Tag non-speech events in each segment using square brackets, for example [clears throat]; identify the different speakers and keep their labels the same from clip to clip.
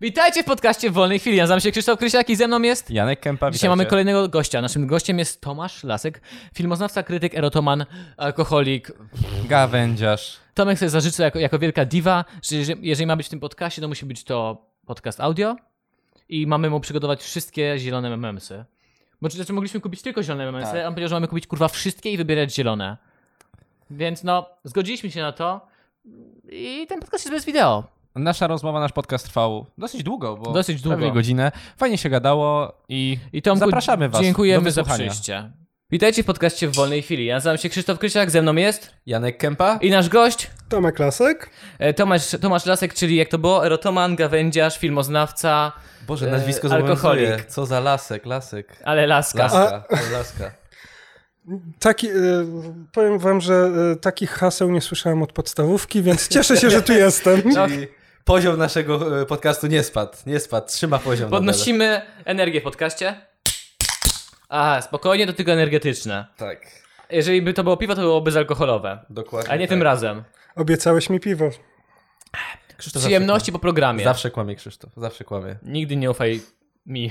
Speaker 1: Witajcie w podcaście w wolnej chwili. Ja Nazywam się Krzysztof Krysiak i ze mną jest.
Speaker 2: Janek Kępa,
Speaker 1: Dzisiaj mamy kolejnego gościa. Naszym gościem jest Tomasz Lasek, filmoznawca, krytyk, erotoman, alkoholik.
Speaker 2: Gawędziarz.
Speaker 1: Tomek sobie zażyczył jako, jako wielka diwa, że jeżeli- jeżeli ma być w tym podcaście, to musi być to podcast audio i mamy mu przygotować wszystkie zielone mememsy. Bo znaczy mogliśmy kupić tylko zielone mememsy,
Speaker 2: Tak.
Speaker 1: a on powiedział, że mamy kupić kurwa wszystkie i wybierać zielone. Więc no, zgodziliśmy się na to i ten podcast jest bez wideo.
Speaker 2: Nasza rozmowa, nasz podcast trwał dosyć długo, bo
Speaker 1: Dosyć długo.
Speaker 2: prawie godzinę. Fajnie się gadało i,
Speaker 1: I Tomku,
Speaker 2: zapraszamy was do
Speaker 1: Dziękujemy za
Speaker 2: wysłuchania.
Speaker 1: przyjście. Witajcie w podcaście w wolnej chwili. Ja nazywam się Krzysztof Krysiak, ze mną jest
Speaker 2: Janek Kępa?
Speaker 1: i nasz gość
Speaker 3: Tomek Lasek?
Speaker 1: e, Tomasz, Tomasz Lasek, czyli jak to było, erotoman, gawędziarz, filmoznawca,
Speaker 4: Boże,
Speaker 1: E,
Speaker 4: nazwisko
Speaker 1: alkoholik.
Speaker 4: zobowiązuje. Co za lasek, lasek.
Speaker 1: ale laska.
Speaker 4: Laska, laska.
Speaker 3: Taki, e, powiem wam, że e, takich haseł nie słyszałem od
Speaker 4: [laughs]
Speaker 3: podstawówki, więc cieszę się, że tu jestem.
Speaker 2: No.
Speaker 4: Czyli poziom naszego e, podcastu nie spadł, nie spadł, trzyma poziom.
Speaker 1: Podnosimy energię w podcaście. A, spokojnie, to tylko energetyczne.
Speaker 4: nadal. Tak,
Speaker 1: Jeżeli by to było piwo, to było bezalkoholowe.
Speaker 4: dokładnie.
Speaker 1: A nie
Speaker 4: tak.
Speaker 1: tym razem.
Speaker 3: Obiecałeś mi piwo.
Speaker 4: Krzysztof zawsze
Speaker 1: Przyjemności po
Speaker 4: kłamie.
Speaker 1: programie.
Speaker 4: Zawsze kłamie Krzysztof, zawsze kłamie.
Speaker 1: Nigdy nie ufaj mi.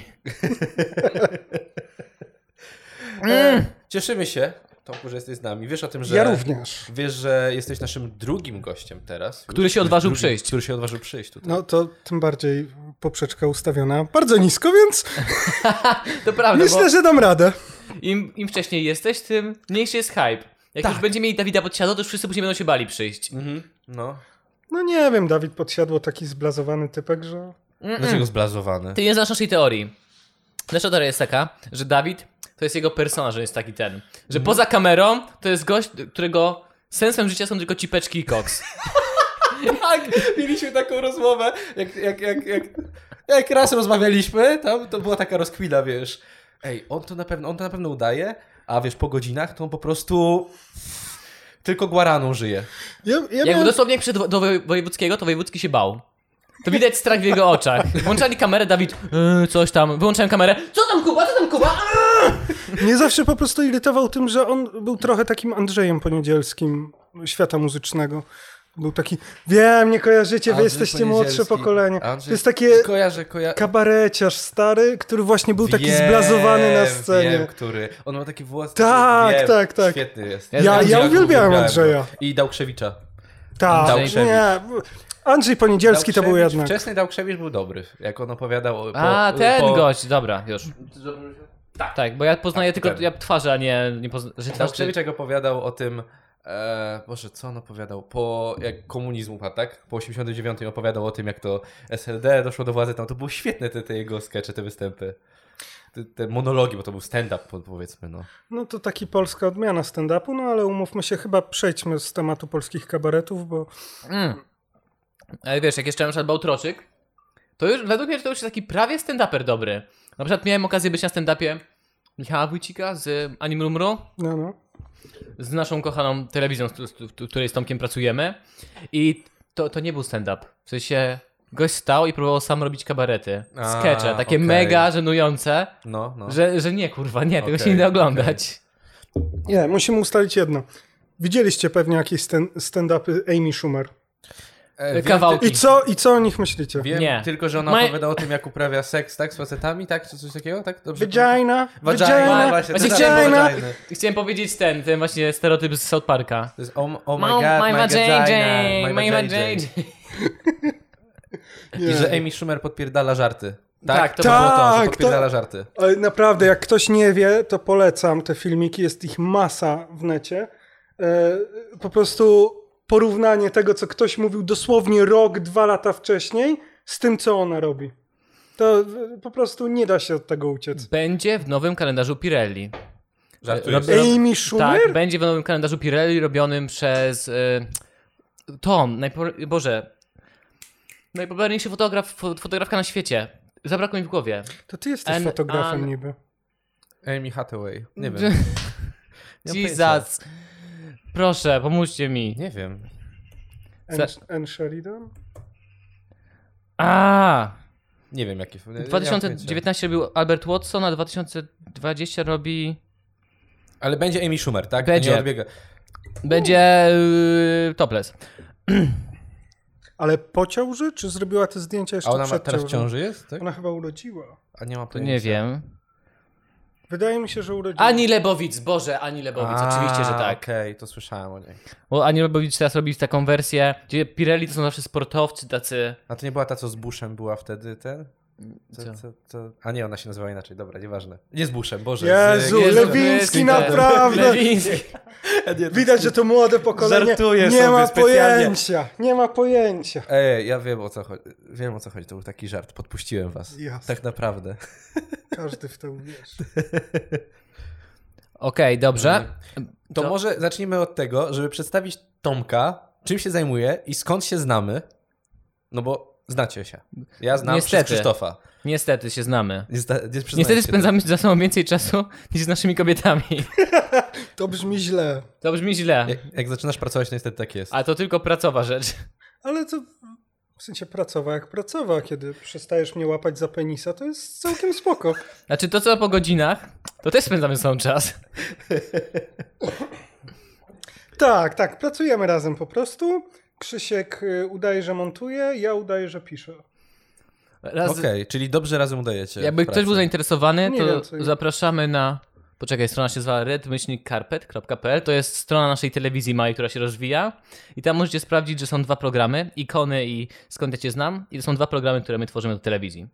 Speaker 4: Cieszymy się, Tomku, że jesteś z nami. Wiesz o tym, że...
Speaker 3: Ja również.
Speaker 4: Wiesz, że jesteś naszym drugim gościem teraz. Już
Speaker 1: Który się
Speaker 4: jesteś
Speaker 1: odważył
Speaker 4: drugim,
Speaker 1: przyjść.
Speaker 4: Który się odważył przyjść tutaj.
Speaker 3: No to tym bardziej poprzeczka ustawiona bardzo nisko, więc
Speaker 1: To prawda, bo
Speaker 3: myślę, że dam radę.
Speaker 1: im, im wcześniej jesteś, tym mniejszy jest hype. Jak już będziemy mieli Dawida pod siadą, to już wszyscy później będą się bali przyjść.
Speaker 4: Mhm. No.
Speaker 3: No nie wiem, Dawid podsiadło taki zblazowany typek, że...
Speaker 4: Dlaczego zblazowany?
Speaker 1: Ty nie znasz naszej teorii. Nasza teoria jest taka, że Dawid to jest jego persona, że jest taki ten. Że poza kamerą to jest gość, którego sensem życia są tylko cipeczki i koks.
Speaker 4: Tak, mieliśmy taką rozmowę, jak, jak, jak, jak, jak raz rozmawialiśmy, tam to była taka rozkwina, wiesz. Ej, on to na pewno, on to na pewno udaje, a wiesz, po godzinach to on po prostu tylko guaraną żyje.
Speaker 3: Ja, ja
Speaker 1: Jak
Speaker 3: miałem...
Speaker 1: dosłownie przyszedł wo- do woj- wojewódzkiego, to wojewódzki się bał. To widać strach w jego oczach. Włączali kamerę, Dawid, yy, coś tam. Wyłączałem kamerę. Co tam Kuba, co tam Kuba? A!
Speaker 3: Mnie zawsze po prostu irytował tym, że on był trochę takim Andrzejem Poniedzielskim świata muzycznego. Był taki, wiem, nie kojarzycie, wy
Speaker 4: Andrzej
Speaker 3: jesteście młodsze
Speaker 4: Poniedzielski.
Speaker 3: pokolenie.
Speaker 4: Andrzej-
Speaker 3: To jest takie
Speaker 4: Kojarzę, kojarzę.
Speaker 3: kabareciarz stary, który właśnie był taki zblazowany na scenie.
Speaker 4: Wiem, który. On ma takie włosy.
Speaker 3: Tak,
Speaker 4: wiem,
Speaker 3: tak, tak.
Speaker 4: Świetny jest.
Speaker 3: Ja- ja
Speaker 4: Andrzeja
Speaker 3: uwielbiałem
Speaker 4: go.
Speaker 3: Andrzeja.
Speaker 4: I Dałkrzewicza.
Speaker 3: Tak,
Speaker 4: Andrzej
Speaker 3: nie. Andrzej Poniedzielski to był
Speaker 4: Dałkrzewicz-
Speaker 3: jednak.
Speaker 4: Wczesny Dałkrzewicz był dobry, jak on opowiadał o- po,
Speaker 1: A, ten
Speaker 4: po,
Speaker 1: gość, dobra, już. Tak, tak, bo ja poznaję tylko
Speaker 4: pewnie.
Speaker 1: ja twarze, a nie, nie poznaję.
Speaker 4: Dałkrzewicz jak opowiadał o tym, e, Boże, co on opowiadał? Po, jak komunizm upadł, tak? Po 89 opowiadał o tym, jak to SLD doszło do władzy tam. To były świetne te, te jego skecze, te występy. Te, te monologi, bo to był stand-up po- powiedzmy, no.
Speaker 3: No to taki polska odmiana stand-upu, no ale umówmy się, chyba przejdźmy z tematu polskich kabaretów, bo
Speaker 1: Mm. Ale wiesz, jak jeszcze na przykład Bałtroczyk, to już według mnie to już jest taki prawie stand-uper dobry. Na przykład miałem okazję być na stand-upie Michała Wójcika z Anim Rumru,
Speaker 3: no, no.
Speaker 1: z naszą kochaną telewizją, z, z, w której z Tomkiem pracujemy. I to, to nie był stand-up. W sensie gość stał i próbował sam robić kabarety.
Speaker 4: A,
Speaker 1: Skecze, takie
Speaker 4: okej.
Speaker 1: mega żenujące,
Speaker 4: No, no.
Speaker 1: że, że nie, kurwa, nie, tego się
Speaker 4: Okej,
Speaker 1: nie da
Speaker 4: okej.
Speaker 1: oglądać.
Speaker 3: Nie, musimy ustalić jedno. Widzieliście pewnie jakieś sten- stand-upy Amy Schumer.
Speaker 4: E,
Speaker 1: Kawałki.
Speaker 3: I co, I co o nich myślicie?
Speaker 4: Wiem,
Speaker 1: Nie.
Speaker 4: wiem tylko, że ona
Speaker 1: Ma-
Speaker 4: opowiada o tym, jak uprawia seks, tak? Z facetami, tak? Czy coś takiego, tak? Dobrze
Speaker 3: Vagina,
Speaker 4: Vagina,
Speaker 3: vagina,
Speaker 4: No właśnie,
Speaker 1: Właśnie
Speaker 4: to
Speaker 1: chciałem-
Speaker 4: jest
Speaker 3: vagina.
Speaker 4: vagina.
Speaker 1: Chciałem powiedzieć ten, ten właśnie stereotyp z South Parka.
Speaker 4: To jest, oh, oh
Speaker 1: Mam-
Speaker 4: my god, my
Speaker 1: Majma
Speaker 4: vagina,
Speaker 1: JJ,
Speaker 4: my
Speaker 1: Majma
Speaker 4: vagina.
Speaker 1: JJ.
Speaker 4: I że Amy Schumer podpierdala żarty.
Speaker 1: Tak,
Speaker 4: Tak,
Speaker 1: to
Speaker 4: to
Speaker 1: było
Speaker 4: było to,
Speaker 3: Tak,
Speaker 4: że podpierdala żarty.
Speaker 3: Ale naprawdę, jak ktoś nie wie, to polecam te filmiki, jest ich masa w necie. E, Po prostu porównanie tego, co ktoś mówił dosłownie rok, dwa lata wcześniej, z tym, co ona robi. To e, po prostu nie da się od tego uciec.
Speaker 1: Będzie w nowym kalendarzu Pirelli.
Speaker 4: Żartujesz?
Speaker 1: Rob-
Speaker 3: Amy Schumer?
Speaker 1: Tak, będzie w nowym kalendarzu Pirelli robionym przez y, Tom, najpo- Boże, najpopularniejszy fotograf, fo- fotografka na świecie. Zabrakło mi w głowie.
Speaker 3: To ty jesteś
Speaker 1: An-
Speaker 3: fotografem
Speaker 1: an-
Speaker 3: niby.
Speaker 4: Amy Hathaway. Nie wiem. Nie mam pojęcia.
Speaker 1: Jesus. Proszę, pomóżcie mi.
Speaker 4: Nie wiem.
Speaker 3: Anne Anne Sheridan?
Speaker 1: A,
Speaker 4: Nie wiem jakie. nie- nie mam pojęcia.
Speaker 1: 2019 robił Albert Watson, a 2020 robi...
Speaker 4: Ale będzie Amy Schumer, tak?
Speaker 1: Będzie.
Speaker 4: Nie odbiega.
Speaker 1: Będzie y, topless.
Speaker 3: Ale po ciąży, czy zrobiła te zdjęcia jeszcze
Speaker 4: A ona ma
Speaker 3: przed
Speaker 4: teraz w
Speaker 3: ciążą?
Speaker 4: ciąży jest, tak?
Speaker 3: Ona chyba urodziła.
Speaker 4: A nie ma
Speaker 1: To nie
Speaker 4: pojęcia.
Speaker 1: wiem.
Speaker 3: Wydaje mi się, że urodziła.
Speaker 1: Ani Lebowic, Boże, Ani Lebowic,
Speaker 4: A,
Speaker 1: oczywiście, że tak.
Speaker 4: Okej, to słyszałem o niej.
Speaker 1: Bo Ani Lebowic teraz robi taką wersję, gdzie Pirelli to są zawsze sportowcy tacy...
Speaker 4: A to nie była ta, co z Bushem była wtedy, ten?
Speaker 1: Co?
Speaker 4: Co, co, co? A nie, ona się nazywała inaczej, dobra, nieważne. Nie z Bushem, Boże.
Speaker 3: Jezu,
Speaker 1: Jezu,
Speaker 3: Lewiński,
Speaker 1: Lewiński,
Speaker 3: naprawdę!
Speaker 1: Lewiński.
Speaker 4: Z... Nie,
Speaker 3: Widać, że to młode pokolenie
Speaker 4: Żartuję
Speaker 3: nie
Speaker 4: sobie
Speaker 3: ma
Speaker 4: specjalnie.
Speaker 3: pojęcia. Nie ma pojęcia.
Speaker 4: Ej, ja wiem o co chodzi. Wiem o co chodzi, to był taki żart. Podpuściłem was.
Speaker 3: Jasne.
Speaker 4: Tak naprawdę.
Speaker 3: Każdy w to uwierzy.
Speaker 1: Okej, dobrze.
Speaker 4: Mhm. To może zacznijmy od tego, żeby przedstawić Tomka, czym się zajmuje i skąd się znamy. No bo znacie się. Ja znam
Speaker 1: Niestety.
Speaker 4: Niestety. Krzysztofa.
Speaker 1: Niestety się znamy.
Speaker 4: Nie, zda- nie przyznaję
Speaker 1: Niestety
Speaker 4: się
Speaker 1: spędzamy za sobą więcej czasu niż z naszymi kobietami.
Speaker 3: To brzmi źle,
Speaker 1: To brzmi źle.
Speaker 4: tego. Jak, jak zaczynasz pracować, to niestety tak jest.
Speaker 1: A to tylko pracowa rzecz.
Speaker 3: ale to w sensie pracowa jak pracowa. Kiedy przestajesz mnie łapać za penisa, to jest całkiem spoko.
Speaker 1: Znaczy to co po godzinach, to też spędzamy ze sobą czas.
Speaker 3: Tak, tak, pracujemy razem po prostu. Krzysiek y, udaje, że montuje, ja udaję, że piszę.
Speaker 1: Raz,
Speaker 4: Okej, czyli dobrze razem udajecie.
Speaker 1: Jakby
Speaker 4: w
Speaker 1: ktoś
Speaker 4: pracy.
Speaker 1: był zainteresowany,
Speaker 3: Nie
Speaker 1: to
Speaker 3: wiem, co-
Speaker 1: zapraszamy na. Poczekaj, strona się nazywa redmyślnikkarpet.pl. To jest strona naszej telewizji małej, która się rozwija. I tam możecie sprawdzić, że są dwa programy: ikony i skąd ja cię znam. I to są dwa programy, które my tworzymy do telewizji.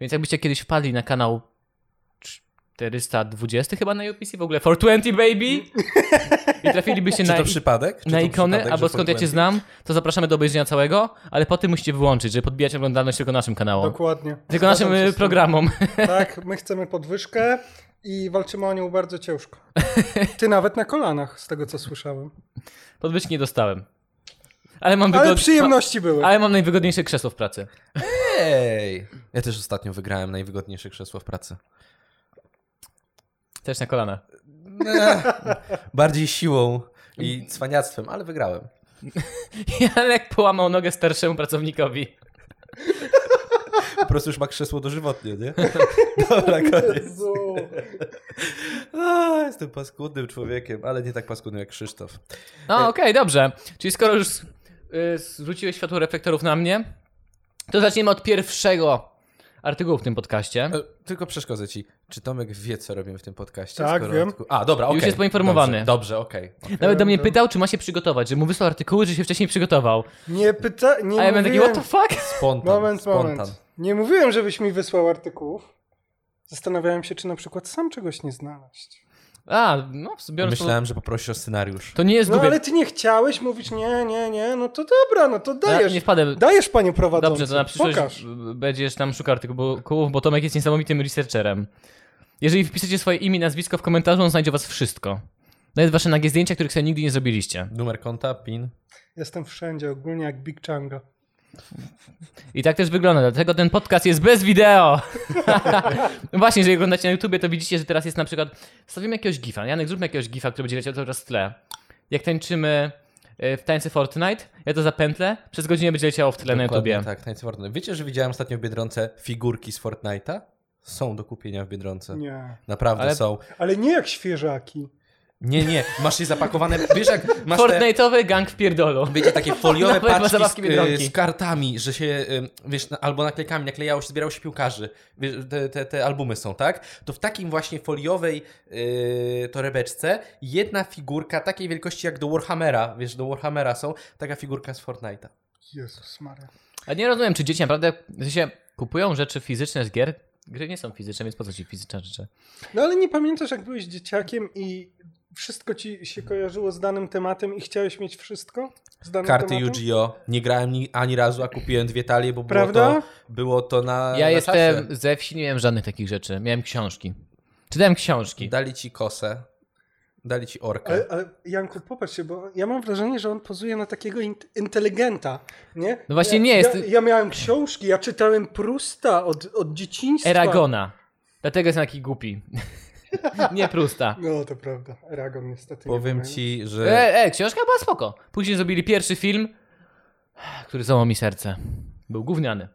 Speaker 1: Więc jakbyście kiedyś wpadli na kanał 420 chyba na UPC w ogóle, 420 baby! I trafilibyście
Speaker 4: Czy
Speaker 1: na,
Speaker 4: to przypadek? Czy
Speaker 1: na
Speaker 4: to
Speaker 1: ikony,
Speaker 4: przypadek,
Speaker 1: albo
Speaker 4: że
Speaker 1: skąd ja cię
Speaker 4: Fortnite-
Speaker 1: znam, to zapraszamy do obejrzenia całego, ale potem musicie wyłączyć, żeby podbijać oglądalność tylko naszym kanałom.
Speaker 3: Dokładnie.
Speaker 1: Tylko naszym
Speaker 3: Zgadzam się
Speaker 1: y,
Speaker 3: z tym.
Speaker 1: programom.
Speaker 3: Tak, my chcemy podwyżkę i walczymy o nią bardzo ciężko. Ty nawet na kolanach, z tego co słyszałem.
Speaker 1: Podwyżki nie dostałem. Ale mam,
Speaker 3: Ale
Speaker 1: wygod...
Speaker 3: przyjemności były.
Speaker 1: ma... ale mam najwygodniejsze krzesło w pracy.
Speaker 4: Ej! Ja też ostatnio wygrałem najwygodniejsze krzesło w pracy.
Speaker 1: Też na kolana. [laughs]
Speaker 4: Bardziej siłą i cwaniactwem, ale wygrałem.
Speaker 1: Janek połamał nogę starszemu pracownikowi.
Speaker 4: Po prostu już ma krzesło dożywotnie, nie? [laughs] Dobra, koniec.
Speaker 3: Jezu.
Speaker 4: A, jestem paskudnym człowiekiem, ale nie tak paskudnym jak Krzysztof.
Speaker 3: Y-
Speaker 1: No okej, dobrze. Czyli skoro już y, zwróciłeś światło reflektorów na mnie, to zaczniemy od pierwszego artykułu w tym podcaście.
Speaker 4: E, Tylko przeszkodzę ci. Czy Tomek wie, co robimy w tym podcaście?
Speaker 3: Tak, wiem.
Speaker 4: A, dobra, okej.
Speaker 1: jest poinformowany.
Speaker 4: Dobrze, dobrze okej.
Speaker 3: [laughs]
Speaker 1: Nawet do mnie pytał, czy ma się przygotować, że mu wysłał artykuły, że się wcześniej przygotował.
Speaker 3: [laughs] Nie pyta, nie
Speaker 1: A ja będę taki,
Speaker 3: mówiłem...
Speaker 1: what the fuck?
Speaker 4: Spontan.
Speaker 3: Moment,
Speaker 4: spontan.
Speaker 3: moment. Nie mówiłem, żebyś mi wysłał artykułów. Zastanawiałem się, czy na przykład sam czegoś nie znaleźć.
Speaker 1: A, no, biorąc to...
Speaker 4: Myślałem, że poprosi o scenariusz.
Speaker 1: To nie jest
Speaker 3: No
Speaker 1: głupie.
Speaker 3: ale ty nie chciałeś, mówić nie, nie, nie, no to dobra, no to
Speaker 1: Ja
Speaker 3: dajesz.
Speaker 1: nie wpadłem.
Speaker 3: Dajesz, panie prowadzący.
Speaker 1: Dobrze, to na przyszłość
Speaker 3: Pokaż.
Speaker 1: b- będziesz tam szukał artykułów, bo Tomek jest niesamowitym researcherem. Jeżeli wpiszecie swoje imię i nazwisko w komentarzu, on znajdzie u was wszystko. Nawet wasze nagie zdjęcia, których sobie nigdy nie zrobiliście.
Speaker 4: Numer konta, pin.
Speaker 3: Jestem wszędzie, ogólnie jak Big Changa.
Speaker 1: I tak też wygląda, dlatego ten podcast jest bez wideo. [laughs] No Właśnie, jeżeli oglądacie na YouTubie, to widzicie, że teraz jest na przykład... Stawimy jakiegoś gifa. Janek, zróbmy jakiegoś gifa, który będzie leciał cały czas w tle. Jak tańczymy e, w tańce Fortnite, ja to zapętlę, przez godzinę będzie leciało w tle na
Speaker 4: Dokładnie
Speaker 1: YouTubie.
Speaker 4: Tak, tańce Fortnite. Wiecie, że widziałem ostatnio w Biedronce figurki z Fortnite'a? Są do kupienia w
Speaker 1: Tak.
Speaker 4: Biedronce.
Speaker 3: Nie.
Speaker 4: Naprawdę
Speaker 1: Ale-
Speaker 4: są.
Speaker 3: Ale nie jak świeżaki.
Speaker 4: Nie, nie, masz je zapakowane, wiesz jak masz te,
Speaker 1: Fortnite'owy gang w pierdolu.
Speaker 4: wiecie,
Speaker 1: [laughs]
Speaker 4: takie foliowe
Speaker 1: Nawet ma zabawki
Speaker 4: paczki z,
Speaker 1: Biedronki.
Speaker 4: y, z kartami, że się, ym, wiesz, na, albo naklejkami naklejało się, zbierało się piłkarzy, wiesz, te, te, te albumy są, tak? To w takim właśnie foliowej yy, torebeczce jedna figurka takiej wielkości jak do Warhammera, wiesz, do Warhammera są, taka figurka z Fortnite'a.
Speaker 3: Jezus Maria.
Speaker 1: A nie rozumiem, czy dzieci naprawdę w sensie, kupują rzeczy fizyczne z gier? Gry nie są fizyczne, więc po co ci fizyczne rzeczy?
Speaker 3: No ale nie pamiętasz, jak byłeś dzieciakiem i wszystko ci się kojarzyło z danym tematem i chciałeś mieć wszystko? Z danym
Speaker 4: Karty
Speaker 3: tematem?
Speaker 4: Yu-Gi-Oh! Nie grałem ni, ani razu, a kupiłem dwie talie, bo było
Speaker 3: Prawda?
Speaker 4: to, było to E, na
Speaker 1: Ja
Speaker 4: na
Speaker 1: jestem
Speaker 4: czasie.
Speaker 1: ze wsi, nie miałem żadnych takich rzeczy. Miałem książki. Czytałem książki.
Speaker 4: Dali ci kosę, dali ci orkę.
Speaker 3: Ale, ale Janku, popatrz się, bo ja mam wrażenie, że on pozuje na takiego in- inteligenta, nie?
Speaker 1: No właśnie
Speaker 3: ja,
Speaker 1: nie jest.
Speaker 3: Ja, ja miałem książki, ja czytałem Prusta od, od dzieciństwa.
Speaker 1: Eragona. Dlatego jestem taki głupi. [laughs] nie prusta.
Speaker 3: No to prawda, Eragon niestety. nie
Speaker 4: Powiem
Speaker 3: pamiętam.
Speaker 4: ci, że
Speaker 1: E, e, książka była spoko. Później zrobili pierwszy film, który złamał mi serce. Był gówniany.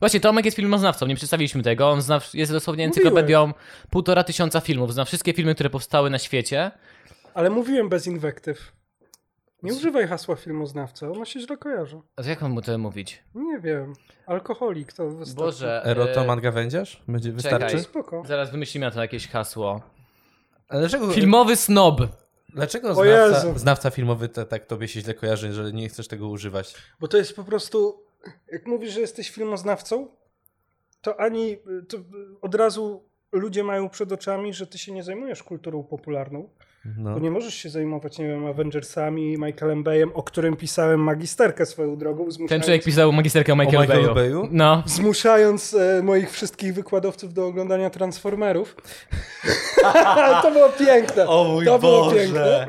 Speaker 1: Właśnie, Tomek jest filmoznawcą, nie przedstawiliśmy tego. On zna, jest dosłownie
Speaker 3: Mówiłeś.
Speaker 1: encyklopedią półtora tysiąca filmów. Zna wszystkie filmy, które powstały na świecie.
Speaker 3: Ale mówiłem bez inwektyw. Nie używaj hasła filmoznawca, ono się źle kojarzy.
Speaker 1: A jak mam mu to mówić?
Speaker 3: Nie wiem. Alkoholik to wystarczy.
Speaker 1: Boże.
Speaker 4: Erotoman gawędziarz? Będzie, wystarczy?
Speaker 1: E, Czekaj.
Speaker 3: Spoko.
Speaker 1: Zaraz wymyślimy na to jakieś hasło.
Speaker 4: A dlaczego,
Speaker 1: Filmowy snob.
Speaker 4: dlaczego
Speaker 3: O
Speaker 4: znawca,
Speaker 3: Jezu.
Speaker 4: znawca filmowy te, tak tobie się źle kojarzy, że nie chcesz tego używać?
Speaker 3: Bo to jest po prostu... Jak mówisz, że jesteś filmoznawcą, to ani... To od razu ludzie mają przed oczami, że ty się nie zajmujesz kulturą popularną.
Speaker 4: No.
Speaker 3: Bo nie możesz się zajmować, nie wiem, Avengersami, Michaelem Bayem, o którym pisałem magisterkę swoją drogą,
Speaker 1: Ten
Speaker 3: zmuszając,
Speaker 1: człowiek pisał magisterkę o Michael,
Speaker 4: Michaelu
Speaker 1: Bayu.
Speaker 4: Bayu?
Speaker 1: No.
Speaker 3: zmuszając e, moich wszystkich wykładowców do oglądania Transformerów. [laughs] to było piękne.
Speaker 4: O mój
Speaker 3: to było
Speaker 4: Boże.
Speaker 3: piękne.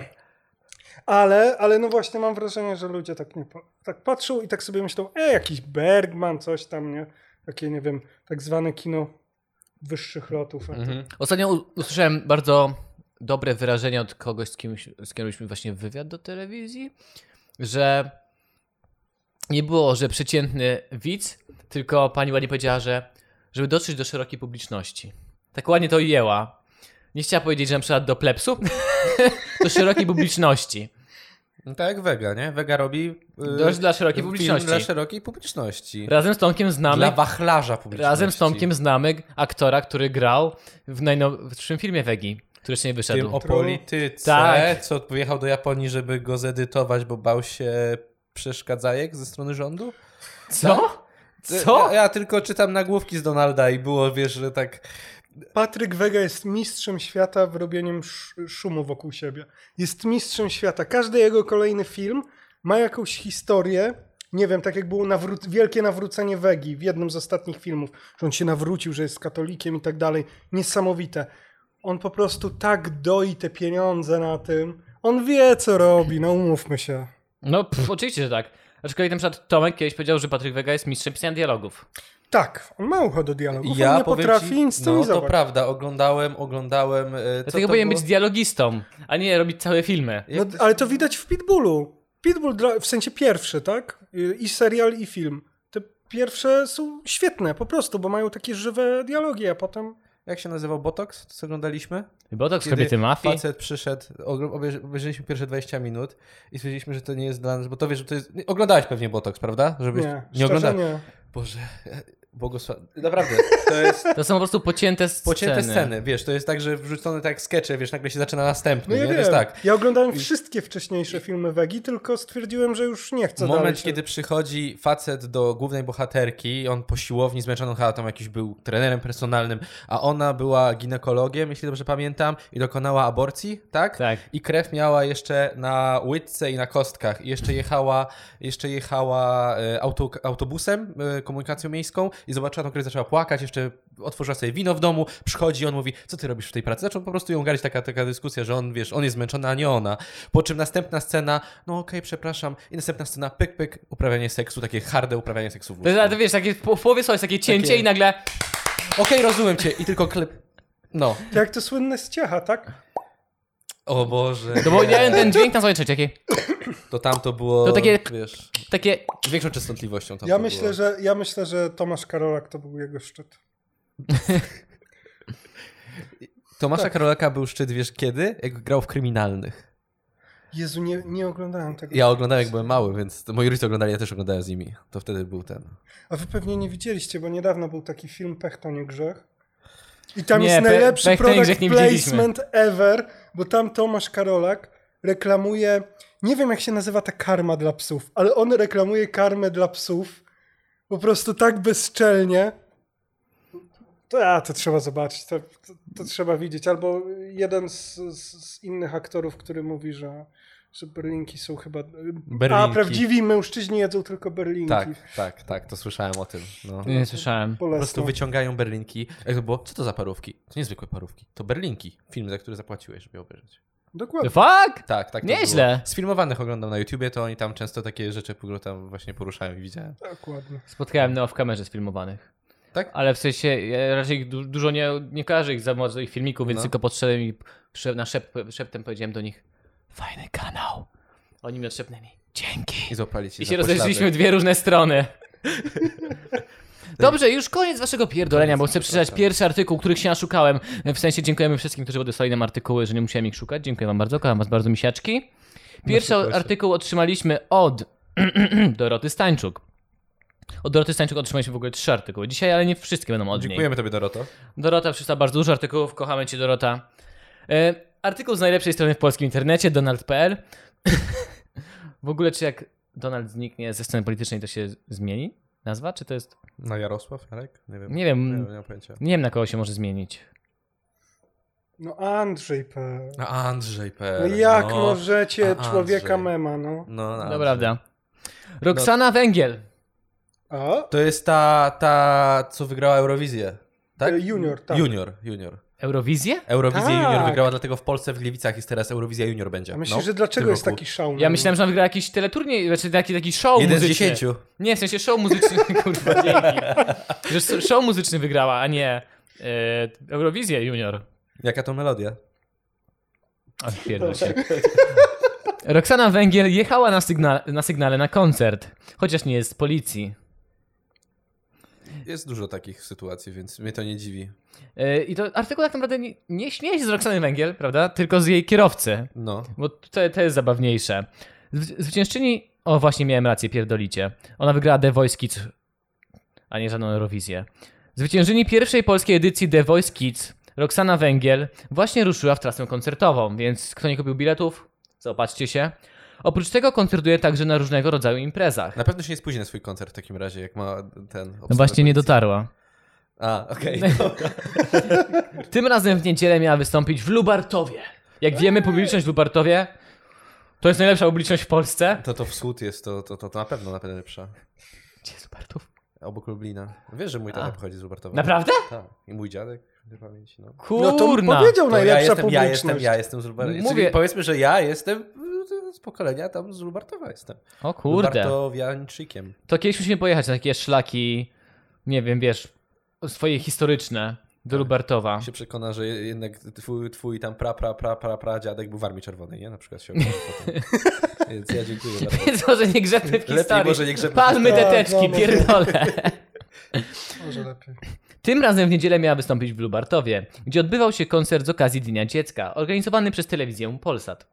Speaker 3: Ale, ale no właśnie mam wrażenie, że ludzie tak nie po, tak patrzą i tak sobie myślą, e, jakiś Bergman, coś tam, nie? Takie, nie wiem, tak zwane kino wyższych lotów. a to-
Speaker 4: Mhm.
Speaker 1: Ostatnio u- usłyszałem bardzo dobre wyrażenie od kogoś, z kimś, z kim robiliśmy właśnie wywiad do telewizji, że nie było, że przeciętny widz, tylko pani ładnie powiedziała, że żeby dotrzeć do szerokiej publiczności. Tak ładnie to ujęła. Nie chciała powiedzieć, że na przykład do plepsu, [laughs] do szerokiej publiczności.
Speaker 4: No tak jak Vega, nie? Vega robi y,
Speaker 1: Dość dla szerokiej
Speaker 4: film
Speaker 1: publiczności.
Speaker 4: Dla szerokiej publiczności.
Speaker 1: Razem z Tomkiem znamy
Speaker 4: Dla wachlarza publiczności.
Speaker 1: Razem z Tomkiem znamy aktora, który grał w najnowszym filmie Wegi, który jeszcze nie
Speaker 4: W tym
Speaker 1: wyszedł.
Speaker 4: o polityce,
Speaker 1: Tak.
Speaker 4: co pojechał do Japonii, żeby go zedytować, bo bał się przeszkadzajek ze strony rządu?
Speaker 1: Co?
Speaker 4: Ja,
Speaker 1: Co?
Speaker 4: ja tylko czytam nagłówki z Donalda i było, wiesz, że tak...
Speaker 3: Patryk Wega jest mistrzem świata w robieniu sz- szumu wokół siebie. Jest mistrzem świata. Każdy jego kolejny film ma jakąś historię. Nie wiem, tak jak było nawró- wielkie nawrócenie Wegi w jednym z ostatnich filmów, że on się nawrócił, że jest katolikiem i tak dalej. Niesamowite. On po prostu tak doi te pieniądze na tym. On wie, co robi, no umówmy się.
Speaker 1: No pff, oczywiście, że tak. Aczkolwiek na przykład Tomek kiedyś powiedział, że Patryk Wega jest mistrzem pisania dialogów.
Speaker 3: Tak, on ma ucho do dialogów,
Speaker 4: Ja
Speaker 3: on nie
Speaker 4: powiem
Speaker 3: potrafi
Speaker 4: ci, No to
Speaker 3: inscenizować.
Speaker 4: prawda, oglądałem, oglądałem... y, Co
Speaker 1: Dlatego
Speaker 4: to
Speaker 1: powinien
Speaker 4: było?
Speaker 1: być dialogistą, a nie robić całe filmy.
Speaker 3: No, ale to widać w Pitbullu. Pitbull dla, w sensie pierwszy, tak? Y, I serial, i film. Te pierwsze są świetne po prostu, bo mają takie żywe dialogi, a potem...
Speaker 4: Jak się nazywał Botox? Co oglądaliśmy?
Speaker 1: Botox,
Speaker 4: Kiedy
Speaker 1: kobiety mafii.
Speaker 4: Facet przyszedł, ogro- obejrzy- obejrzeliśmy pierwsze 20 minut i stwierdziliśmy, że to nie jest dla nas, bo to wiesz, że to jest... nie- Oglądałeś pewnie Botox, prawda? Żebyś...
Speaker 3: Nie,
Speaker 4: nie
Speaker 3: szczerze
Speaker 4: oglądałeś.
Speaker 3: nie.
Speaker 4: Boże, [laughs] błogosław... [laughs] Naprawdę, to jest...
Speaker 1: To są po prostu pocięte sceny.
Speaker 4: Pocięte sceny. wiesz, to jest tak, że wrzucone tak jak skecze, wiesz, nagle się zaczyna następny,
Speaker 3: No ja
Speaker 4: nie? To
Speaker 3: wiem.
Speaker 4: jest tak.
Speaker 3: Ja oglądałem wszystkie wcześniejsze filmy Wegi, tylko stwierdziłem, że już nie chcę dalej
Speaker 4: Moment,
Speaker 3: się-
Speaker 4: kiedy przychodzi facet do głównej bohaterki, on po siłowni zmęczoną chyba tam jakiś był trenerem personalnym, a ona była ginekologiem, jeśli dobrze pamiętam, i dokonała aborcji, tak?
Speaker 1: Tak.
Speaker 4: I krew miała jeszcze na łydce i na kostkach. I jeszcze jechała, jeszcze jechała e, auto, autobusem, e, komunikacją miejską i zobaczyła tą krew, zaczęła płakać, jeszcze otworzyła sobie wino w domu, przychodzi i on mówi, co ty robisz w tej pracy? Zaczął po prostu ją galić taka, taka dyskusja, że on, wiesz, on jest zmęczony, a nie ona. Po czym następna scena, no okej, przepraszam, i następna scena, pyk, pyk, uprawianie seksu, takie harde uprawianie seksu w
Speaker 1: To,
Speaker 4: łóżku.
Speaker 1: jest- ale to wiesz, takie w po- w połowie są jest takie cięcie
Speaker 4: Takie-
Speaker 1: i nagle...
Speaker 4: Okej, rozumiem cię i tylko klep... No,
Speaker 3: Jak to słynne z Ciecha, tak?
Speaker 4: o Boże,
Speaker 1: No bo miałem ten dźwięk na swoje trzecie, takie,
Speaker 4: to tamto było,
Speaker 1: To takie-
Speaker 4: wiesz,
Speaker 1: takie...
Speaker 4: z większą częstotliwością tamto
Speaker 3: Ja myślę,
Speaker 4: było.
Speaker 3: że, ja myślę, że Tomasz Karolak to był jego szczyt.
Speaker 4: Tomasza
Speaker 3: Tak.
Speaker 4: Karolaka był szczyt, wiesz kiedy? Jak grał w kryminalnych.
Speaker 3: Jezu, nie, nie oglądałem tego.
Speaker 4: Ja oglądałem, jak byłem mały, więc to moi rodzice oglądali, ja też oglądałem z nimi. To wtedy był ten.
Speaker 3: A wy pewnie nie widzieliście, bo niedawno był taki film Pech to nie grzech. I tam
Speaker 1: Nie,
Speaker 3: jest
Speaker 1: Pe-
Speaker 3: najlepszy
Speaker 1: Pech to nie
Speaker 3: product
Speaker 1: grzech nie widzieliśmy.
Speaker 3: placement ever, bo tam Tomasz Karolak reklamuje, nie wiem jak się nazywa ta karma dla psów, ale on reklamuje karmę dla psów po prostu tak bezczelnie. To, a, to trzeba zobaczyć, to, to, to trzeba widzieć. Albo jeden z, z, z innych aktorów, który mówi, że, że berlinki są chyba... A,
Speaker 4: Berlinki.
Speaker 3: prawdziwi mężczyźni jedzą tylko berlinki.
Speaker 4: Tak, tak, tak, to słyszałem o tym. No.
Speaker 1: Nie słyszałem.
Speaker 4: Po prostu
Speaker 3: Polecam.
Speaker 4: wyciągają berlinki. Jak to było? Co to za parówki? To niezwykłe parówki. To berlinki. Film, za który zapłaciłeś, żeby je obejrzeć.
Speaker 3: Dokładnie.
Speaker 1: Fuck!
Speaker 4: Tak, tak. to
Speaker 1: Nieźle.
Speaker 4: było. Z filmowanych oglądam na YouTubie, to oni tam często takie rzeczy po- tam właśnie poruszają i widziałem.
Speaker 3: Dokładnie.
Speaker 1: Spotkałem Neo w kamerze sfilmowanych.
Speaker 4: Tak?
Speaker 1: Ale w sensie ja raczej ich du- dużo nie, nie kojarzę ich za mocno ich filmików, więc
Speaker 4: No.
Speaker 1: tylko podszedłem i przy- na szep, szeptem powiedziałem do nich fajny kanał. Oni mi odszepnęli dzięki.
Speaker 4: I złapali ci
Speaker 1: I
Speaker 4: za
Speaker 1: się
Speaker 4: pośladek. [laughs]
Speaker 1: rozeszliśmy w dwie różne strony. Dobrze, już koniec waszego pierdolenia, bo chcę
Speaker 4: Tak,
Speaker 1: przeczytać pierwszy artykuł, których się naszukałem. W sensie dziękujemy wszystkim, którzy odesłali nam artykuły, że nie musiałem ich szukać. Dziękuję wam bardzo, kocham was bardzo, misiaczki. Pierwszy artykuł otrzymaliśmy od [clears throat] Doroty Stańczuk. Od Doroty Stańczuk otrzymaliśmy w ogóle trzy artykuły dzisiaj, ale nie wszystkie będą od niej.
Speaker 4: Dziękujemy tobie, Doroto.
Speaker 1: Dorota przeczyta bardzo dużo artykułów. Kochamy cię, Dorota. E, artykuł z najlepszej strony w polskim internecie, donald.pl. [laughs] w ogóle, czy jak Donald zniknie ze sceny politycznej, to się zmieni nazwa? Czy to jest...
Speaker 4: Na No, Jarosław, Jarek? Nie wiem.
Speaker 1: Nie mm. wiem.
Speaker 4: Nie, nie mam pojęcia.
Speaker 1: Nie wiem, na kogo się może zmienić.
Speaker 3: No Andrzej P.
Speaker 4: A Andrzej P.
Speaker 3: No jak
Speaker 4: no.
Speaker 3: możecie
Speaker 4: A,
Speaker 3: człowieka
Speaker 4: Andrzej.
Speaker 3: mema, no.
Speaker 4: No,
Speaker 1: To
Speaker 4: Andrzej.
Speaker 1: prawda.
Speaker 4: No.
Speaker 1: Roxana Węgiel.
Speaker 3: A?
Speaker 4: To jest ta, ta, co wygrała Eurowizję. Tak?
Speaker 3: E, junior, tak.
Speaker 4: Junior, junior.
Speaker 1: Eurowizję?
Speaker 4: Eurowizję
Speaker 3: Tak.
Speaker 4: Junior wygrała, dlatego w Polsce w Gliwicach jest teraz Eurowizja Junior będzie.
Speaker 3: A myślisz,
Speaker 4: No,
Speaker 3: że
Speaker 4: w tym
Speaker 3: dlaczego jest
Speaker 4: roku.
Speaker 3: taki szał? na
Speaker 1: Ja
Speaker 3: nim?
Speaker 1: myślałem, że on wygra jakiś teleturniej, znaczy taki, taki show
Speaker 4: Mm. Jeden z
Speaker 1: muzyczny.
Speaker 4: dziesięciu.
Speaker 1: Nie, w sensie show muzyczny, [laughs] kurwa, dzięki. Że s- show muzyczny wygrała, a nie e, Eurowizję Junior.
Speaker 4: Jaka to melodia?
Speaker 1: O, pierdol się. Roxana Węgiel jechała na, sygna na sygnale na koncert, chociaż nie jest z policji.
Speaker 4: Jest dużo takich sytuacji, więc mnie to nie dziwi.
Speaker 1: E, I to artykuł tak naprawdę nie, nie śmieje się z Roxany Węgiel, prawda? Tylko z jej kierowcy.
Speaker 4: No.
Speaker 1: Bo to, to jest zabawniejsze. Zw- Zwyciężczyni. O, właśnie miałem rację, pierdolicie. Ona wygrała The Voice Kids, a nie żadną Eurowizję. Zwyciężyni pierwszej polskiej edycji The Voice Kids, Roxana Węgiel, właśnie ruszyła w trasę koncertową, więc kto nie kupił biletów, zaopatrzcie się. Oprócz tego koncertuje także na różnego rodzaju imprezach.
Speaker 4: Na pewno się nie spóźni na swój koncert w takim razie, jak ma ten...
Speaker 1: No
Speaker 4: obstawę
Speaker 1: właśnie nie
Speaker 4: policji.
Speaker 1: dotarła.
Speaker 4: A,
Speaker 1: [laughs]
Speaker 4: okej.
Speaker 1: Tym razem w niedzielę miała wystąpić w Lubartowie. Jak wiemy, publiczność w Lubartowie to jest najlepsza publiczność w Polsce.
Speaker 4: To to wschód jest, to, to, to, to na pewno na pewno lepsza.
Speaker 1: Gdzie jest Lubartów?
Speaker 4: Obok Lublina. Wiesz, że mój tata
Speaker 1: A.
Speaker 4: pochodzi z Lubartowa.
Speaker 1: Naprawdę?
Speaker 4: Tak. I mój dziadek, nie pamięci, no.
Speaker 1: Kurna.
Speaker 3: No to powiedział
Speaker 4: To
Speaker 3: najlepsza
Speaker 4: ja jestem, ja
Speaker 3: publiczność.
Speaker 4: jestem, ja jestem z Lubartowa.
Speaker 1: Mówię-
Speaker 4: Mówię... Powiedzmy, że ja jestem y, z pokolenia tam z Lubartowa jestem.
Speaker 1: O kurde.
Speaker 4: Lubartowiańczykiem.
Speaker 1: To kiedyś musimy pojechać na takie szlaki, nie wiem, wiesz, swoje historyczne do Lubartowa.
Speaker 4: Się przekona, że jednak twój, twój tam pra, pra, pra, pra, pra dziadek był w Armii Czerwonej, nie? Na przykład się ogląda potem. Więc ja dziękuję bardzo.
Speaker 1: Więc [laughs] może nie grzebmy w historii.
Speaker 4: może nie grzebmy.
Speaker 1: Palmy te
Speaker 3: Tak,
Speaker 1: teczki,
Speaker 3: no,
Speaker 1: pierdolę. [laughs]
Speaker 3: Może lepiej.
Speaker 1: Tym razem w niedzielę miała wystąpić w Lubartowie, gdzie odbywał się koncert z okazji Dnia Dziecka, organizowany przez telewizję Polsat.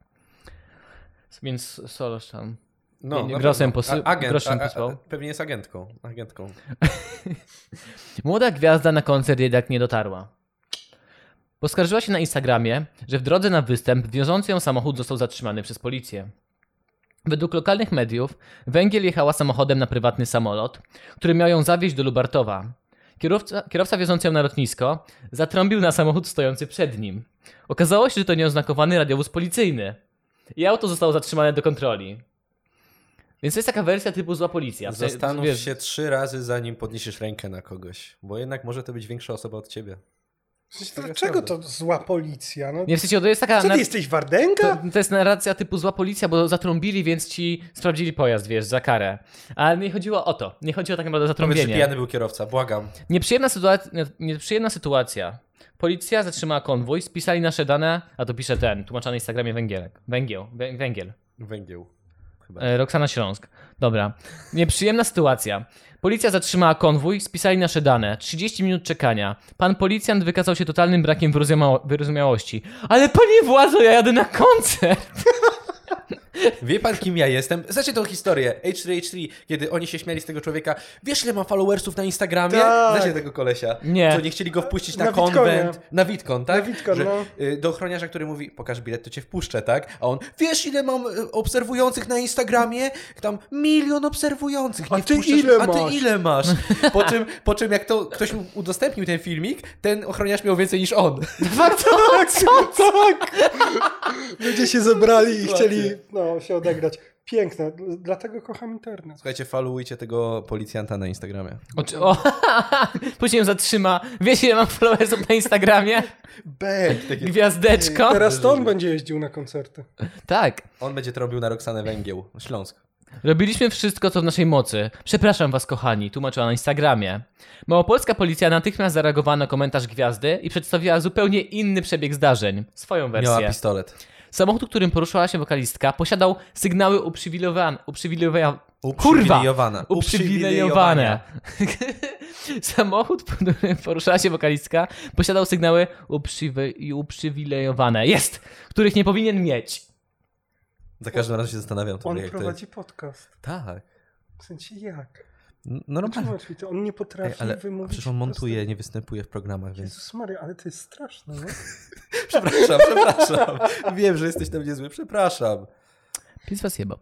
Speaker 1: Więc Solosz tam.
Speaker 4: No, na
Speaker 1: Grosem
Speaker 4: pewno.
Speaker 1: posy-
Speaker 4: A- agent,
Speaker 1: groszem
Speaker 4: a- a-
Speaker 1: posłał.
Speaker 4: Pewnie jest agentką. agentką.
Speaker 1: Młoda gwiazda na koncert jednak nie dotarła. Poskarżyła się na Instagramie, że w drodze na występ wiążący ją samochód został zatrzymany przez policję. Według lokalnych mediów Węgiel jechała samochodem na prywatny samolot, który miał ją zawieźć do Lubartowa. Kierowca, kierowca wiozący ją na lotnisko zatrąbił na samochód stojący przed nim. Okazało się, że to nieoznakowany radiowóz policyjny. I auto zostało zatrzymane do kontroli. Więc to jest taka wersja typu zła policja. W sensie,
Speaker 4: Zastanów
Speaker 1: wiesz,
Speaker 4: się trzy razy, zanim podniesiesz rękę na kogoś, bo jednak może to być większa osoba od ciebie.
Speaker 3: Dlaczego to zła policja? No,
Speaker 1: Nie, w sensie, to jest taka...
Speaker 3: co
Speaker 1: na-
Speaker 3: ty jesteś, Wardenga?
Speaker 1: To, to jest narracja typu zła policja, bo zatrąbili, więc ci sprawdzili pojazd, wiesz, za karę. Ale nie chodziło o to. Nie chodziło tak naprawdę o
Speaker 4: Powiedz, że
Speaker 1: zatrąbienie.
Speaker 4: pijany był kierowca, błagam.
Speaker 1: Nieprzyjemna, sytuacja, nieprzyjemna sytuacja. Policja zatrzymała konwój, spisali nasze dane, a to pisze ten, tłumaczony na Instagramie węgielek. Węgiel, wę- węgiel.
Speaker 4: Węgieł. Chyba.
Speaker 1: E, Roxana Śląsk. Dobra. Nieprzyjemna sytuacja. Policja zatrzymała konwój, spisali nasze dane. 30 minut czekania. Pan policjant wykazał się totalnym brakiem wyrozumiało- wyrozumiałości. Ale panie władzo, ja jadę na koncert!
Speaker 4: Wie pan, kim ja jestem? Znacie tą historię H3H3, kiedy oni się śmiali z tego człowieka. Wiesz, ile ma followersów na Instagramie?
Speaker 3: Tak.
Speaker 4: Znacie tego kolesia?
Speaker 1: Nie.
Speaker 4: Co nie chcieli go wpuścić na,
Speaker 3: Na Witkonie.
Speaker 4: konwent. Na Witkon, tak?
Speaker 3: Na Witkon,
Speaker 4: Że,
Speaker 3: no.
Speaker 4: y, Do ochroniarza, który mówi, pokaż bilet, to cię wpuszczę, tak? A on, wiesz, ile mam y, obserwujących na Instagramie? Tam milion obserwujących.
Speaker 3: A
Speaker 4: nie
Speaker 3: ty
Speaker 4: wpuszczasz-
Speaker 3: ile
Speaker 4: A
Speaker 3: masz?
Speaker 4: ty ile masz? Po czym, po czym jak to ktoś mu udostępnił ten filmik, ten ochroniarz miał więcej niż on.
Speaker 1: Warto,
Speaker 3: [laughs] Co? Tak! Ludzie się zebrali i
Speaker 4: Dokładnie.
Speaker 3: chcieli no, się odegrać. Piękne, d- dlatego kocham internet.
Speaker 4: Słuchajcie, followujcie tego policjanta na Instagramie.
Speaker 1: O, czy- o, [laughs] później ją zatrzyma. Wiesz, ile mam followersów na Instagramie?
Speaker 4: Bang! Takie...
Speaker 1: Gwiazdeczko.
Speaker 3: Teraz to on będzie jeździł na koncerty.
Speaker 1: Tak.
Speaker 4: On będzie to robił na Roxanę Węgieł. Śląsk.
Speaker 1: Robiliśmy wszystko, co w naszej mocy. Przepraszam was, kochani, tłumaczyła na Instagramie. Małopolska policja natychmiast zareagowała na komentarz gwiazdy i przedstawiła zupełnie inny przebieg zdarzeń. Swoją
Speaker 4: Miała
Speaker 1: wersję.
Speaker 4: pistolet.
Speaker 1: Samochód, którym poruszała się wokalistka, posiadał sygnały uprzywilejowane. Uprzywilejowane. Kurwa!
Speaker 4: Uprzywilejowane.
Speaker 1: Uprzywilejowane. [laughs] Samochód, którym poruszała się wokalistka, posiadał sygnały uprzywi- i uprzywilejowane. Jest! Których nie powinien mieć.
Speaker 4: Za każdym razem się zastanawiam, to
Speaker 3: On
Speaker 4: jak
Speaker 3: prowadzi podcast.
Speaker 4: to jest. Tak.
Speaker 3: W sensie jak?
Speaker 4: No, no
Speaker 3: Czemu
Speaker 4: normalnie.
Speaker 3: on to? On nie potrafi
Speaker 4: Ej, ale a
Speaker 3: wymówić.
Speaker 4: przecież on
Speaker 3: po
Speaker 4: montuje, nie występuje w programach,
Speaker 3: prostu-
Speaker 4: więc... [laughs]
Speaker 3: Jezus Maria, ale to jest straszne, no. nie?
Speaker 4: Przepraszam, przepraszam. Wiem, że jesteś na mnie zły, przepraszam.
Speaker 1: Pies was jebał.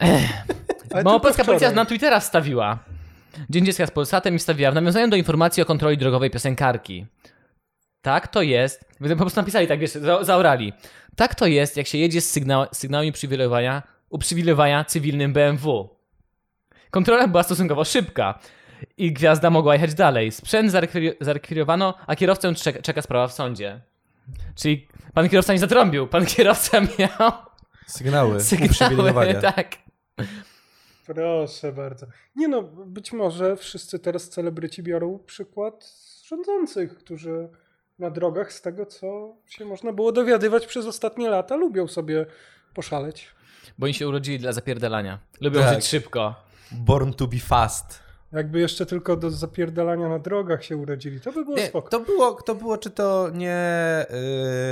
Speaker 3: Ale
Speaker 1: Małopolska
Speaker 3: tylko
Speaker 1: policja
Speaker 3: wczoraj.
Speaker 1: na Twittera wstawiła. Dzień dziecka z Polsatem i wstawiła. W nawiązaniu do informacji o kontroli drogowej piosenkarki. Tak to jest. Będę po prostu napisali tak, wiesz, za- zaorali. Tak to jest, jak się jedzie z sygna- sygnałami uprzywilejowania, uprzywilejowania cywilnym BMW. Kontrola była stosunkowo szybka i gwiazda mogła jechać dalej. Sprzęt zarekwi- zarekwirowano, a kierowcę czeka, czeka sprawa w sądzie. Czyli pan kierowca nie zatrąbił, pan kierowca
Speaker 3: [laughs]
Speaker 1: miał
Speaker 4: Sygnały.
Speaker 1: sygnały.
Speaker 4: uprzywilejowania.
Speaker 1: [laughs] Tak.
Speaker 3: Proszę bardzo. Nie no, być może wszyscy teraz celebryci biorą przykład z rządzących, którzy na drogach z tego, co się można było dowiadywać przez ostatnie lata, lubią sobie poszaleć.
Speaker 1: Bo oni się urodzili dla zapierdalania. Lubią
Speaker 4: Tak.
Speaker 1: żyć szybko.
Speaker 4: Born to be fast.
Speaker 3: Jakby jeszcze tylko do zapierdalania na drogach się urodzili, to by było
Speaker 4: Nie,
Speaker 3: No, spoko.
Speaker 4: to, było, to było, czy to nie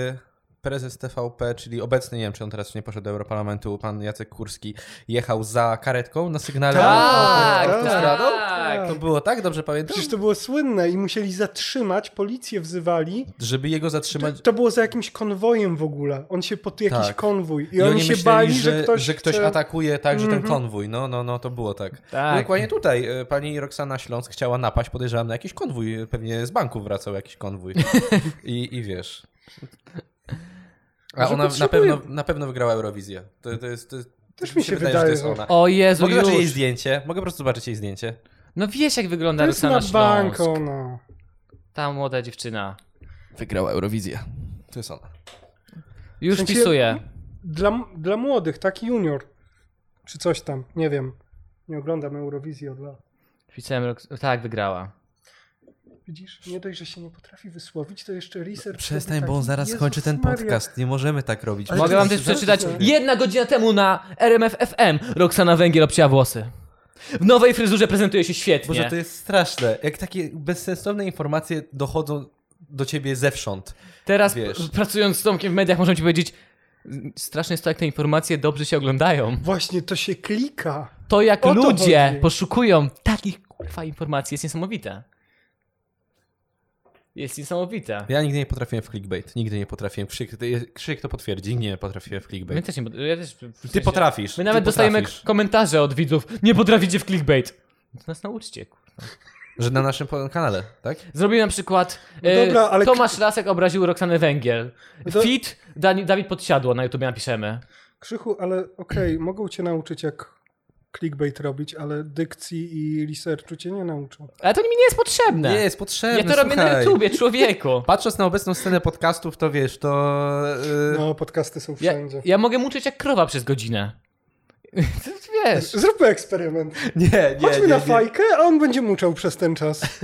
Speaker 4: yy, prezes TVP, czyli obecny, nie wiem, czy on teraz nie poszedł do Europarlamentu, pan Jacek Kurski, jechał za karetką na sygnale
Speaker 3: Tak,
Speaker 1: tak,
Speaker 4: autostradą?
Speaker 1: tak.
Speaker 3: No,
Speaker 4: To było tak, dobrze pamiętam?
Speaker 3: Przecież to było słynne i musieli zatrzymać, policję wzywali.
Speaker 4: Żeby jego
Speaker 3: To,
Speaker 4: zatrzymać...
Speaker 3: to było za jakimś konwojem w ogóle. On się pod jakiś
Speaker 4: Tak.
Speaker 3: konwój i,
Speaker 4: I
Speaker 3: oni
Speaker 4: oni
Speaker 3: się
Speaker 4: myśleli,
Speaker 3: bali, że, ktoś, chce-
Speaker 4: atakuje tak, że ten
Speaker 3: Mhm.
Speaker 4: konwój. No, no, no, to było tak.
Speaker 1: Tak.
Speaker 4: No Dokładnie tutaj e, pani Roxana Śląsk chciała napaść, podejrzewam, na jakiś konwój. e, Pewnie z banku wracał jakiś konwój. I, i wiesz. A
Speaker 3: Może
Speaker 4: ona na
Speaker 3: potrzebuje-
Speaker 4: pewno, na pewno wygrała Eurowizję. To, to jest... To,
Speaker 3: Też mi się wydaje, że-
Speaker 1: O Jezu,
Speaker 4: Mogę
Speaker 1: już.
Speaker 4: zobaczyć jej zdjęcie? Mogę po prostu zobaczyć jej zdjęcie?
Speaker 1: No wiesz jak wygląda
Speaker 3: To jest
Speaker 1: Roxana
Speaker 3: na
Speaker 1: Śląsk.
Speaker 3: bank no. ona.
Speaker 1: Ta młoda dziewczyna.
Speaker 4: Wygrała Eurowizję. To jest ona.
Speaker 1: Już
Speaker 3: W sensie-
Speaker 1: pisuje.
Speaker 3: Dla, dla młodych, taki junior. Czy coś tam, nie wiem. Nie oglądam Eurowizji od lat.
Speaker 1: Pisałem Rox... Tak, wygrała.
Speaker 3: Widzisz, nie dość, że się nie potrafi wysłowić, to jeszcze research...
Speaker 4: No, Przestań,
Speaker 3: robi
Speaker 4: bo on
Speaker 3: taki-
Speaker 4: zaraz
Speaker 3: Tak, Jezus
Speaker 4: skończy ten
Speaker 3: Maria.
Speaker 4: podcast. Nie możemy tak robić.
Speaker 3: Ale
Speaker 1: Mogę
Speaker 3: to
Speaker 1: wam też
Speaker 3: jest-
Speaker 1: przeczytać.
Speaker 3: to jest-
Speaker 1: Jedna godzina temu na RMF FM Roxana Węgiel obcięła włosy. W nowej fryzurze prezentuje się świetnie.
Speaker 4: Boże, to jest straszne. Jak takie bezsensowne informacje dochodzą do ciebie zewsząd.
Speaker 1: Teraz
Speaker 4: wiesz.
Speaker 1: p- pracując z Tomkiem w mediach możemy ci powiedzieć strasznie jest to jak te informacje dobrze się oglądają.
Speaker 3: Właśnie, to się klika.
Speaker 1: To jak
Speaker 3: O to
Speaker 1: ludzie
Speaker 3: chodzi.
Speaker 1: poszukują takich kurwa informacji jest niesamowite. Jest niesamowite.
Speaker 4: Ja nigdy nie potrafiłem w clickbait. Nigdy nie potrafiłem. Krzyk, to jest- krzyk to potwierdzi. Nie potrafiłem w
Speaker 1: My
Speaker 4: clickbait.
Speaker 1: też nie, pot- ja też, w
Speaker 4: Ty
Speaker 1: sensie-
Speaker 4: potrafisz.
Speaker 1: My nawet
Speaker 4: ty
Speaker 1: dostajemy
Speaker 4: potrafisz.
Speaker 1: komentarze od widzów. Nie potraficie w clickbait. To nas nauczcie. kurwa.
Speaker 4: Że na naszym po- kanale, tak?
Speaker 1: Zrobimy na przykład.
Speaker 3: No
Speaker 1: e,
Speaker 3: dobra, ale-
Speaker 1: Tomasz Lasek obraził Roxanę Węgiel.
Speaker 3: No to-
Speaker 1: Fit Dan- Dawid Podsiadło na YouTube napiszemy.
Speaker 3: Krzychu, ale okej, mogą cię nauczyć jak clickbait robić, ale dykcji i researchu cię nie nauczą.
Speaker 1: Ale to mi nie jest potrzebne.
Speaker 4: Nie, jest potrzebne.
Speaker 1: ja to robię na
Speaker 4: słuchaj.
Speaker 1: YouTubie, człowieku.
Speaker 3: [laughs]
Speaker 4: Patrząc na obecną scenę podcastów, to wiesz, to. Yy,
Speaker 3: No, podcasty są
Speaker 1: Ja,
Speaker 3: wszędzie.
Speaker 1: ja mogę muczyć jak krowa przez godzinę. [laughs] To Wiesz.
Speaker 3: Zróbmy eksperyment.
Speaker 4: [laughs] nie, nie.
Speaker 3: Chodźmy
Speaker 4: nie,
Speaker 3: na
Speaker 4: nie.
Speaker 3: fajkę, a on będzie muczał przez ten czas.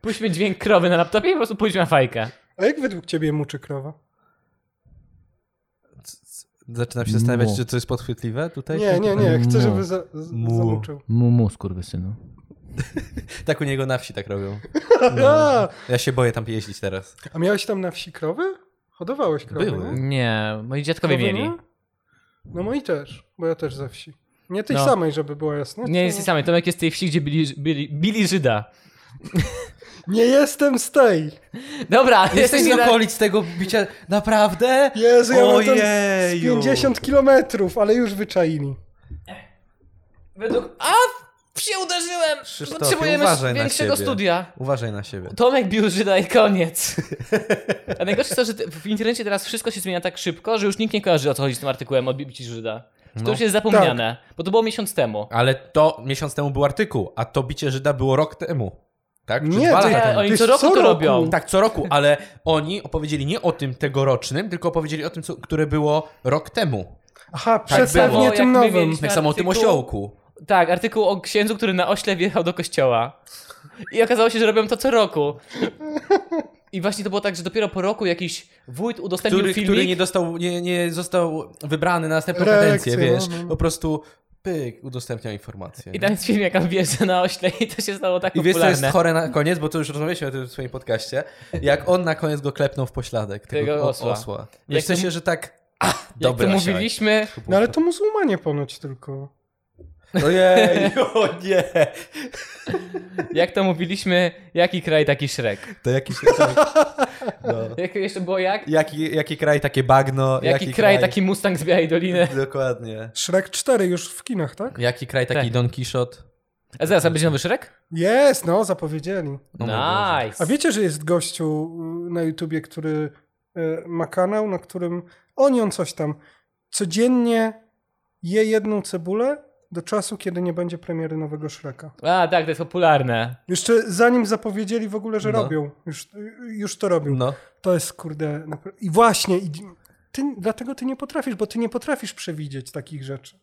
Speaker 1: Puśćmy dźwięk krowy na laptopie i po prostu pójdźmy na fajkę.
Speaker 3: A jak według ciebie muczy krowa?
Speaker 4: Zaczynam się zastanawiać,
Speaker 1: Mu.
Speaker 4: czy to jest podchwytliwe tutaj.
Speaker 3: Nie, nie, nie. Chcę, żeby za, z,
Speaker 4: Mu.
Speaker 3: zamuczył.
Speaker 1: Mumu, skurwysynu.
Speaker 4: Tak u niego na wsi tak robią.
Speaker 3: A,
Speaker 4: Ja się boję tam jeździć teraz.
Speaker 3: [laughs] a miałeś tam na wsi krowy? Hodowałeś krowy,
Speaker 4: Były.
Speaker 3: nie?
Speaker 1: Nie, moi dziadkowie
Speaker 3: Krowy
Speaker 1: mieli.
Speaker 3: nie? No moi też, bo ja też ze wsi. Nie tej
Speaker 1: No.
Speaker 3: samej, żeby było jasne.
Speaker 1: Nie jesteś samej. Tomek jest z tej wsi, gdzie bili, bili, bili Żyda.
Speaker 3: nie jestem z tej.
Speaker 1: Dobra,
Speaker 4: Jesteś
Speaker 1: jesteś
Speaker 4: z
Speaker 1: na
Speaker 4: okolic tego bicia. Naprawdę?
Speaker 3: Jezu, ja mam tam z
Speaker 4: Ojeju.
Speaker 3: 50 kilometrów, ale już wyczaili.
Speaker 1: Według... A! Się uderzyłem!
Speaker 4: Krzysztofie,
Speaker 1: Potrzebujemy
Speaker 4: uważaj na
Speaker 1: większego
Speaker 4: siebie.
Speaker 1: studia.
Speaker 4: Uważaj na siebie.
Speaker 1: Tomek bił Żyda i koniec. A najgorsze jest to, że te- w internecie teraz wszystko się zmienia tak szybko, że już nikt nie kojarzy o co chodzi z tym artykułem o bici Żyda. Że To
Speaker 4: No.
Speaker 1: już jest zapomniane, bo to było miesiąc temu.
Speaker 4: Ale to miesiąc temu był artykuł, a to bicie Żyda było rok temu. Tak? Czy
Speaker 3: Nie,
Speaker 4: dwa
Speaker 3: to
Speaker 4: lata
Speaker 3: ja-
Speaker 4: temu.
Speaker 1: Oni
Speaker 3: jest
Speaker 1: co roku
Speaker 3: co
Speaker 1: to
Speaker 3: roku.
Speaker 1: robią.
Speaker 4: Tak, co roku, ale oni opowiedzieli nie o tym tegorocznym, tylko opowiedzieli o tym, co, które było rok temu.
Speaker 3: Aha,
Speaker 4: Tak było.
Speaker 3: przedstawnie
Speaker 1: Jak
Speaker 3: tym
Speaker 1: my
Speaker 3: nowym.
Speaker 1: No, mieliśmy-
Speaker 4: Tak samo o tym
Speaker 1: Artykuł-
Speaker 4: osiołku.
Speaker 1: Tak, artykuł o księdzu, który na ośle wjechał do kościoła. I okazało się, że robią to co roku. I właśnie to było tak, że dopiero po roku jakiś wójt udostępnił
Speaker 4: Który,
Speaker 1: filmik.
Speaker 4: który nie, dostał, nie, nie został wybrany na następną
Speaker 3: Reakcję,
Speaker 4: kadencję, wiesz.
Speaker 3: no, no, no.
Speaker 4: Po prostu pyk, udostępniał informację.
Speaker 1: I tam jest film, jak on wjeżdża na ośle i to się stało tak
Speaker 4: I wiesz, co
Speaker 1: popularne.
Speaker 4: jest chore na koniec, bo to już rozmawialiśmy o tym w swoim podcaście, jak on na koniec go klepnął w pośladek, tego,
Speaker 1: Tego
Speaker 4: o-
Speaker 1: osła.
Speaker 4: osła.
Speaker 1: Jak
Speaker 4: Wiesz, w sensie, że tak, a,
Speaker 1: jak to
Speaker 4: dobra, siaj.
Speaker 1: mówiliśmy,
Speaker 3: No ale to muzułmanie ponoć tylko.
Speaker 4: Ojej, o nie!
Speaker 1: jak to mówiliśmy, jaki kraj, taki Shrek.
Speaker 4: To [laughs] jakiś... No.
Speaker 1: Jak jeszcze było jak?
Speaker 4: Jaki, jaki kraj, takie bagno.
Speaker 1: Jaki, kraj, taki Mustang z Białej Doliny.
Speaker 4: [laughs] Dokładnie.
Speaker 3: Shrek 4 już w kinach, tak?
Speaker 4: Jaki kraj, taki
Speaker 1: Tak.
Speaker 4: Don Quixote.
Speaker 1: A zaraz, a będzie nowy Shrek?
Speaker 3: Jest, no, zapowiedzieli.
Speaker 4: O No mój
Speaker 1: Nice.
Speaker 3: A wiecie, że jest gościu y, na YouTubie, który y, ma kanał, na którym oni on coś tam codziennie je jedną cebulę do czasu, kiedy nie będzie premiery nowego Shreka.
Speaker 1: A, tak, to jest popularne.
Speaker 3: Jeszcze zanim zapowiedzieli w ogóle, że
Speaker 4: No.
Speaker 3: robią. Już, y, już to robią.
Speaker 4: No.
Speaker 3: To jest kurde. napra- I właśnie. I ty, dlatego ty nie potrafisz, bo ty nie potrafisz przewidzieć takich rzeczy.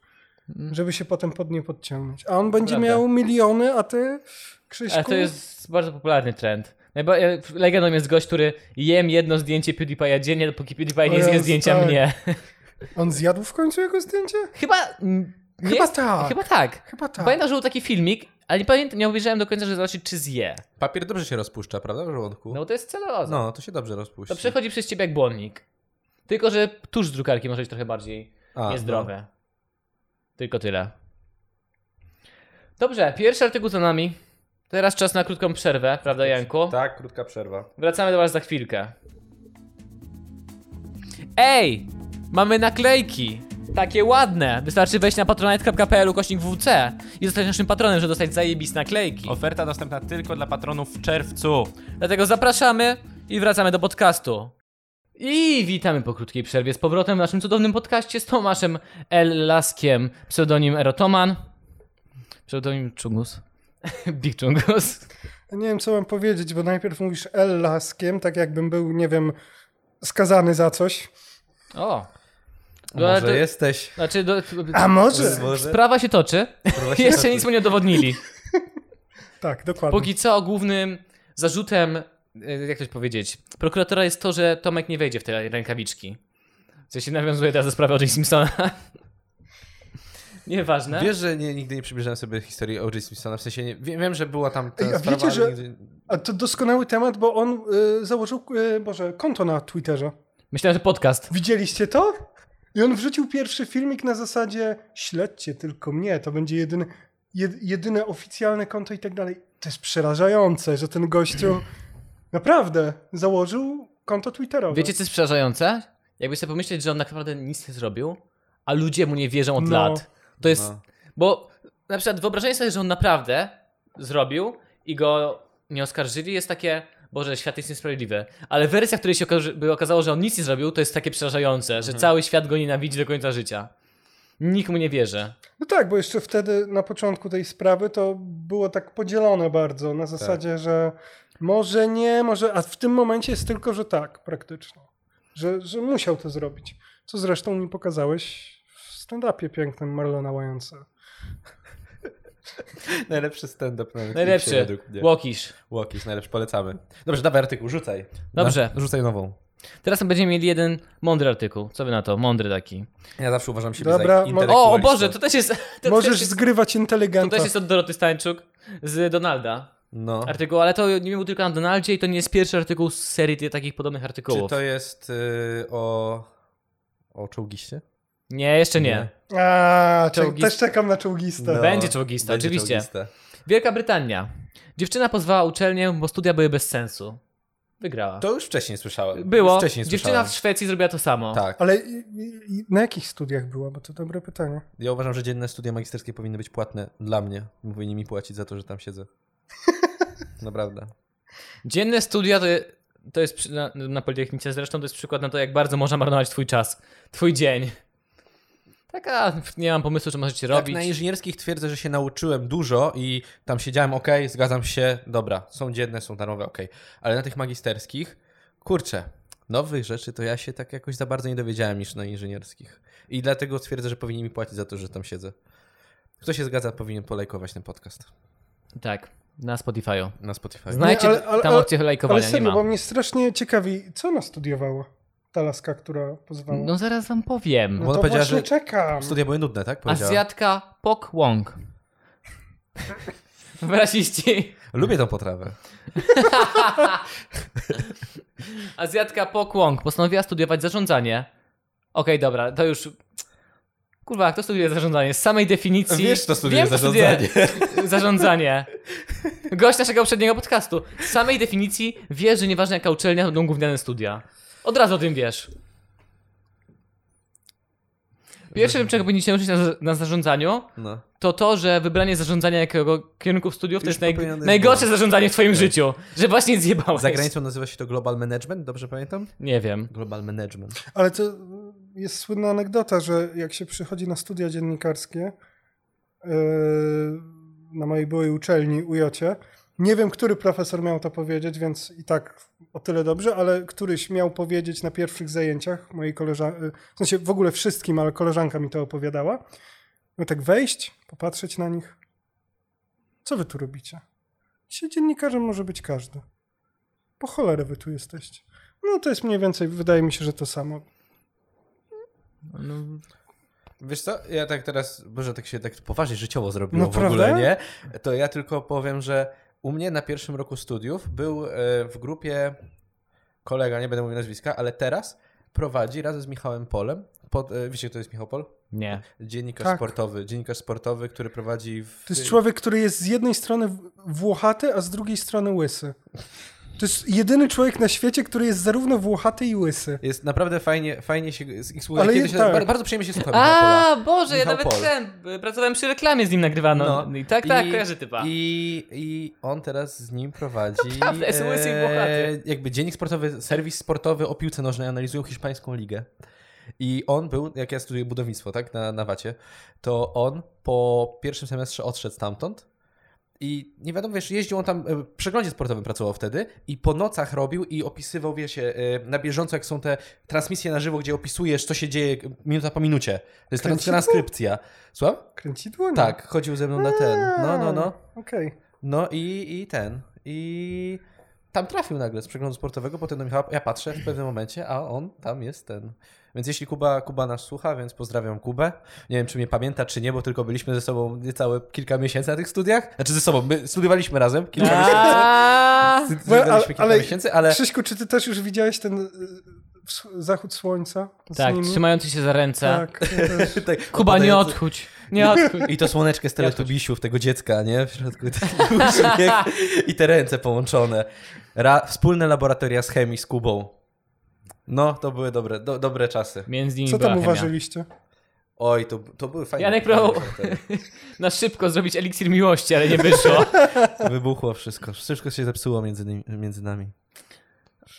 Speaker 4: Mm.
Speaker 3: Żeby się potem pod nie podciągnąć. A on będzie
Speaker 1: Prawda.
Speaker 3: miał miliony, a ty, Krzyśku...
Speaker 1: Ale E, to jest bardzo popularny trend. Najba- e, Legendą jest gość, który jem jedno zdjęcie PewDiePie'a dziennie, dopóki PewDiePie
Speaker 3: O
Speaker 1: nie zje
Speaker 3: Jezu,
Speaker 1: zdjęcia
Speaker 3: tak.
Speaker 1: mnie.
Speaker 3: On zjadł w końcu jego zdjęcie?
Speaker 1: Chyba... mm, Nie?
Speaker 3: Chyba tak.
Speaker 1: Chyba tak.
Speaker 3: Chyba tak.
Speaker 1: Pamiętam, że był taki filmik, ale nie pamiętam, nie obejrzałem do końca, żeby zobaczyć, czy zje.
Speaker 4: Papier dobrze się rozpuszcza, prawda, w żołądku?
Speaker 1: No to jest celowo.
Speaker 4: No, to się dobrze rozpuści.
Speaker 1: To przechodzi przez ciebie jak błonnik. Tylko, że tuż z drukarki może być trochę bardziej
Speaker 4: A, no.
Speaker 1: niezdrowe.
Speaker 3: no.
Speaker 1: Tylko tyle. Dobrze, pierwszy artykuł za nami. Teraz czas na krótką przerwę, prawda Janku?
Speaker 4: no. Tak, krótka przerwa.
Speaker 1: Wracamy do was za chwilkę. Ej! Mamy naklejki! Takie ładne! Wystarczy wejść na patronite.pl kośnik WC i zostać naszym patronem, żeby dostać zajebiste naklejki.
Speaker 2: Oferta dostępna tylko dla patronów w czerwcu.
Speaker 1: Dlatego zapraszamy i wracamy do podcastu. I witamy po krótkiej przerwie z powrotem w naszym cudownym podcaście z Tomaszem L. Laskiem, pseudonim Erotoman, pseudonim Czungus, [laughs] Big Czungus.
Speaker 3: Nie wiem, co mam powiedzieć, bo najpierw mówisz L laskiem, tak jakbym był, nie wiem, skazany za coś.
Speaker 1: O! No, ale to,
Speaker 4: Może jesteś...
Speaker 1: Znaczy, do,
Speaker 3: A może?
Speaker 4: Może?
Speaker 1: sprawa się toczy,
Speaker 4: Sprawa
Speaker 1: [laughs]
Speaker 4: się
Speaker 1: jeszcze
Speaker 4: toczy.
Speaker 1: nic mu nie udowodnili.
Speaker 3: Tak, dokładnie.
Speaker 1: Póki co głównym zarzutem, y, jak to powiedzieć, prokuratora jest to, że Tomek nie wejdzie w te rękawiczki. Co się nawiązuje teraz do sprawy O.J. Simpsona. [laughs] Nieważne.
Speaker 4: Wiesz, że nie, nigdy nie przybliżałem sobie historii O.J. Simpsona, w sensie nie, wiem, wiem, że była tam ta
Speaker 3: Ej, a
Speaker 4: sprawa,
Speaker 3: wiecie,
Speaker 4: ale
Speaker 3: że-
Speaker 4: nigdy...
Speaker 3: A to doskonały temat, bo on y, założył, y, Boże, konto na Twitterze.
Speaker 1: Myślałem, że podcast.
Speaker 3: Widzieliście to? I on wrzucił pierwszy filmik na zasadzie śledźcie tylko mnie, to będzie jedyny, jed, jedyne oficjalne konto i tak dalej. To jest przerażające, że ten gościu naprawdę założył konto Twitterowe.
Speaker 1: Wiecie, co jest przerażające? Jakby sobie pomyśleć, że on tak naprawdę nic nie zrobił, a ludzie mu nie wierzą od
Speaker 3: No.
Speaker 1: lat. To jest.
Speaker 4: No. [laughs]
Speaker 1: Bo na przykład wyobrażenie sobie, że on naprawdę zrobił i go nie oskarżyli, jest takie. Boże, świat jest niesprawiedliwy. Ale wersja, w której się okaże- by okazało, że on nic nie zrobił, to jest takie przerażające, że cały świat go nienawidzi do końca życia. Nikt mu nie wierzy.
Speaker 3: No tak, bo jeszcze wtedy na początku tej sprawy to było tak podzielone bardzo
Speaker 4: Tak.
Speaker 3: na zasadzie, że może nie, może, a w tym momencie jest tylko, że tak praktycznie. Że, że musiał to zrobić. Co zresztą mi pokazałeś w stand-upie pięknym Marlona Wajonsa.
Speaker 4: Najlepszy stand-up na Netflixie
Speaker 1: Najlepszy.
Speaker 4: według mnie.
Speaker 1: Łokisz.
Speaker 4: Łokiś, najlepszy, polecamy. Dobrze, dawaj artykuł, rzucaj.
Speaker 1: Dobrze.
Speaker 4: Na, rzucaj nową.
Speaker 1: Teraz będziemy mieli jeden mądry artykuł. Co wy na to? Mądry taki.
Speaker 4: Ja zawsze uważam siebie
Speaker 3: Dobra,
Speaker 4: za
Speaker 3: mo-
Speaker 1: O,
Speaker 4: intelektualistę.
Speaker 1: o Boże, to też jest. To też
Speaker 3: Możesz
Speaker 1: jest...
Speaker 3: zgrywać
Speaker 1: To
Speaker 3: inteligenta.
Speaker 1: też jest od Doroty Stańczuk z Donalda
Speaker 4: No.
Speaker 1: artykuł, ale to nie był tylko na Donaldzie i to nie jest pierwszy artykuł z serii ty- takich podobnych
Speaker 4: Czy
Speaker 1: artykułów.
Speaker 4: to jest y, o... o czołgiście?
Speaker 1: Nie, jeszcze nie.
Speaker 4: Nie.
Speaker 3: A, cze-
Speaker 1: Czołgist-
Speaker 3: też czekam na czołgistę.
Speaker 4: No.
Speaker 1: Będzie czołgista, oczywiście.
Speaker 4: czołgista.
Speaker 1: Wielka Brytania. Dziewczyna pozwała uczelnię, bo studia były bez sensu. Wygrała.
Speaker 4: To już wcześniej słyszałem.
Speaker 1: Było.
Speaker 4: Już wcześniej
Speaker 1: Dziewczyna
Speaker 4: słyszałem.
Speaker 1: w Szwecji zrobiła to samo.
Speaker 4: Tak.
Speaker 3: Ale i- i- i na jakich studiach była? Bo to dobre pytanie.
Speaker 4: Ja uważam, że dzienne studia magisterskie powinny być płatne dla mnie. Powinni mi płacić za to, że tam
Speaker 3: [laughs]
Speaker 4: siedzę. Naprawdę.
Speaker 1: Dzienne studia to, je- to jest przy- na, na Politechnice zresztą to jest przykład na to, jak bardzo można marnować twój czas, twój dzień. Taka, nie mam pomysłu, co możecie robić.
Speaker 4: Tak, na inżynierskich twierdzę, że się nauczyłem dużo i tam siedziałem, ok, zgadzam się, dobra, są dzienne, są darmowe, ok. Ale na tych magisterskich, kurczę, nowych rzeczy to ja się tak jakoś za bardzo nie dowiedziałem niż na inżynierskich. I dlatego twierdzę, że powinni mi płacić za to, że tam siedzę. Kto się zgadza, powinien polajkować ten podcast.
Speaker 1: Tak. na Spotify'u.
Speaker 4: Na Spotify.
Speaker 1: Znajdźcie
Speaker 3: Nie, ale- ale-
Speaker 1: tam
Speaker 3: ale-
Speaker 1: opcję
Speaker 3: Ale
Speaker 1: lajkowania, nie
Speaker 3: serio,
Speaker 1: ma.
Speaker 3: bo mnie strasznie ciekawi, co ona studiowała, ta laska, która pozwała. No,
Speaker 1: No zaraz wam powiem.
Speaker 4: bo ona
Speaker 3: to
Speaker 4: powiedziała,
Speaker 3: właśnie
Speaker 4: że
Speaker 3: czekam.
Speaker 4: Studia były nudne, tak? Powiedziała.
Speaker 1: Azjatka Pok Wong. [laughs] Wyraziści.
Speaker 4: Lubię tą potrawę.
Speaker 1: Azjatka Pok Wong postanowiła studiować zarządzanie. Okej, dobra, to już... Kurwa, kto studiuje zarządzanie? Z samej definicji...
Speaker 4: Wiesz, to studiuje
Speaker 1: Wiem, kto
Speaker 4: zarządzanie.
Speaker 1: [laughs]
Speaker 4: [laughs]
Speaker 1: zarządzanie. Gość naszego poprzedniego podcastu. Z samej definicji wiesz, że nieważne jaka uczelnia, to będą gówniane studia. Od razu o tym wiesz. Pierwszym, czego powinniście uczyć na, na zarządzaniu,
Speaker 4: No.
Speaker 1: to to, że wybranie zarządzania jakiego kierunku studiów to
Speaker 4: Już Tak.
Speaker 1: jest naj,
Speaker 4: popełniony
Speaker 1: najgorsze
Speaker 4: błąd.
Speaker 1: zarządzanie w twoim życiu. Że właśnie zjebałeś.
Speaker 4: Za granicą nazywa się to Global Management, dobrze pamiętam?
Speaker 1: Nie wiem.
Speaker 4: Global Management.
Speaker 3: Ale to jest słynna anegdota, że jak się przychodzi na studia dziennikarskie yy, na mojej byłej uczelni UJOcie, nie wiem, który profesor miał to powiedzieć, więc i tak o tyle dobrze, ale któryś miał powiedzieć na pierwszych zajęciach mojej koleżanki, w sensie w ogóle wszystkim, ale koleżanka mi to opowiadała. No tak wejść, popatrzeć na nich. Co wy tu robicie? Dzisiaj dziennikarzem może być każdy. Po cholerę wy tu jesteście. No to jest mniej więcej, wydaje mi się, że to samo.
Speaker 4: No. Wiesz co, ja tak teraz, może tak się tak poważnie życiowo zrobiło
Speaker 3: No
Speaker 4: w ogóle,
Speaker 3: prawda?
Speaker 4: nie? To ja tylko powiem, że u mnie na pierwszym roku studiów był e, w grupie kolega, nie będę mówił nazwiska, ale teraz prowadzi razem z Michałem Polem, pod, e, wiecie kto jest Michał Pol?
Speaker 1: Nie.
Speaker 4: Dziennikarz
Speaker 3: Tak.
Speaker 4: sportowy, dziennikarz sportowy, który prowadzi w...
Speaker 3: To jest człowiek, który jest z jednej strony w- włochaty, a z drugiej strony łysy. To jest jedyny człowiek na świecie, który jest zarówno włochaty i łysy.
Speaker 4: Jest naprawdę fajnie, fajnie się ich słucha.
Speaker 3: Ale
Speaker 4: Kiedyś,
Speaker 3: je- tak.
Speaker 4: bar- Bardzo przyjemnie się słucha Michała Pola.
Speaker 1: A, Boże, ja
Speaker 4: Michał
Speaker 1: nawet
Speaker 4: Pol.
Speaker 1: ten, y, pracowałem przy reklamie z nim nagrywano.
Speaker 4: No.
Speaker 1: I tak, tak,
Speaker 4: I-
Speaker 1: kojarzy typa.
Speaker 4: I, I on teraz z nim prowadzi. e,
Speaker 1: prawda, jest łysy i włochaty.
Speaker 4: jakby dziennik sportowy, serwis sportowy o piłce nożnej analizują hiszpańską ligę. I on był, jak ja studiuję budownictwo, tak, na, na Wacie, to on po pierwszym semestrze odszedł stamtąd. I nie wiadomo, wiesz, jeździł on tam, e, w przeglądzie sportowym pracował wtedy i po nocach robił i opisywał, wiecie, e, na bieżąco, jak są te transmisje na żywo, gdzie opisujesz, co się dzieje e, minuta po minucie. To jest trans-
Speaker 3: Kręciku?
Speaker 4: transkrypcja. Słucham?
Speaker 3: Kręci dłoń.
Speaker 4: Tak, chodził ze mną na ten. No, no, no.
Speaker 3: Okej.
Speaker 4: No i, i ten. I tam trafił nagle z przeglądu sportowego, potem do Michała. Ja patrzę w pewnym momencie, a on tam jest ten. Więc jeśli Kuba, Kuba nas słucha, więc pozdrawiam Kubę. Nie wiem, czy mnie pamięta, czy nie, bo tylko byliśmy ze sobą niecałe kilka miesięcy na tych studiach. Znaczy ze sobą, my studiowaliśmy razem kilka miesięcy.
Speaker 3: [laughs]
Speaker 1: A,
Speaker 4: Studiowaliśmy
Speaker 3: ale-
Speaker 4: kilka
Speaker 3: ale-
Speaker 4: miesięcy, ale
Speaker 3: Krzyśku, czy ty też już widziałeś ten y, wsch- zachód słońca? z
Speaker 1: Tak,
Speaker 3: nimi?
Speaker 1: trzymający się za ręce.
Speaker 3: Tak, ja
Speaker 1: [laughs]
Speaker 3: też.
Speaker 4: tak,
Speaker 1: Kuba, nie
Speaker 4: opadający-
Speaker 1: odchudź. Nie odchudź.
Speaker 4: I to słoneczkę z teletubisiów, tego dziecka, nie? W środku [laughs] taki uśmiech i te ręce połączone. Ra- wspólne laboratoria z chemii z Kubą. No, to były dobre, do, dobre czasy.
Speaker 1: Między nimi
Speaker 3: Co
Speaker 1: była
Speaker 3: tam
Speaker 1: chemia.
Speaker 3: uważaliście?
Speaker 4: Oj, to, to były fajne.
Speaker 1: Janek
Speaker 4: fajne
Speaker 1: próbował
Speaker 4: laboratoria.
Speaker 1: na szybko zrobić eliksir miłości, ale nie
Speaker 3: [laughs]
Speaker 1: wyszło.
Speaker 4: Wybuchło wszystko. Wszystko się zepsuło między, nim- między nami.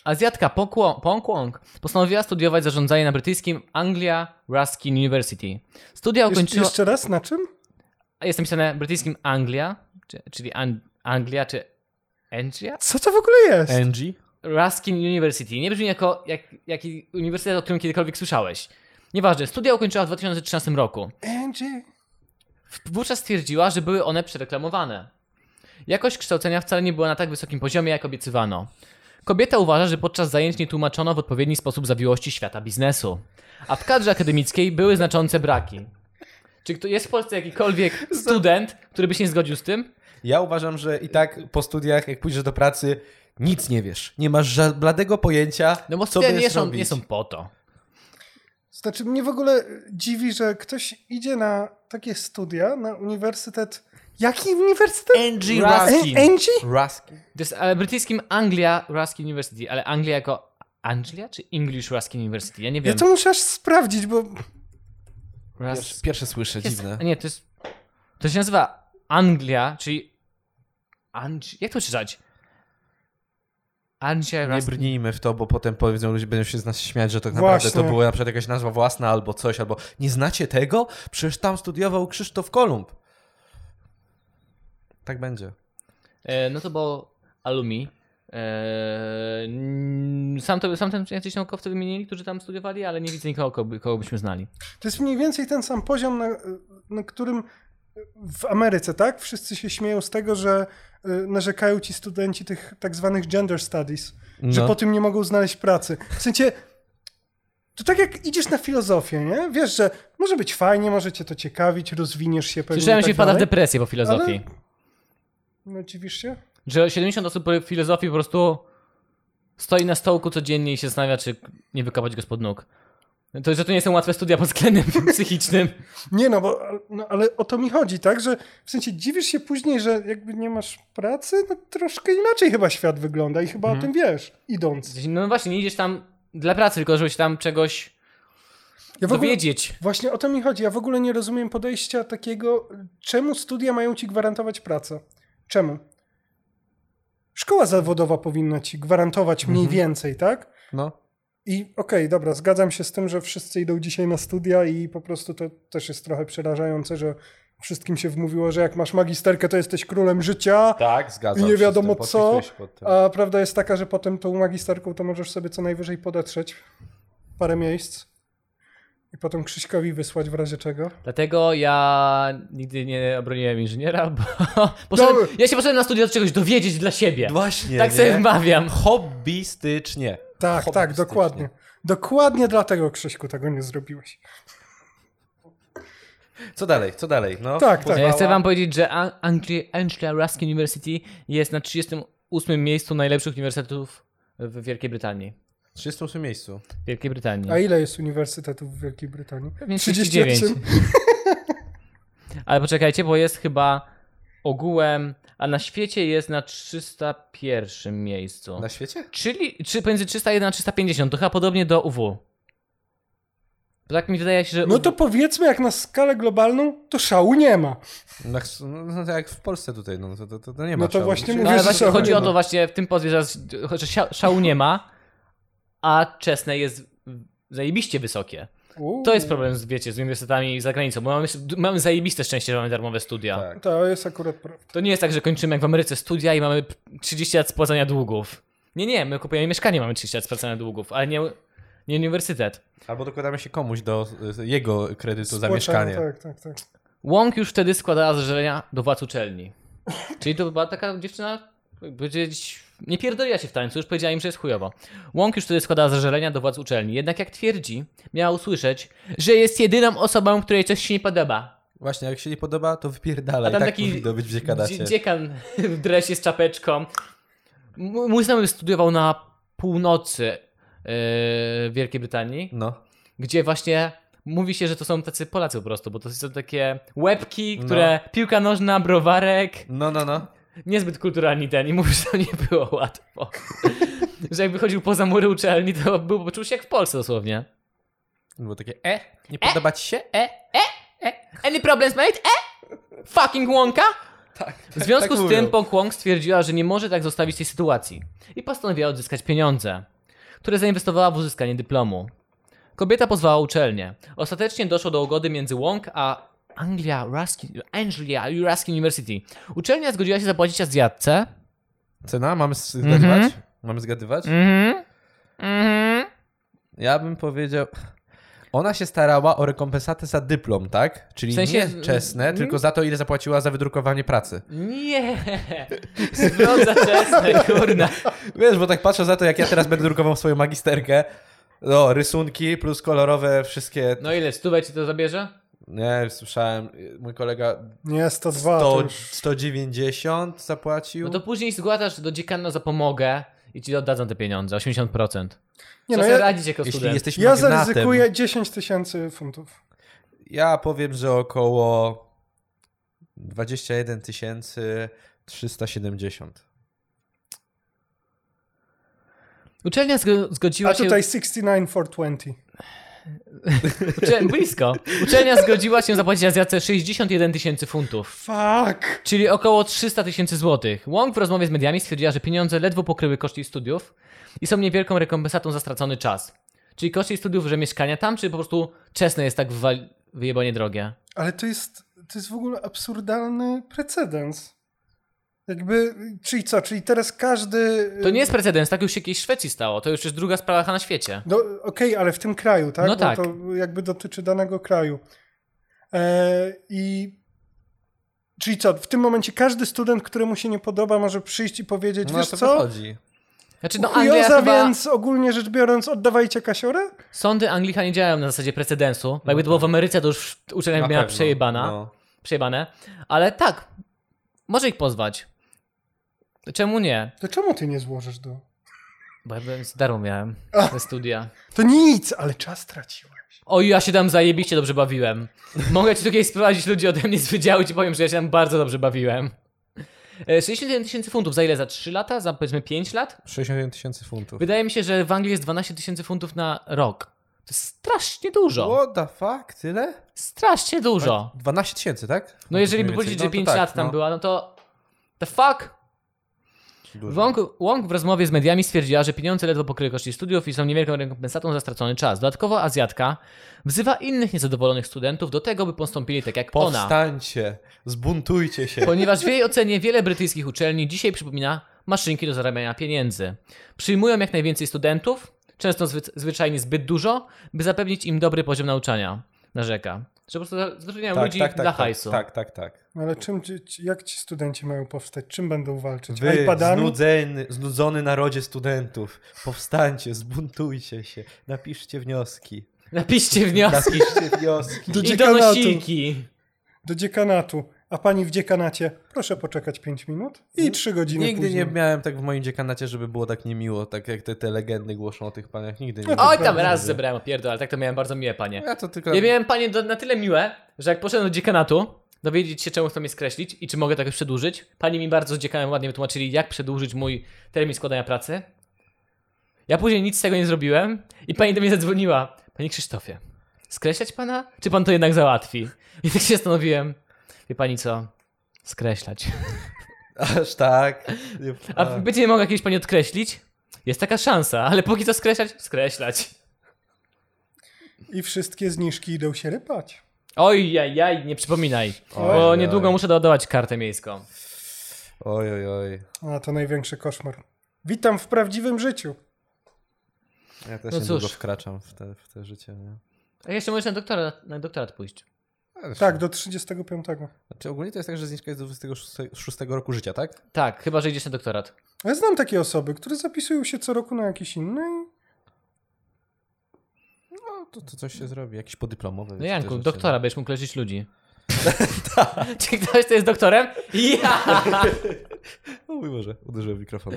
Speaker 1: Azjatka Pong Wong- Pong Wong postanowiła studiować zarządzanie na brytyjskim Anglia Ruskin University. Studia
Speaker 3: Jesz-
Speaker 1: ukończyła...
Speaker 3: jeszcze raz na czym?
Speaker 1: A Jest napisane brytyjskim Anglia, czy, czyli An- Anglia, czy Anglia?
Speaker 3: Co to w ogóle jest?
Speaker 4: Angie?
Speaker 1: Ruskin University. Nie brzmi jako jak, jaki uniwersytet, o którym kiedykolwiek słyszałeś. Nieważne, studia ukończyła w 2013 roku.
Speaker 3: Angie.
Speaker 1: Wówczas stwierdziła, że były one przereklamowane. Jakość kształcenia wcale nie była na tak wysokim poziomie, jak obiecywano. Kobieta uważa, że podczas zajęć nie tłumaczono w odpowiedni sposób zawiłości świata biznesu. A w kadrze akademickiej były znaczące braki. Czy kto- jest w Polsce
Speaker 4: [laughs]
Speaker 1: jakikolwiek student, który by się nie zgodził z tym?
Speaker 4: Ja uważam, że i tak po studiach, jak pójdziesz do pracy, nic nie wiesz. Nie masz ża- bladego pojęcia,
Speaker 1: No bo
Speaker 4: co
Speaker 1: studia
Speaker 4: wiesz
Speaker 1: nie są,
Speaker 4: robić.
Speaker 1: nie są po to.
Speaker 3: Znaczy, mnie w ogóle dziwi, że ktoś idzie na takie studia, na uniwersytet. Jaki uniwersytet?
Speaker 4: Angie
Speaker 1: Raz-
Speaker 4: Rusk.
Speaker 1: Ruskin.
Speaker 3: E- Angie?
Speaker 4: Ruskin.
Speaker 1: To jest ale brytyjskim Anglia Ruskin University, ale Anglia jako Anglia czy English Ruskin University? Ja nie
Speaker 3: Ja
Speaker 1: wiem.
Speaker 3: to muszę aż sprawdzić, bo
Speaker 1: Rus...
Speaker 4: Pierwsze, pierwsze słyszę,
Speaker 1: Jest...
Speaker 4: dziwne.
Speaker 1: Nie, to jest. To się nazywa Anglia, czyli. Angi... Jak to czytać? Anglia
Speaker 4: Nie
Speaker 1: Ruskin.
Speaker 4: brnijmy w to, bo potem powiedzą ludzie, będą się z nas śmiać, że tak naprawdę
Speaker 3: Właśnie.
Speaker 4: to była na przykład jakaś nazwa własna albo coś, albo nie znacie tego? Przecież tam studiował Krzysztof Kolumb. Tak będzie.
Speaker 1: E, no to było Alumi. E, n- sam, to, sam ten jacyś naukowcy wymienili, którzy tam studiowali, ale nie widzę nikogo, kogo, by- kogo byśmy znali.
Speaker 3: To jest mniej więcej ten sam poziom, na, na którym w Ameryce, tak? Wszyscy się śmieją z tego, że y, narzekają ci studenci tych tak zwanych gender studies, że
Speaker 4: No.
Speaker 3: po tym nie mogą znaleźć pracy. W sensie, to tak jak idziesz na filozofię, nie? Wiesz, że może być fajnie, może cię to ciekawić, rozwiniesz się pewnie.
Speaker 1: Słyszałem,
Speaker 3: i
Speaker 1: że
Speaker 3: tak
Speaker 1: się wpada w
Speaker 3: dalej.
Speaker 1: depresję po filozofii.
Speaker 3: No dziwisz się?
Speaker 1: Że 70 osób po filozofii po prostu stoi na stołku codziennie i się zastanawia, czy nie wykopać go spod nóg. To, że to nie są łatwe studia pod względem [laughs] psychicznym.
Speaker 3: Nie no, bo, no, ale o to mi chodzi, tak? Że w sensie dziwisz się później, że jakby nie masz pracy, no troszkę inaczej chyba świat wygląda i chyba o
Speaker 1: Mhm.
Speaker 3: tym wiesz, idąc.
Speaker 1: No właśnie, nie idziesz tam dla pracy, tylko żebyś tam czegoś
Speaker 3: Ja w ogóle,
Speaker 1: dowiedzieć.
Speaker 3: właśnie o to mi chodzi. Ja w ogóle nie rozumiem podejścia takiego, czemu studia mają ci gwarantować pracę? Czemu? Szkoła zawodowa powinna ci gwarantować mniej więcej, tak?
Speaker 4: No.
Speaker 3: I okej, dobra, zgadzam się z tym, że wszyscy idą dzisiaj na studia i po prostu to też jest trochę przerażające, że wszystkim się wmówiło, że jak masz magisterkę, to jesteś królem życia,
Speaker 4: Tak, zgadzam
Speaker 3: I nie
Speaker 4: się z
Speaker 3: wiadomo
Speaker 4: tym,
Speaker 3: co,
Speaker 4: podpisuję się pod tym.
Speaker 3: a prawda jest taka, że potem tą magisterką to możesz sobie co najwyżej podetrzeć parę miejsc i potem Krzyśkowi wysłać w razie czego.
Speaker 1: Dlatego ja nigdy nie obroniłem inżyniera, bo [laughs] poszedłem,
Speaker 3: Dobry.
Speaker 1: ja się poszedłem na studia do czegoś dowiedzieć dla siebie.
Speaker 4: Właśnie,
Speaker 1: tak
Speaker 4: nie?
Speaker 1: sobie wmawiam.
Speaker 4: Hobbystycznie.
Speaker 3: Tak, tak,
Speaker 4: Hobbystycznie.
Speaker 3: dokładnie. Dokładnie dlatego, Krzyśku, tego nie zrobiłeś.
Speaker 4: Co dalej, co dalej? No,
Speaker 3: Tak, tak.
Speaker 1: Ja chcę wam powiedzieć, że An- Angli- Anglia Ruskin University jest na 38 miejscu najlepszych uniwersytetów w Wielkiej Brytanii.
Speaker 4: W 38 miejscu.
Speaker 1: W Wielkiej Brytanii.
Speaker 3: A ile jest uniwersytetów w Wielkiej Brytanii?
Speaker 1: Pewnie 39. [laughs] Ale poczekajcie, bo jest chyba ogółem, a na świecie jest na 301 miejscu.
Speaker 4: Na świecie?
Speaker 1: Czyli czy pomiędzy 301 a 350, to chyba podobnie do UW. Bo tak mi wydaje się, że
Speaker 3: No
Speaker 1: UW
Speaker 3: to powiedzmy, jak na skalę globalną, to szału nie ma.
Speaker 4: Na, no, no, tak jak w Polsce tutaj, no to, to, to, to nie ma
Speaker 3: No to
Speaker 4: szału.
Speaker 3: właśnie
Speaker 4: Czy-
Speaker 1: No
Speaker 3: Wiesz,
Speaker 1: ale
Speaker 3: że
Speaker 1: właśnie
Speaker 3: to
Speaker 1: chodzi o
Speaker 3: chyba.
Speaker 1: to właśnie w tym pozwie, że, że sia- szału nie ma, a czesne jest zajebiście wysokie.
Speaker 3: Uuu.
Speaker 1: To jest problem, z, wiecie, z uniwersytetami za granicą, bo mamy, mamy zajebiste szczęście, że mamy darmowe studia.
Speaker 4: Tak.
Speaker 3: To jest akurat prawda.
Speaker 1: To nie jest tak, że kończymy jak w Ameryce studia i mamy p- 30 lat spłacania długów. Nie, nie, my kupujemy mieszkanie, mamy 30 lat spłacania długów, ale nie, nie uniwersytet.
Speaker 4: Albo dokładamy się komuś do y, jego kredytu za
Speaker 3: Spłacamy,
Speaker 4: mieszkanie.
Speaker 3: Tak, tak, tak.
Speaker 1: Łąk już wtedy składała zażalenia do władz uczelni. Czyli to była taka dziewczyna, jakby powiedzieć, nie pierdoliła się w tańcu, już powiedziała im, że jest chujowo. Łąk już wtedy składała zażalenia do władz uczelni, jednak jak twierdzi, miała usłyszeć, że jest jedyną osobą, której coś się nie podoba.
Speaker 4: Właśnie, jak się nie podoba, to wypierdala.
Speaker 1: A
Speaker 4: I
Speaker 1: tam
Speaker 4: tak
Speaker 1: taki
Speaker 4: powinno być w dziekadacie.
Speaker 1: Dzie- dziekan w dresie z czapeczką. M- Mój znajomy studiował na północy yy, Wielkiej Brytanii,
Speaker 4: No.
Speaker 1: gdzie właśnie mówi się, że to są tacy Polacy po prostu, bo to są takie łebki, które piłka nożna, browarek,
Speaker 4: No, no, no.
Speaker 1: niezbyt kulturalni ten i mówi, że to nie było łatwo. [laughs] że jakby chodził poza mury uczelni, to był, czuł się jak w Polsce dosłownie.
Speaker 4: Było takie e, nie podoba ci się?
Speaker 1: E, e, e, any problems, mate? E? Fucking łąka? w związku
Speaker 4: tak
Speaker 1: z
Speaker 4: mówią.
Speaker 1: tym Pong Wong stwierdziła, że nie może tak zostawić tej sytuacji i postanowiła odzyskać pieniądze, które zainwestowała w uzyskanie dyplomu. Kobieta pozwała uczelnię. Ostatecznie doszło do ugody między Wong a Anglia Ruskin, Anglia Ruskin University. Uczelnia zgodziła się zapłacić Azjatce.
Speaker 4: Cena? Mamy zgadywać? Mamy zgadywać?
Speaker 1: Mhm. Mhm.
Speaker 4: Ja bym powiedział... Ona się starała o rekompensatę za dyplom, tak? Czyli
Speaker 1: W sensie-
Speaker 4: nie czesne, tylko za to, ile zapłaciła za wydrukowanie pracy.
Speaker 1: Nie! [laughs] Zwrot za czesne, kurna.
Speaker 4: Wiesz, bo tak patrzę za to, jak ja teraz będę drukował swoją magisterkę. No, rysunki plus kolorowe wszystkie.
Speaker 1: No ile, stówę ci to zabierze?
Speaker 4: Nie, słyszałem, mój kolega
Speaker 3: Nie, 102. To...
Speaker 4: 100,
Speaker 3: już-
Speaker 4: 190 zapłacił.
Speaker 1: No to później zgłaszasz do dziekana za pomogę i ci oddadzą te pieniądze, 80%.
Speaker 3: Nie,
Speaker 1: Nie
Speaker 3: no,
Speaker 1: no,
Speaker 3: ja,
Speaker 1: radzić jako
Speaker 4: Jeśli
Speaker 1: student.
Speaker 4: jesteś
Speaker 3: ja
Speaker 4: magnatem,
Speaker 3: zaryzykuję 10 tysięcy funtów.
Speaker 4: Ja powiem, że około 21 370.
Speaker 1: Uczelnia zgo- zgodziła
Speaker 3: A
Speaker 1: się...
Speaker 3: tutaj 69 for 20. [laughs]
Speaker 1: Uczel... Blisko. Uczelnia zgodziła się zapłacić Azjatce 61 tysięcy funtów,
Speaker 3: Fuck!
Speaker 1: czyli około 300 tysięcy złotych. Wong w rozmowie z mediami stwierdziła, że pieniądze ledwo pokryły koszty jej studiów i są niewielką rekompensatą za stracony czas. Czyli koszty jej studiów, że mieszkania tam, czy po prostu czesne jest tak wywal... wyjebanie drogie.
Speaker 3: Ale to jest, to jest w ogóle absurdalny precedens. Jakby, czyli co, czyli teraz każdy...
Speaker 1: To nie jest precedens, tak już się kiedyś w Szwecji stało, to już jest druga sprawa na świecie.
Speaker 3: Do, no, Okej, ale w tym kraju, tak?
Speaker 1: No
Speaker 3: Bo
Speaker 1: tak.
Speaker 3: To jakby dotyczy danego kraju. E, I Czyli co, w tym momencie każdy student, któremu się nie podoba, może przyjść i powiedzieć,
Speaker 4: No,
Speaker 3: wiesz
Speaker 4: to
Speaker 3: co,
Speaker 4: wychodzi.
Speaker 1: Znaczy, no Anglia
Speaker 3: Joza,
Speaker 1: chyba...
Speaker 3: więc ogólnie rzecz biorąc, oddawajcie kasiorę?
Speaker 1: Sądy Anglika nie działają na zasadzie precedensu. Bo jakby to było w Ameryce, to już uczelnia
Speaker 4: No tak. Na
Speaker 1: miała
Speaker 4: pewno,
Speaker 1: przejebana,
Speaker 4: no.
Speaker 1: przejebane. Ale tak, może ich pozwać. Czemu nie?
Speaker 3: To czemu ty nie złożysz do...
Speaker 1: Bo ja byłem z darą miałem
Speaker 4: [laughs]
Speaker 1: ze studia.
Speaker 3: To nic, ale czas traciłeś.
Speaker 1: Oj, ja się tam zajebiście dobrze bawiłem. Mogę ci tutaj sprowadzić ludzi ode mnie z wydziału i ci powiem, że ja się tam bardzo dobrze bawiłem. E, 61 tysięcy funtów za ile? Za 3 lata? Za powiedzmy 5 lat?
Speaker 4: 61 tysięcy funtów.
Speaker 1: Wydaje mi się, że w Anglii jest 12 tysięcy funtów na rok. To jest strasznie dużo.
Speaker 4: What the fuck? Tyle?
Speaker 1: Strasznie dużo.
Speaker 4: 12 tysięcy, tak?
Speaker 1: No jeżeli by
Speaker 4: Mniej
Speaker 1: powiedzieć,
Speaker 4: więcej.
Speaker 1: że 5
Speaker 4: No to tak,
Speaker 1: lat tam
Speaker 4: no.
Speaker 1: była, no to the fuck?
Speaker 4: Dużo.
Speaker 1: Wong, Wong w rozmowie z mediami stwierdziła, że pieniądze ledwo pokryły koszty studiów i są niewielką rekompensatą za stracony czas. Dodatkowo Azjatka wzywa innych niezadowolonych studentów do tego, by postąpili tak jak ona.
Speaker 4: Powstańcie, zbuntujcie się.
Speaker 1: Ponieważ w jej ocenie wiele brytyjskich uczelni dzisiaj przypomina maszynki do zarabiania pieniędzy. Przyjmują jak najwięcej studentów, często zwy- zwyczajnie zbyt dużo, by zapewnić im dobry poziom nauczania, narzeka. Że po prostu zatrudniają ludzi dla hajsu.
Speaker 4: Tak, tak, tak.
Speaker 3: No ale czym, ci- ci- jak ci studenci mają powstać? Czym będą walczyć?
Speaker 4: Wy,
Speaker 3: iPadami?
Speaker 4: znudzeny, znudzony narodzie studentów, powstańcie, zbuntujcie się, napiszcie wnioski.
Speaker 1: Napiszcie
Speaker 4: [laughs]
Speaker 1: wnioski
Speaker 4: Napiszcie [laughs] wnioski.
Speaker 3: Do
Speaker 1: i donosiki.
Speaker 3: Do dziekanatu. A pani w dziekanacie, proszę poczekać 5 minut i 3 godziny
Speaker 4: Nigdy
Speaker 3: później.
Speaker 4: nie miałem tak w moim dziekanacie, żeby było tak niemiło, tak jak te, te legendy głoszą o tych panach. Nigdy nie
Speaker 3: No to
Speaker 1: Oj,
Speaker 4: miałem.
Speaker 1: tam raz zebrałem opierdol, ale tak to miałem bardzo miłe panie.
Speaker 4: Ja to tylko...
Speaker 1: Ja miałem panie do, na tyle miłe, że jak poszedłem do dziekanatu, dowiedzieć się czemu chcą mnie skreślić i czy mogę tak przedłużyć, pani mi bardzo z dziekanem ładnie wytłumaczyli, jak przedłużyć mój termin składania pracy. Ja później nic z tego nie zrobiłem i pani do mnie zadzwoniła. Panie Krzysztofie, skreślać pana? Czy pan to jednak załatwi? I tak się zastanowiłem. Wie pani co? Skreślać.
Speaker 4: Aż tak. Nie-
Speaker 1: A będzie nie mogła kiedyś pani odkreślić? Jest taka szansa, ale póki co skreślać? Skreślać.
Speaker 3: I wszystkie zniżki idą się rypać.
Speaker 1: Oj, jaj, jaj, nie przypominaj.
Speaker 4: Oj,
Speaker 1: bo
Speaker 4: oj.
Speaker 1: niedługo muszę doładować kartę miejską.
Speaker 4: Oj, oj, oj.
Speaker 3: A to największy koszmar. Witam w prawdziwym życiu.
Speaker 4: Ja też
Speaker 1: No
Speaker 4: niedługo
Speaker 1: cóż.
Speaker 4: wkraczam w te, w te życie. Nie?
Speaker 1: A jeszcze możesz na doktorat, na doktorat pójść.
Speaker 4: Ale
Speaker 3: Tak, do 35.
Speaker 4: Znaczy ogólnie to jest tak, że zniżka jest do 26 szóstego roku życia, tak?
Speaker 1: Tak, chyba, że idziesz na doktorat.
Speaker 3: Ja znam takie osoby, które zapisują się co roku na jakiś inny i
Speaker 4: No to, to coś się zrobi, jakiś podyplomowy.
Speaker 1: No Janku, doktora, będziesz mógł leczyć ludzi. [laughs] Czy ktoś to jest doktorem? Ja!
Speaker 4: O mój Boże, uderzyłem w mikrofon.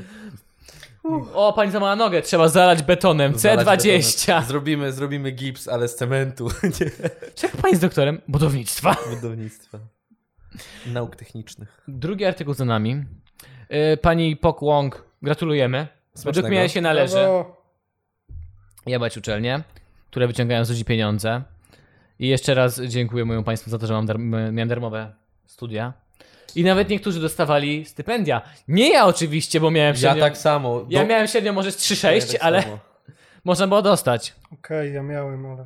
Speaker 1: O, pani zamała nogę, trzeba zalać betonem.
Speaker 4: No
Speaker 1: C20.
Speaker 4: Zrobimy, zrobimy gips, ale z cementu, [laughs] nie
Speaker 1: Czego pani jest doktorem? Budownictwa.
Speaker 4: budownictwa. Nauk technicznych.
Speaker 1: Drugi artykuł za nami. Yy, Pani Pok Wong, gratulujemy.
Speaker 4: Smacznego.
Speaker 1: Według mnie się należy.
Speaker 3: Brawo.
Speaker 1: jebać uczelnie, które wyciągają z ludzi pieniądze. I jeszcze raz dziękuję mojemu państwu za to, że mam darm- miałem darmowe studia. I nawet niektórzy dostawali stypendia. Nie ja oczywiście, bo miałem
Speaker 4: Ja
Speaker 1: średnio...
Speaker 4: tak samo.
Speaker 1: ja
Speaker 4: Do-
Speaker 1: miałem średnio może z 3-6,
Speaker 4: Ja tak
Speaker 1: ale
Speaker 4: samo.
Speaker 1: można było dostać.
Speaker 3: Okej, ja miałem, ale,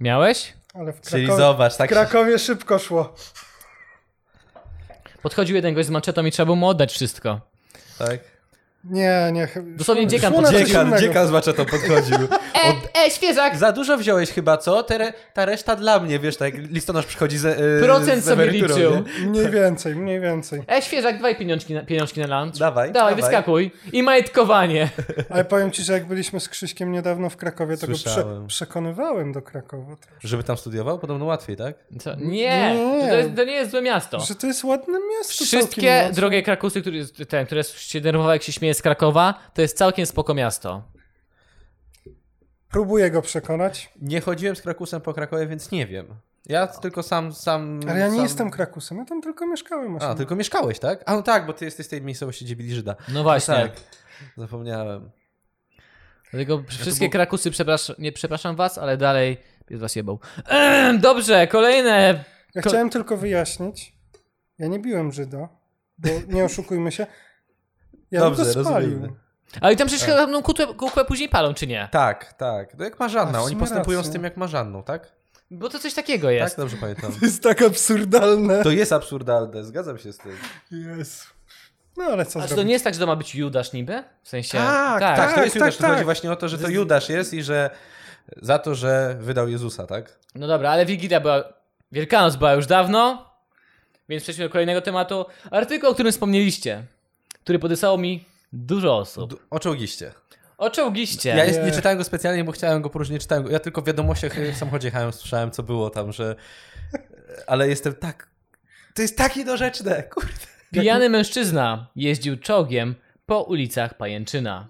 Speaker 1: Miałeś?
Speaker 3: ale w,
Speaker 4: Czyli
Speaker 3: Krakowie,
Speaker 4: zobacz,
Speaker 3: w
Speaker 4: tak się...
Speaker 3: Krakowie szybko szło.
Speaker 1: Podchodził jeden gość z manczetą i trzeba było mu oddać wszystko.
Speaker 4: Tak.
Speaker 3: Nie, nie. chy-
Speaker 1: Dosłownie
Speaker 3: szło-
Speaker 1: dziekan
Speaker 3: szło na coś
Speaker 4: Dziekan,
Speaker 3: innego. tak.
Speaker 4: dziekan z maczetą podchodził.
Speaker 1: E, e świeżak!
Speaker 4: Za dużo wziąłeś chyba, co? Te re, ta reszta dla mnie, wiesz, tak jak listonosz przychodzi z e,
Speaker 1: Procent
Speaker 4: z
Speaker 1: sobie
Speaker 4: emeryturą,
Speaker 1: liczył.
Speaker 4: nie?
Speaker 3: Mniej więcej, mniej więcej.
Speaker 1: E, świeżak, dwaj pieniążki na, pieniążki na lunch.
Speaker 4: Dawaj,
Speaker 1: Dawaj, wyskakuj. I majtkowanie.
Speaker 4: Tak.
Speaker 3: Ale powiem ci, że jak byliśmy z Krzyśkiem niedawno w Krakowie, to go prze
Speaker 4: Słyszałem.
Speaker 3: przekonywałem do Krakowa.
Speaker 4: Żeby tam studiował? Podobno łatwiej, tak?
Speaker 1: Co? Nie,
Speaker 3: Nie.
Speaker 1: To, jest, to nie jest złe miasto.
Speaker 3: Że to jest ładne miasto. całkiem
Speaker 1: Wszystkie
Speaker 3: ładne.
Speaker 1: drogie krakusy, które, ten, które się denerwowały, jak się śmieje z Krakowa, to jest całkiem spoko miasto.
Speaker 3: Próbuję go przekonać,
Speaker 4: Nie chodziłem z Krakusem po Krakowie, więc nie wiem. Ja tylko sam... sam
Speaker 3: ale ja nie
Speaker 4: Mm, sam...
Speaker 3: jestem Krakusem, ja tam tylko mieszkałem.
Speaker 4: A,
Speaker 3: osobno.
Speaker 4: tylko mieszkałeś, tak? A no tak, bo ty jesteś z tej miejscowości, gdzie bili Żyda.
Speaker 1: No właśnie.
Speaker 4: Tak, zapomniałem.
Speaker 1: Dlatego wszystkie krakusy, przepraszam, nie przepraszam was, ale dalej jest was jebał. Ehm, dobrze, kolejne.
Speaker 3: Ja
Speaker 1: Ko-
Speaker 3: chciałem tylko wyjaśnić, ja nie biłem Żyda,
Speaker 4: [laughs]
Speaker 3: bo nie oszukujmy się, ja bym
Speaker 4: Dobrze,
Speaker 3: go spalił.
Speaker 4: rozumiemy.
Speaker 1: Ale tam przecież chyba no, kukłę, kukłę później palą, czy nie?
Speaker 4: Tak, tak. No jak
Speaker 3: A,
Speaker 4: Marzanna,
Speaker 3: w
Speaker 4: oni
Speaker 3: sumie
Speaker 4: postępują
Speaker 3: rację.
Speaker 4: z tym jak Marzanną, tak?
Speaker 1: Bo to coś takiego jest.
Speaker 4: Tak, dobrze pamiętam. [laughs]
Speaker 3: To jest tak absurdalne.
Speaker 4: To jest absurdalne, zgadzam się z tym.
Speaker 1: Tak.
Speaker 3: Jest. No ale co
Speaker 1: A czy to
Speaker 3: zrobić?
Speaker 1: nie jest tak, że to ma być Judasz niby? W sensie.
Speaker 4: tak, tak, to jest
Speaker 3: tak,
Speaker 4: Judasz.
Speaker 3: tak.
Speaker 4: To chodzi właśnie o to, że to Judasz jest i że za to, że wydał Jezusa, tak?
Speaker 1: No dobra, ale Wigilia była. Wielkanoc była już dawno. Więc przejdźmy do kolejnego tematu. Artykuł, o którym wspomnieliście, który podesłało mi dużo osób.
Speaker 4: D- Oczołgiście.
Speaker 1: O czołgiście.
Speaker 4: Ja jest,
Speaker 3: Nie.
Speaker 4: nie czytałem go specjalnie, bo chciałem go poróżnie czytałem. Go. Ja tylko w wiadomościach y, w samochodzie jechałem, słyszałem co było tam, że... Ale jestem tak... To jest takie dorzeczne, kurde.
Speaker 1: Pijany mężczyzna jeździł czołgiem po ulicach Pajęczyna.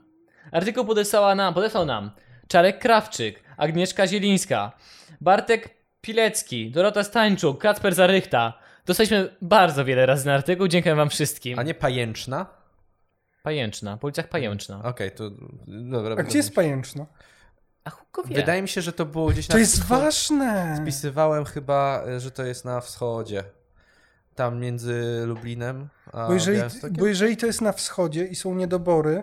Speaker 1: Artykuł podesłała nam, podesłał nam Czarek Krawczyk, Agnieszka Zielińska, Bartek Pilecki, Dorota Stańczuk, Kacper Zarychta. Dostaliśmy bardzo wiele razy na artykuł, dziękuję wam wszystkim.
Speaker 4: A nie pajęczna?
Speaker 1: Pajęczna, po ulicach Pajęczna.
Speaker 4: Okej, to... Dobra.
Speaker 3: A gdzie jest pajęczno?
Speaker 1: A chuko wie.
Speaker 4: Wydaje mi się, że Tak, to było gdzieś na...
Speaker 3: To jest
Speaker 4: wschód-
Speaker 3: ważne.
Speaker 4: Wpisywałem chyba, y, że to jest na wschodzie. Tam między Lublinem a
Speaker 3: Bo jeżeli,
Speaker 4: Białymstokiem.
Speaker 3: bo jeżeli to jest na wschodzie i są niedobory,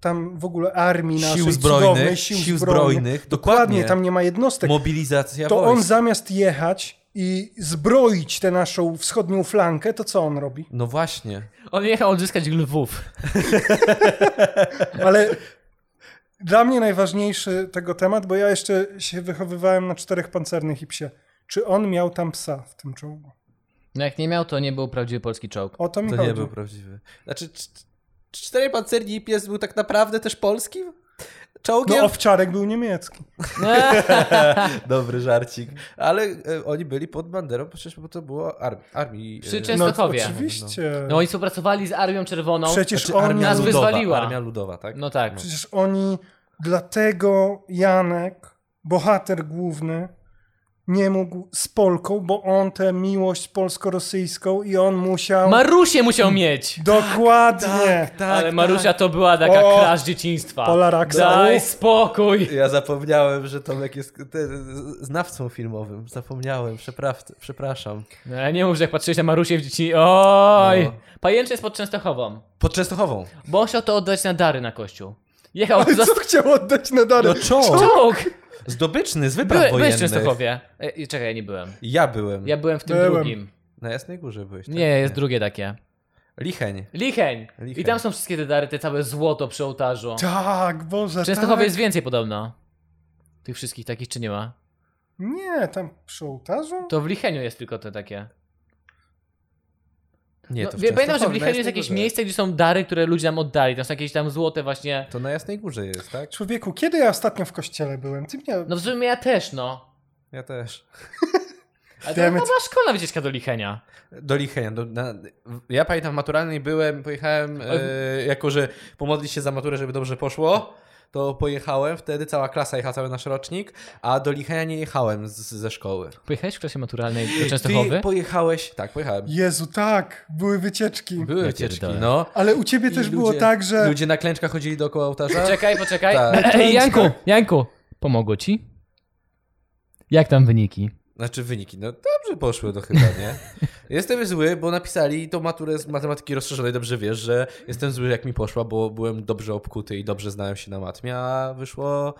Speaker 3: tam w ogóle armii naszej
Speaker 4: sił
Speaker 3: cudownej,
Speaker 4: zbrojnych,
Speaker 3: sił,
Speaker 4: sił,
Speaker 3: zbrojnych,
Speaker 4: zbrojnych,
Speaker 3: dokładnie,
Speaker 4: dokładnie,
Speaker 3: tam nie ma jednostek,
Speaker 4: mobilizacja
Speaker 3: to on
Speaker 4: wojsk.
Speaker 3: zamiast jechać i zbroić tę naszą wschodnią flankę, to co on robi?
Speaker 4: No właśnie.
Speaker 1: On jechał odzyskać Lwów.
Speaker 3: Ale dla mnie najważniejszy tego temat, bo ja jeszcze się wychowywałem na czterech pancernych i psie. Czy on miał tam psa w tym czołgu?
Speaker 1: No jak nie miał, to nie był prawdziwy polski czołg.
Speaker 3: O to mi
Speaker 4: To
Speaker 3: chodzi.
Speaker 4: nie był prawdziwy. Znaczy, cz- cz- cztery pancerni i pies był tak naprawdę też polskim? Czołgiem? [laughs]
Speaker 3: No owczarek był niemiecki.
Speaker 4: Dobry żarcik. Ale e, oni byli pod banderą, przecież bo to było arm- armii.
Speaker 1: Przy
Speaker 4: e,
Speaker 1: czym-
Speaker 3: No
Speaker 1: Częstochowie.
Speaker 3: oczywiście.
Speaker 1: No oni współpracowali z Armią Czerwoną.
Speaker 3: Przecież
Speaker 4: znaczy,
Speaker 3: on
Speaker 4: armia
Speaker 1: Nas
Speaker 4: ludowa.
Speaker 1: wyzwoliła.
Speaker 4: Armia ludowa, tak?
Speaker 1: No tak.
Speaker 3: Przecież oni, dlatego Janek, bohater główny, nie mógł z Polką, bo on tę miłość polsko-rosyjską i on musiał.
Speaker 1: Marusię musiał mieć!
Speaker 4: Tak,
Speaker 3: Dokładnie! [laughs]
Speaker 1: Ale Marusia to była taka
Speaker 3: O!
Speaker 1: crash dzieciństwa.
Speaker 3: Pola Raksa.
Speaker 1: Daj
Speaker 3: Uf.
Speaker 1: spokój!
Speaker 4: Ja zapomniałem, że Tomek jest te, znawcą filmowym. Zapomniałem, Przepraw, przepraszam.
Speaker 1: No, nie mów, że jak patrzyłeś na Marusię w dzieci. Oj!
Speaker 4: No.
Speaker 1: Pajęczy jest pod Częstochową.
Speaker 4: Pod Częstochową.
Speaker 1: Bo chciał to oddać na dary na kościół. Jechał za
Speaker 3: Co chciał oddać na dary?
Speaker 4: No czołg!
Speaker 1: czołg!
Speaker 4: Zdobyczny z wypraw
Speaker 1: Byłe- Byłeś w
Speaker 4: wojennych.
Speaker 1: Częstochowie. E, czekaj, ja nie byłem.
Speaker 4: Ja byłem.
Speaker 1: Ja byłem w tym
Speaker 3: Byłem.
Speaker 1: drugim.
Speaker 4: Na Jasnej Górze byłeś. tak?
Speaker 1: Nie, jest drugie takie.
Speaker 4: Licheń.
Speaker 1: Licheń.
Speaker 4: Licheń.
Speaker 1: I tam są wszystkie te dary, te całe złoto przy ołtarzu.
Speaker 3: Tak, Boże.
Speaker 1: W Częstochowie
Speaker 3: tak.
Speaker 1: jest więcej podobno. Tych wszystkich takich, czy nie ma?
Speaker 3: Nie, tam przy ołtarzu?
Speaker 1: To w Licheniu jest tylko te takie.
Speaker 4: Nie,
Speaker 1: No,
Speaker 4: to w
Speaker 1: wie- pamiętam, że w
Speaker 4: Częstochowie, na
Speaker 1: Licheniu jest
Speaker 4: Jasnej
Speaker 1: jakieś
Speaker 4: Górze.
Speaker 1: miejsce, gdzie są dary, które ludzie nam oddali. Tam są jakieś tam złote właśnie...
Speaker 4: To na Jasnej Górze jest, tak?
Speaker 3: Człowieku, kiedy ja ostatnio w kościele byłem? Ty mnie...
Speaker 1: No w sumie ja też, no.
Speaker 4: Ja też.
Speaker 1: Ale to
Speaker 3: Damn
Speaker 1: była
Speaker 3: it.
Speaker 1: szkolna wycieczka do Lichenia.
Speaker 4: Do Lichenia. Do, na, ja pamiętam w maturalnej byłem, pojechałem, e, jako że pomodlić się za maturę, żeby dobrze poszło, to pojechałem wtedy, cała klasa jechała, cały nasz rocznik, a do Lichenia nie jechałem z, ze szkoły.
Speaker 1: Pojechałeś w klasie maturalnej do
Speaker 4: Ty
Speaker 1: Częstochowy?
Speaker 4: pojechałeś, tak, pojechałem.
Speaker 3: Jezu, tak, były wycieczki.
Speaker 4: Były
Speaker 1: Ja
Speaker 4: wycieczki,
Speaker 1: pierdolę.
Speaker 4: no.
Speaker 3: Ale u ciebie
Speaker 4: I
Speaker 3: też było tak, że...
Speaker 4: Ludzie na klęczkach chodzili dookoła ołtarza.
Speaker 1: Poczekaj, poczekaj.
Speaker 4: Tak.
Speaker 1: Ej, Janku, Janku, pomogło ci? Jak tam wyniki?
Speaker 4: Znaczy wyniki, no dobrze poszły to chyba, nie? [laughs] Jestem zły, bo napisali tą maturę z matematyki rozszerzonej, dobrze wiesz, że jestem zły jak mi poszła, bo byłem dobrze obkuty i dobrze znałem się na matmie, a wyszło...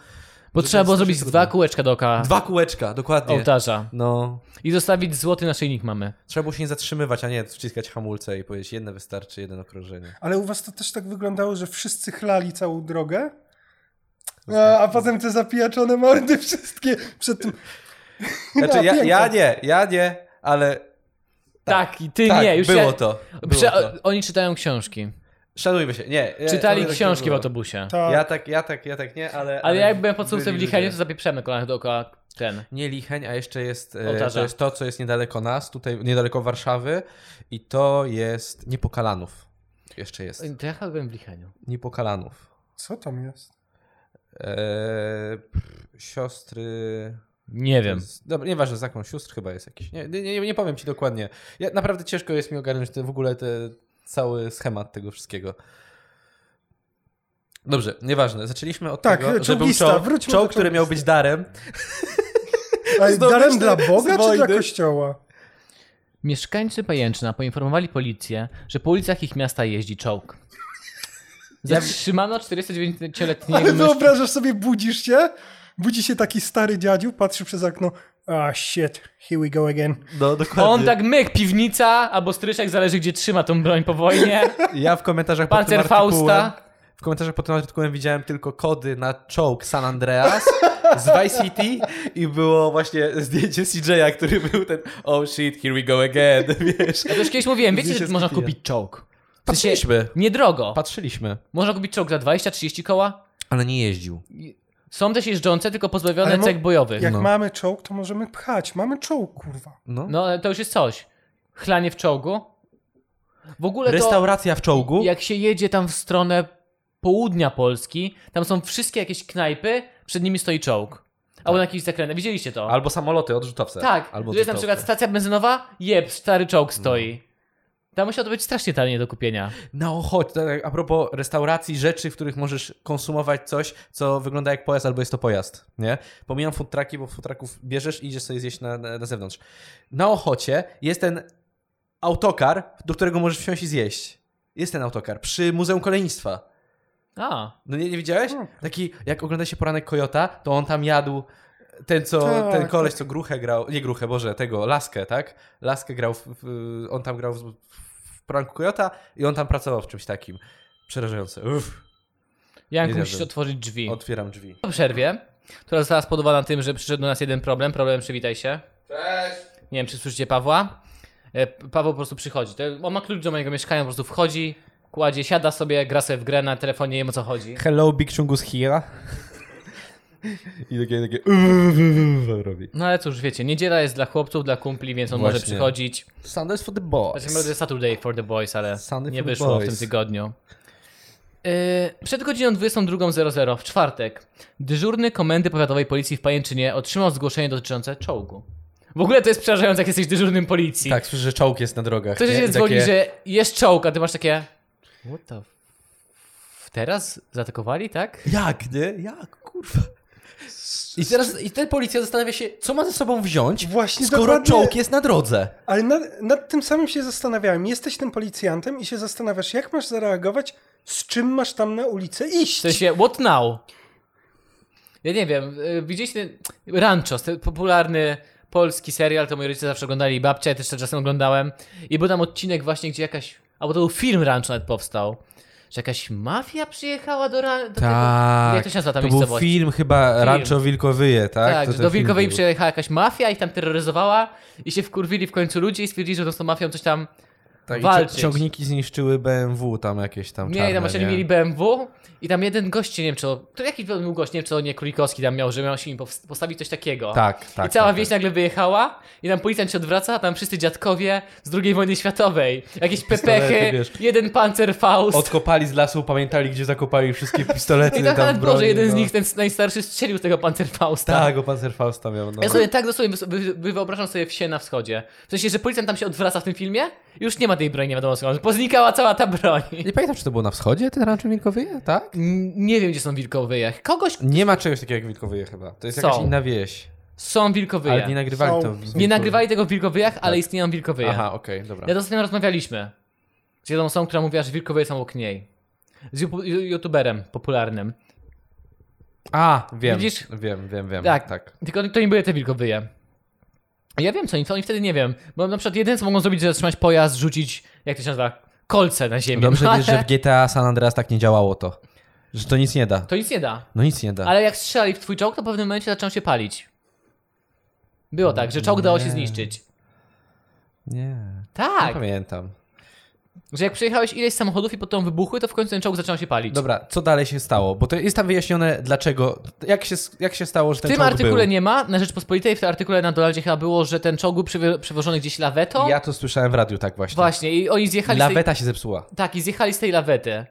Speaker 1: Bo
Speaker 4: że
Speaker 1: trzeba
Speaker 4: to
Speaker 1: było
Speaker 4: jest
Speaker 1: zrobić
Speaker 4: trudne.
Speaker 1: dwa kółeczka dookoła
Speaker 4: Dwa kółeczka, dokładnie.
Speaker 1: ołtarza
Speaker 4: No,
Speaker 1: i zostawić złoty naszyjnik mamy.
Speaker 4: trzeba było się nie zatrzymywać, a nie wciskać hamulce i powiedzieć, jedne wystarczy, jeden okrążenie.
Speaker 3: Ale u was to też tak wyglądało, że wszyscy chlali całą drogę, a, a potem te zapijaczone mordy wszystkie przed tym...
Speaker 4: Znaczy
Speaker 3: Na
Speaker 4: ja, ja
Speaker 3: piętach.
Speaker 4: nie, ja nie, ale
Speaker 1: Tak, i ty
Speaker 4: tak,
Speaker 1: nie. Już
Speaker 4: było,
Speaker 1: ja...
Speaker 4: to, było
Speaker 1: Prze...
Speaker 4: to.
Speaker 1: Oni czytają książki.
Speaker 4: Szanujmy się, nie. ja-
Speaker 1: Czytali
Speaker 4: tak nie
Speaker 1: książki w
Speaker 4: było.
Speaker 1: autobusie.
Speaker 3: Tak.
Speaker 4: Ja tak, ja tak, ja tak nie, ale...
Speaker 1: Ale ja jak byłem pod sumcem w
Speaker 4: byli
Speaker 1: Licheniu,
Speaker 4: ludzie.
Speaker 1: to zapieprzemy kolanach dookoła ten.
Speaker 4: Nie Licheń, a jeszcze jest e,
Speaker 1: Ołtarza.
Speaker 4: to, jest to, co jest niedaleko nas, tutaj niedaleko Warszawy i to jest Niepokalanów. Jeszcze jest.
Speaker 1: To ja chyba byłem w Licheniu.
Speaker 4: Niepokalanów.
Speaker 3: Co tam
Speaker 4: [laughs]
Speaker 3: jest?
Speaker 4: E, pff, siostry...
Speaker 1: Nie wiem.
Speaker 4: Z, dobra, nieważne, zakon sióstr chyba jest jakiś. Nie, nie, nie, nie powiem ci dokładnie. Ja, naprawdę ciężko jest mi ogarnąć te, w ogóle te, cały schemat tego wszystkiego. Dobrze, nieważne. Zaczęliśmy od
Speaker 3: Tak,
Speaker 4: tego, że był
Speaker 3: czołgista,
Speaker 4: czołg,
Speaker 3: wróćmy do
Speaker 4: czołg który miał
Speaker 3: czołgisty.
Speaker 4: być darem.
Speaker 3: Ale
Speaker 4: Zdobyć
Speaker 3: darem
Speaker 4: te
Speaker 3: dla Boga czy dla
Speaker 4: zwojdy.
Speaker 3: kościoła?
Speaker 4: [laughs]
Speaker 1: Mieszkańcy Pajęczna poinformowali policję, że po ulicach ich miasta jeździ czołg. Zatrzymano 49-letniego
Speaker 3: Ale
Speaker 1: mężczyznę.
Speaker 3: wyobrażasz sobie, budzisz się, budzi się taki stary dziadziu, patrzy przez okno, ah shit, here we go again.
Speaker 4: No, dokładnie.
Speaker 1: On tak myk, piwnica albo stryczek, zależy gdzie trzyma tą broń po wojnie.
Speaker 4: Ja w komentarzach pod tym
Speaker 1: Panzer
Speaker 4: artykułem,
Speaker 1: Fausta.
Speaker 4: W komentarzach pod tym artykułem widziałem tylko kody na czołg San Andreas z Vice City i było właśnie zdjęcie CJ'a, który był ten oh shit, here we go again, [laughs] wiesz.
Speaker 1: Ja też kiedyś mówiłem, wiecie,
Speaker 4: Zdjęcie
Speaker 1: że
Speaker 4: z
Speaker 1: można
Speaker 4: Kitia.
Speaker 1: kupić czołg. W sensie,
Speaker 4: Patrzyliśmy.
Speaker 1: niedrogo.
Speaker 4: Patrzyliśmy,
Speaker 1: Można kupić czołg za 20-30 koła.
Speaker 4: ale nie jeździł.
Speaker 1: Są też jeżdżące, tylko pozbawione
Speaker 3: Ale mo-
Speaker 1: cech bojowych.
Speaker 3: Jak
Speaker 4: No.
Speaker 3: mamy czołg, to możemy pchać. Mamy czołg, kurwa.
Speaker 4: No.
Speaker 1: No, ale to już jest coś. Chlanie w czołgu. W ogóle to,
Speaker 4: Restauracja w czołgu.
Speaker 1: jak się jedzie tam w stronę południa Polski, tam są wszystkie jakieś knajpy, przed nimi stoi czołg. Albo na jakiś zakręt. Widzieliście to?
Speaker 4: Tak. Albo samoloty, odrzutowce.
Speaker 1: tak,
Speaker 4: Albo No.
Speaker 1: że jest na
Speaker 4: odrzutowce.
Speaker 1: przykład stacja benzynowa, jeb, stary czołg stoi. Tam musiało to być strasznie tanie do kupienia.
Speaker 4: Na ochotę, tak, a propos restauracji, rzeczy, w których możesz konsumować coś, co wygląda jak pojazd, albo jest to pojazd, nie? Pomijam food trucki, bo food trucków bierzesz i idziesz sobie zjeść na, na, na zewnątrz. Na Ochocie jest ten autokar, do którego możesz wsiąść i zjeść. Jest ten autokar przy Muzeum Kolejnictwa.
Speaker 1: A,
Speaker 4: No nie, nie widziałeś?
Speaker 3: Tak.
Speaker 4: Taki, jak ogląda się Poranek Kojota, to on tam jadł ten, co,
Speaker 3: Tak,
Speaker 4: ten koleś, co gruchę grał, nie gruchę, Boże, tego, laskę, tak? Laskę grał, w, w, on tam grał w, w Poranku Kojota i on tam pracował w czymś takim. Przerażające. Uff,
Speaker 1: Janku,
Speaker 4: Nie
Speaker 1: musisz
Speaker 4: zjadłem.
Speaker 1: otworzyć drzwi.
Speaker 4: otwieram drzwi.
Speaker 1: Po przerwie, która została spowodowana tym, że przyszedł do nas jeden problem. Problem, przywitaj się. Cześć! Nie wiem, czy słyszycie Pawła. E, P- Paweł po prostu przychodzi. To- On ma klucz do mojego mieszkania, po prostu wchodzi, kładzie, siada sobie, gra sobie w grę na telefonie, nie wiem o co chodzi.
Speaker 4: Hello, Big Chungus here. [laughs] I takie, takie uff, uff, uff, robi.
Speaker 1: No ale cóż, wiecie, niedziela jest dla chłopców, dla kumpli, więc on może
Speaker 4: Właśnie.
Speaker 1: przychodzić.
Speaker 4: Sundays for the
Speaker 1: Znaczy,
Speaker 4: boys.
Speaker 1: może Saturday for the boys, ale
Speaker 4: Sunday
Speaker 1: nie
Speaker 4: for the
Speaker 1: wyszło w
Speaker 4: boys.
Speaker 1: tym tygodniu. Yy, Przed godziną 22.00 w czwartek dyżurny Komendy Powiatowej Policji w Pajęczynie otrzymał zgłoszenie dotyczące czołgu. W ogóle to jest przerażające, jak jesteś dyżurnym policji.
Speaker 4: Tak, słyszę, że czołg jest na drogach.
Speaker 1: Ktoś
Speaker 4: nie?
Speaker 1: się
Speaker 4: I
Speaker 1: dzwoni,
Speaker 4: takie-
Speaker 1: że jest czołg, a ty masz takie... What the... f- Teraz zaatakowali, tak?
Speaker 4: Jak, nie? Jak, kurwa. I teraz i ten policja zastanawia się, co ma ze sobą wziąć,
Speaker 3: Właśnie
Speaker 4: skoro
Speaker 3: dokładnie.
Speaker 4: czołg jest na drodze.
Speaker 3: Ale nad, nad tym samym się zastanawiałem. Jesteś tym policjantem i się zastanawiasz, jak masz zareagować, z czym masz tam na ulicę iść.
Speaker 1: W sensie, what now? Ja nie wiem, y, widzieliście Ranchos, ten popularny polski serial, to moi rodzice zawsze oglądali, babcia, ja też to czasem oglądałem. I był tam odcinek właśnie, gdzie jakaś, albo to był film Rancho nawet powstał, że jakaś mafia przyjechała do, ra- do tego, jak to się nazywa ta miejscowość?
Speaker 4: Tak, film chyba Rancho Wilkowyje, tak?
Speaker 1: Tak,
Speaker 4: To
Speaker 1: że
Speaker 4: ten
Speaker 1: do
Speaker 4: film
Speaker 1: Wilkowej
Speaker 4: był.
Speaker 1: przyjechała jakaś mafia i tam terroryzowała i się wkurwili w końcu ludzie i stwierdzili, że z tą mafią coś tam
Speaker 4: Tak, i
Speaker 1: walczyć.
Speaker 4: ci- Ciągniki zniszczyły BMW tam jakieś tam
Speaker 1: Nie,
Speaker 4: czarne,
Speaker 1: tam właśnie oni mieli BMW i tam jeden gość, nie wiem czy to, to jakiś był gość, nie wiem czy to nie Królikowski tam miał, że miał się im powst- postawić coś takiego.
Speaker 4: Tak, tak.
Speaker 1: I cała
Speaker 4: tak,
Speaker 1: wieś nagle wyjechała i tam policjant się odwraca, a tam wszyscy dziadkowie z II wojny światowej, jakieś
Speaker 4: Pistolety,
Speaker 1: pepechy,
Speaker 4: wiesz.
Speaker 1: jeden Panzerfaust.
Speaker 4: tak. Odkopali z lasu, pamiętali gdzie
Speaker 1: [laughs]
Speaker 4: zakopali wszystkie pistolety
Speaker 1: I tak
Speaker 4: tam
Speaker 1: nawet
Speaker 4: w
Speaker 1: było,
Speaker 4: broni,
Speaker 1: że jeden
Speaker 4: no.
Speaker 1: z nich, ten najstarszy, strzelił z tego Panzerfausta.
Speaker 4: Tak, o Panzerfausta miał, no.
Speaker 1: Ja sobie tak dosłownie wy- wy- wy- wyobrażam sobie wsie na wschodzie. W sensie, że policjant tam się odwraca w tym filmie, już nie ma tej broni, nie wiadomo skąd. Poznikała cała ta broń.
Speaker 4: Nie pamiętam, czy to było na wschodzie, ten Rancho Wilkowyje, tak?
Speaker 1: N- Nie wiem, gdzie są wilkowyje. Kogoś
Speaker 4: Nie ma czegoś takiego jak Wilkowyje chyba. To jest
Speaker 1: Są.
Speaker 4: jakaś inna wieś.
Speaker 1: są
Speaker 4: Ale nie
Speaker 1: wilkowyje.
Speaker 4: nagrywali to.
Speaker 3: Są.
Speaker 4: w-
Speaker 1: Nie nagrywali tego w wilkowyjach, ale istnieją wilkowyje.
Speaker 4: Aha, okej, dobra.
Speaker 1: Ja to z tym rozmawialiśmy. Z jedną osobą, która mówiła, że wilkowyje są obok niej. Z ju- ju- youtuberem popularnym.
Speaker 4: A, wiem.
Speaker 1: Widzisz?
Speaker 4: Wiem, wiem, wiem.
Speaker 1: Tak.
Speaker 4: Tak. tak.
Speaker 1: Tylko to nie były te wilkowyje. A Ja wiem co oni, co oni wtedy nie wiem. Bo na przykład jedyne co mogą zrobić, to zatrzymać pojazd, rzucić, jak to się nazywa, kolce na ziemię.
Speaker 4: Dobrze
Speaker 1: No,
Speaker 4: wiesz,
Speaker 1: ale [laughs]
Speaker 4: że w GTA San Andreas tak nie działało to. Że to nic nie da.
Speaker 1: To nic nie da.
Speaker 4: No nic nie da.
Speaker 1: Ale jak strzelali w twój czołg, to w pewnym momencie zaczął się palić. Było tak, że czołg dało się
Speaker 4: Nie. No
Speaker 1: zniszczyć.
Speaker 4: Nie. Nie
Speaker 1: Tak,
Speaker 4: pamiętam.
Speaker 1: że jak przejechałeś ileś samochodów i potem wybuchły, to w końcu ten czołg zaczął się palić.
Speaker 4: Dobra, co dalej się stało? Bo to jest tam wyjaśnione dlaczego, jak się, jak się stało, że
Speaker 1: W
Speaker 4: ten
Speaker 1: tym
Speaker 4: czołg
Speaker 1: artykule
Speaker 4: był.
Speaker 1: nie ma, na Rzeczpospolitej w tym artykule na Donaldzie chyba było, że ten czołg był przywo- przywożony gdzieś lawetą.
Speaker 4: Ja to słyszałem w radiu tak właśnie.
Speaker 1: Właśnie, i oni zjechali z tej...
Speaker 4: Laweta się zepsuła.
Speaker 1: Tak, i zjechali z tej lawety.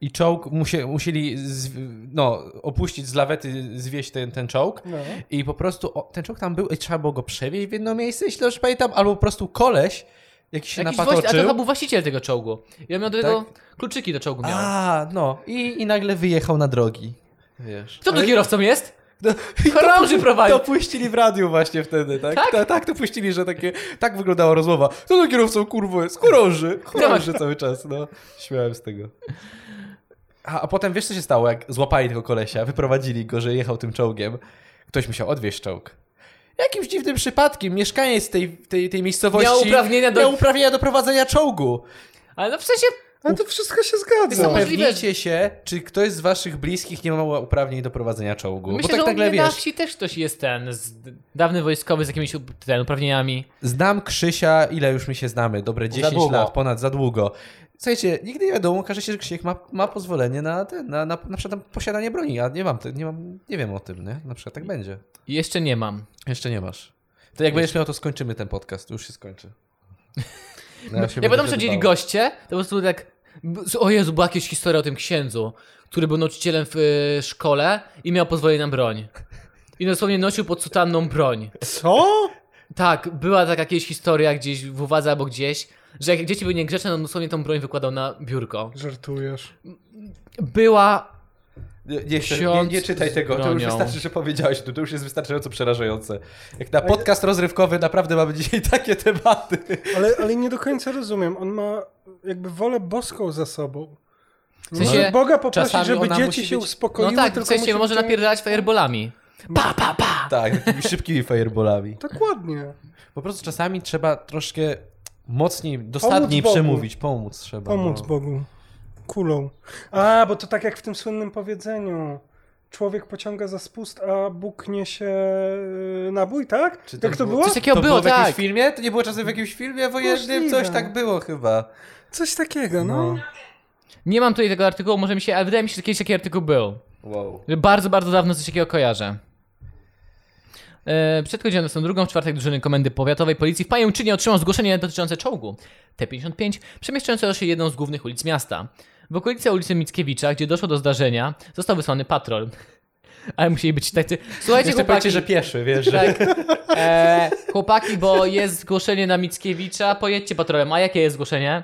Speaker 4: I czołg musie, musieli z, no, opuścić z lawety, zwieść ten, ten czołg.
Speaker 3: No.
Speaker 4: I po prostu o, ten czołg tam był i trzeba było go przewieźć w jedno miejsce, jeśli dobrze pamiętam, albo po prostu koleś jakiś się
Speaker 1: Jakiś
Speaker 4: napatoczył.
Speaker 1: właści- a to chyba był właściciel tego czołgu. I on miał do tego kluczyki do czołgu miał.
Speaker 4: Tak. A, no. I, I nagle wyjechał na drogi. Wiesz.
Speaker 1: Kto tu kierowcą jest?
Speaker 4: [laughs] No,
Speaker 1: Chorąży prowadzi.
Speaker 4: to puścili w radiu właśnie wtedy, tak?
Speaker 1: Tak?
Speaker 4: Ta, tak, to puścili, że takie, tak wyglądała rozmowa. Co to kierowcą, kurwo, jest? Chorąży.
Speaker 1: Tak.
Speaker 4: Chorąży cały czas, no. Śmiałem z tego. A, a potem wiesz, co się stało, jak złapali tego kolesia, wyprowadzili go, że jechał tym czołgiem. Ktoś musiał odwieźć czołg. Jakimś dziwnym przypadkiem mieszkaniec tej, tej, tej miejscowości
Speaker 1: Miał uprawnienia do-
Speaker 4: miał uprawnienia do prowadzenia czołgu.
Speaker 1: Ale no w sensie,
Speaker 3: Ale to wszystko się zgadza.
Speaker 1: Niesamowite.
Speaker 4: Upewnijcie się, czy ktoś z waszych bliskich nie ma uprawnień do prowadzenia czołgu.
Speaker 1: Myślę,
Speaker 4: Bo tak
Speaker 1: że u
Speaker 4: nagle
Speaker 1: mnie na
Speaker 4: wiesz,
Speaker 1: wsi też ktoś jest ten, z, dawny wojskowy z jakimiś up- ten, uprawnieniami.
Speaker 4: znam Krzysia, ile już my się znamy, dobre 10
Speaker 2: długo.
Speaker 4: lat, ponad za długo. Słuchajcie, nigdy nie wiadomo, okaże się, że Krzysiek ma, ma pozwolenie na, ten, na, na, na przykład tam posiadanie broni, a nie mam, te- nie mam, nie wiem o tym, nie? Na przykład tak będzie.
Speaker 1: I Jeszcze nie mam.
Speaker 4: Jeszcze nie masz. To jak będziesz miał, to skończymy ten podcast, już się skończy.
Speaker 1: Jak
Speaker 4: No, się będę
Speaker 1: potem przychodzili
Speaker 4: wydawał.
Speaker 1: goście, to po prostu tak. b- O Jezu, była jakaś historia o tym księdzu, który był nauczycielem w y, szkole i miał pozwolenie na broń. I dosłownie nosił pod sutanną broń.
Speaker 3: Co?
Speaker 1: Tak, była taka jakaś historia gdzieś w uwadze albo gdzieś, że jak dzieci były niegrzeczne, to dosłownie tą broń wykładał na biurko.
Speaker 3: Żartujesz.
Speaker 1: Była
Speaker 4: Nie, nie, chcę- nie,
Speaker 1: Ksiądz
Speaker 4: nie czytaj
Speaker 1: z
Speaker 4: tego, to już
Speaker 1: bronią.
Speaker 4: wystarczy, że powiedziałeś, no, to, to już jest wystarczająco przerażające. Jak na podcast rozrywkowy naprawdę mamy dzisiaj takie tematy.
Speaker 3: Ale, ale nie do końca rozumiem. On ma jakby wolę boską za sobą.
Speaker 1: W sensie-
Speaker 3: Może Boga poprosić,
Speaker 4: Czasami
Speaker 3: żeby
Speaker 4: ona
Speaker 3: dzieci
Speaker 4: musi
Speaker 3: się
Speaker 4: być-
Speaker 1: No
Speaker 3: uspokoiły.
Speaker 1: tak, w
Speaker 3: tylko
Speaker 1: sensie
Speaker 3: musi
Speaker 1: może
Speaker 3: być-
Speaker 1: napierdalać fireballami. Pa, pa, pa!
Speaker 4: Tak, takimi szybkimi fireballami.
Speaker 3: Dokładnie.
Speaker 4: Po prostu czasami trzeba troszkę mocniej, dosadniej
Speaker 3: Bogu.
Speaker 4: przemówić, pomóc trzeba.
Speaker 3: Pomóc
Speaker 4: no.
Speaker 3: Bogu. Kulą. A, bo to tak jak w tym słynnym powiedzeniu. Człowiek pociąga za spust, a Bóg niesie e, nabój, tak?
Speaker 4: Czy to
Speaker 3: jak to
Speaker 4: było-
Speaker 3: było?
Speaker 1: Coś
Speaker 3: Coś,
Speaker 1: takiego
Speaker 4: to
Speaker 1: było,
Speaker 4: było w jakimś
Speaker 1: tak.
Speaker 4: filmie? To nie było czasem w jakimś filmie wojennym?
Speaker 3: Możliwe.
Speaker 4: Coś tak było chyba.
Speaker 3: takiego, no.
Speaker 4: No.
Speaker 1: Nie mam tutaj tego artykułu, może mi się, ale wydaje mi się, że kiedyś taki artykuł był.
Speaker 4: Wow.
Speaker 1: Że Bardzo, bardzo dawno coś takiego kojarzę. E, Przed godziną 22 w czwartek drużyny Komendy Powiatowej Policji w Pajęczynie otrzymał zgłoszenie dotyczące czołgu T-55 przemieszczającego się jedną z głównych ulic miasta. W okolice ulicy Mickiewicza, gdzie doszło do zdarzenia, został wysłany patrol. [laughs] Ale musieli być tacy... Słuchajcie,
Speaker 4: Jeszcze
Speaker 1: chłopaki,
Speaker 4: powiecie, że pieszy, wiesz, że...
Speaker 1: Tak. E, chłopaki, bo jest zgłoszenie na Mickiewicza, pojedźcie patrolem. A jakie jest zgłoszenie?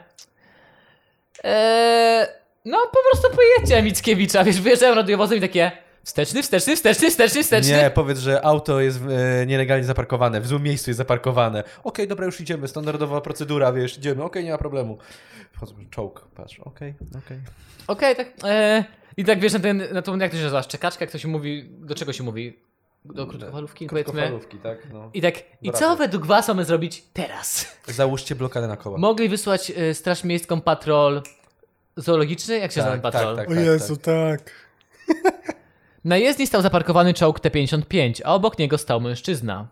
Speaker 1: E, no, po prostu pojedźcie na Mickiewicza. Wiesz, wyjeżdżają radiowozem i takie wsteczny, wsteczny, wsteczny, wsteczny, wsteczny.
Speaker 4: Nie, powiedz, że auto jest e, nielegalnie zaparkowane, w złym miejscu jest zaparkowane. Okej, dobra, już idziemy, standardowa procedura, wiesz, idziemy, okej, nie ma problemu. Wchodzą, czołg, patrz, okej, okej.
Speaker 1: Okej, tak. E, I tak wiesz, na, ten, na tą, jak to się nazywa, szczekaczka, kto się mówi, do czego się mówi? Do krótkofalówki, powiedzmy.
Speaker 4: Krótkofalówki, tak, no.
Speaker 1: I tak, i co
Speaker 4: Brawo.
Speaker 1: według was mamy zrobić teraz?
Speaker 4: Załóżcie blokadę na koła.
Speaker 1: Mogli wysłać e, Straż Miejską patrol zoologiczny? Jak się
Speaker 4: Tak,
Speaker 1: nazywa ten
Speaker 4: tak,
Speaker 1: patrol?
Speaker 4: tak.
Speaker 3: O Jezu, tak.
Speaker 1: Na jezdni stał zaparkowany czołg T-55, a obok niego stał mężczyzna.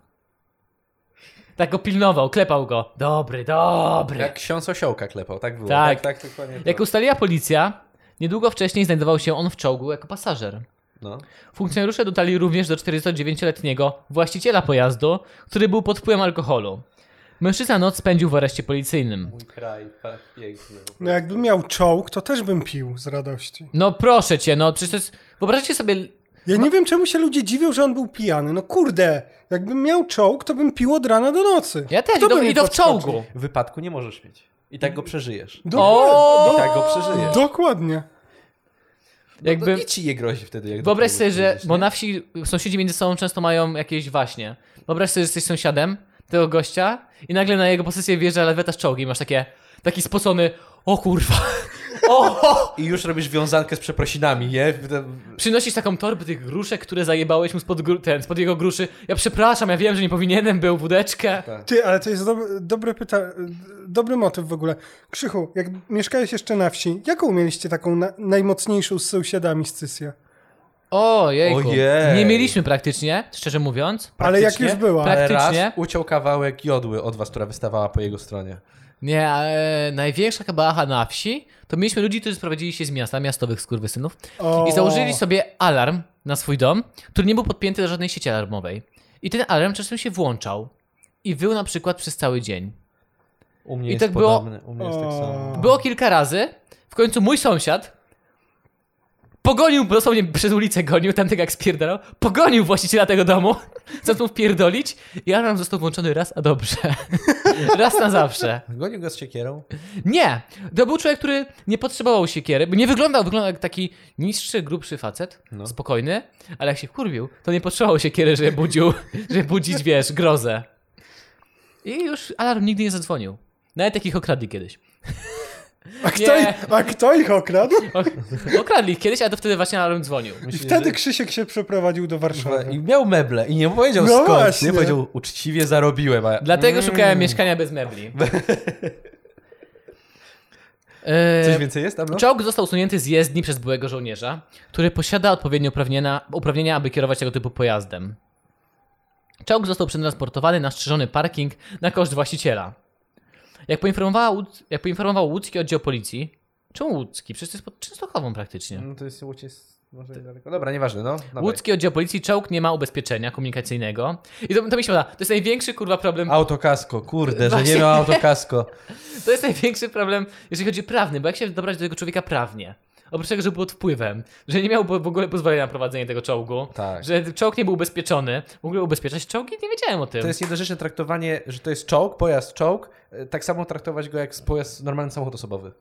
Speaker 1: Tak go pilnował, klepał go. Dobry, dobry.
Speaker 4: tak. Jak ksiądz osiołka klepał, tak było.
Speaker 1: Tak.
Speaker 4: Tak, tak, tak dokładnie.
Speaker 1: Jak
Speaker 4: to.
Speaker 1: ustaliła policja, niedługo wcześniej znajdował się on w czołgu jako pasażer.
Speaker 4: No.
Speaker 1: Funkcjonariusze dotarli również do 49-letniego właściciela pojazdu, który był pod wpływem alkoholu. Mężczyzna noc spędził w areszcie policyjnym.
Speaker 4: Mój kraj, tak piękny.
Speaker 3: No jakbym miał czołg, to też bym pił z radości.
Speaker 1: No proszę cię, no przecież to jest... Wyobraźcie sobie... No.
Speaker 3: Ja nie wiem, czemu się ludzie dziwią, że on był pijany. No kurde, jakbym miał czołg, to bym pił od rana do nocy.
Speaker 1: Ja też,
Speaker 3: Kto
Speaker 1: i to,
Speaker 3: by mnie
Speaker 1: i to w
Speaker 3: podskoczył?
Speaker 1: czołgu.
Speaker 4: Wypadku nie możesz mieć. I tak go przeżyjesz.
Speaker 1: O!
Speaker 4: I
Speaker 3: Dokładnie.
Speaker 4: tak go przeżyjesz.
Speaker 3: Dokładnie.
Speaker 4: No,
Speaker 1: Jakby...
Speaker 4: i ci nie grozi wtedy, jak do
Speaker 1: Wyobraź
Speaker 4: czołgu
Speaker 1: sobie, że.
Speaker 4: przyjedziesz,
Speaker 1: Bo
Speaker 4: nie?
Speaker 1: na wsi sąsiedzi między sobą często mają jakieś waśnie. Wyobraź sobie, że jesteś sąsiadem tego gościa i nagle na jego posesję wjeżdża laweta z czołgi i masz takie. Taki spocony. O kurwa. [laughs] O!
Speaker 4: I już robisz wiązankę z przeprosinami, nie?
Speaker 1: Przynosisz taką torbę tych gruszek, które zajebałeś mu spod, gru- ten, spod jego gruszy. Ja przepraszam, ja wiem, że nie powinienem był wódeczkę.
Speaker 4: Tak.
Speaker 3: Ty, ale to jest dob dobre pytanie, dobry motyw w ogóle. Krzychu, jak mieszkałeś jeszcze na wsi, jaką mieliście taką na najmocniejszą z sąsiadami scysję?
Speaker 1: O jejku.
Speaker 4: Ojej.
Speaker 1: Nie mieliśmy praktycznie, szczerze mówiąc.
Speaker 3: Ale jak
Speaker 4: Praktycznie?
Speaker 3: już była.
Speaker 1: Tak.
Speaker 4: Ale raz
Speaker 1: Praktycznie.
Speaker 4: uciął kawałek jodły od was, która wystawała po jego stronie.
Speaker 1: Nie, e, największa kabacha na wsi to mieliśmy ludzi, którzy sprowadzili się z miasta, miastowych skurwysynów.
Speaker 3: O.
Speaker 1: I założyli sobie alarm na swój dom, który nie był podpięty do żadnej sieci alarmowej. I ten alarm czasem się włączał i wył na przykład przez cały dzień.
Speaker 4: U mnie
Speaker 1: I
Speaker 4: jest
Speaker 1: tak było-
Speaker 4: podobny, u mnie jest tak
Speaker 3: O.
Speaker 4: samo.
Speaker 1: Było kilka razy, w końcu mój sąsiad pogonił, bo dosłownie przez ulicę gonił, tamtego jak spierdalał, pogonił właściciela tego domu, [laughs] zaczął mu wpierdolić i alarm został włączony raz, a dobrze. [laughs] raz na zawsze.
Speaker 4: Gonił go z siekierą.
Speaker 1: Nie! To był człowiek, który nie potrzebował siekiery, bo nie wyglądał, wyglądał jak taki niższy, grubszy facet,
Speaker 4: No.
Speaker 1: spokojny, ale jak się kurwił, to nie potrzebował siekiery, żeby
Speaker 4: [laughs]
Speaker 1: budził, żeby budzić, wiesz, grozę. I już alarm nigdy nie zadzwonił. Nawet takich okradli kiedyś.
Speaker 3: A kto,
Speaker 1: Nie.
Speaker 3: ich, a kto ich okradł?
Speaker 4: [laughs]
Speaker 1: O- Okradli ich kiedyś, ale to wtedy właśnie alarm dzwonił.
Speaker 3: I
Speaker 4: Myślisz,
Speaker 3: wtedy
Speaker 4: że-
Speaker 3: Krzysiek się przeprowadził do
Speaker 4: I
Speaker 3: Warszawy.
Speaker 4: miał meble i nie powiedział
Speaker 3: No
Speaker 4: skąd.
Speaker 3: właśnie.
Speaker 4: Nie powiedział uczciwie zarobiłem. A...
Speaker 1: Dlatego szukałem mieszkania bez mebli. E,
Speaker 4: [laughs] Coś więcej jest tam, no?
Speaker 1: Czołg został usunięty z jezdni przez byłego żołnierza, który posiada odpowiednie uprawnienia, uprawnienia aby kierować tego typu pojazdem. Czołg został przetransportowany na strzeżony parking na koszt właściciela. Jak, poinformowała, Łódz- jak poinformował łódzki oddział policji, czemu łódzki? Przecież to jest pod Częstochową praktycznie.
Speaker 4: No to jest Łódź jest może niedaleko. Dobra, nieważne, no. Dawaj.
Speaker 1: Łódzki oddział policji, czołg nie ma ubezpieczenia komunikacyjnego. I to, to mi się podoba. To jest największy kurwa problem.
Speaker 4: Autokasko, kurde, że
Speaker 1: Właśnie.
Speaker 4: nie miał autokasko.
Speaker 1: To jest największy problem, jeżeli chodzi o prawny, bo jak się dobrać do tego człowieka prawnie? Oprócz tego, że był pod wpływem, że nie miał po- w ogóle pozwolenia na prowadzenie tego czołgu,
Speaker 4: Tak.
Speaker 1: że czołg nie był ubezpieczony, w ogóle ubezpieczać czołgi? Nie wiedziałem o tym.
Speaker 4: To jest niedorzeczne traktowanie, że to jest czołg, pojazd czołg, e, tak samo traktować go jak pojazd normalny samochód osobowy.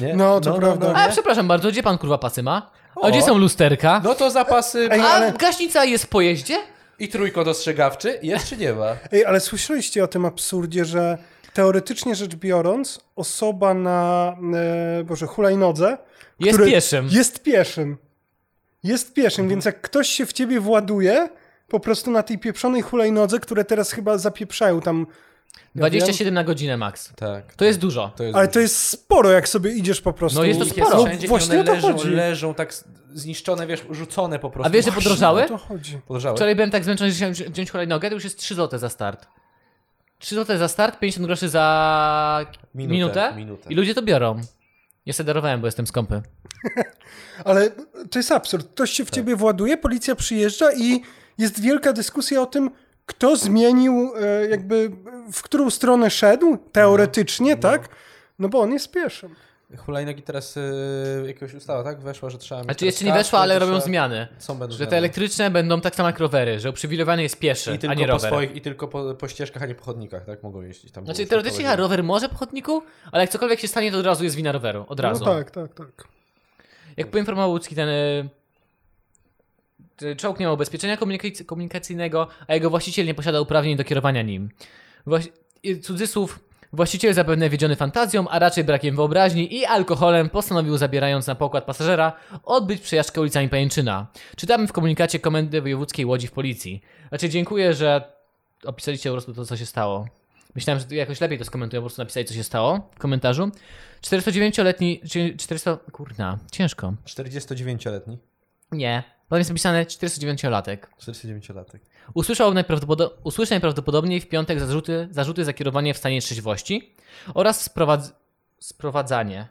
Speaker 4: Nie?
Speaker 3: No, to prawda.
Speaker 1: A
Speaker 4: nie?
Speaker 1: przepraszam bardzo, gdzie pan kurwa pasy ma? A
Speaker 4: O.
Speaker 1: gdzie są lusterka?
Speaker 4: No to zapasy
Speaker 3: Ej,
Speaker 1: A
Speaker 3: ale-
Speaker 1: gaśnica jest w pojeździe?
Speaker 4: i trójkąt ostrzegawczy jest czy nie ma?
Speaker 3: Ej, ale słyszeliście o tym absurdzie, że teoretycznie rzecz biorąc, osoba na e, Boże, hulajnodze
Speaker 1: Jest
Speaker 3: który-
Speaker 1: pieszym. Mhm.
Speaker 3: Jest pieszym. Jest pieszym, więc jak ktoś się w ciebie właduje, po prostu na tej pieprzonej hulajnodze, które teraz chyba zapieprzają tam. Ja
Speaker 1: 27 na godzinę max.
Speaker 4: Tak.
Speaker 1: To jest dużo.
Speaker 4: To jest
Speaker 3: Ale to jest sporo, jak sobie idziesz po prostu.
Speaker 1: No jest to
Speaker 4: Jest
Speaker 1: sporo.
Speaker 4: wszędzie i
Speaker 3: właśnie o
Speaker 4: one
Speaker 3: to
Speaker 4: leżą,
Speaker 3: chodzi.
Speaker 4: leżą tak z- zniszczone, wiesz, rzucone po prostu.
Speaker 1: A wiesz, że podrożały?
Speaker 3: O to chodzi.
Speaker 4: Podrożały?
Speaker 1: Wczoraj byłem tak zmęczony, że chciałem wzi- wziąć hulajnogę, to już jest 3 zł za start. 3 zł za start, 50 groszy za minutę.
Speaker 4: Minutę, minutę.
Speaker 1: I ludzie to biorą. Ja se darowałem, bo jestem skąpy.
Speaker 4: No
Speaker 3: Ale to jest absurd. Ktoś
Speaker 1: Tak.
Speaker 3: się w ciebie właduje, policja przyjeżdża i jest wielka dyskusja o tym, kto zmienił, e, jakby w którą stronę szedł, teoretycznie, tak? No bo on jest pieszym.
Speaker 4: Hulajnogi teraz y, jakoś ustawa, tak? Weszła, że trzeba mieć
Speaker 1: Znaczy
Speaker 4: teraz
Speaker 1: jeszcze nie
Speaker 4: kasko,
Speaker 1: weszła, ale
Speaker 4: że
Speaker 1: robią
Speaker 4: trzeba-
Speaker 1: zmiany.
Speaker 4: Są będą
Speaker 1: Że te
Speaker 4: zmiany.
Speaker 1: elektryczne będą tak samo jak rowery, że uprzywilejowany jest pieszy,
Speaker 4: I
Speaker 1: a
Speaker 4: tylko,
Speaker 1: nie
Speaker 4: po
Speaker 1: rower.
Speaker 4: swoich, I tylko po, po ścieżkach, a nie po chodnikach, tak? Mogą jeździć tam.
Speaker 1: Znaczy
Speaker 4: było
Speaker 1: teoretycznie
Speaker 4: przeprowadzone.
Speaker 1: ja rower może po chodniku, ale jak cokolwiek się stanie, to od razu jest wina roweru. Od
Speaker 3: No
Speaker 1: razu.
Speaker 3: tak, tak, tak.
Speaker 1: Jak poinformował Łódzki, ten, y, ten czołg nie ma ubezpieczenia komunikac- komunikacyjnego, a jego właściciel nie posiada uprawnień do kierowania nim. Właś- i cudzysłów, właściciel zapewne wiedziony fantazją, a raczej brakiem wyobraźni i alkoholem postanowił, zabierając na pokład pasażera, odbyć przejażdżkę ulicami Pajęczyna. Czytamy w komunikacie Komendy Wojewódzkiej Łodzi w Policji. Znaczy dziękuję, że opisaliście po prostu to, co się stało. Myślałem, że jakoś lepiej to skomentują, po prostu napisali, co się stało w komentarzu. 409-letni... 400... Kurna, ciężko.
Speaker 4: 49-letni.
Speaker 1: Nie. Potem jest napisane 49-latek.
Speaker 4: 49-latek.
Speaker 1: Usłyszał najprawdopodo- usłyszy najprawdopodobniej w piątek zarzuty, zarzuty za kierowanie w stanie trzeźwości oraz sprowadz- sprowadzanie.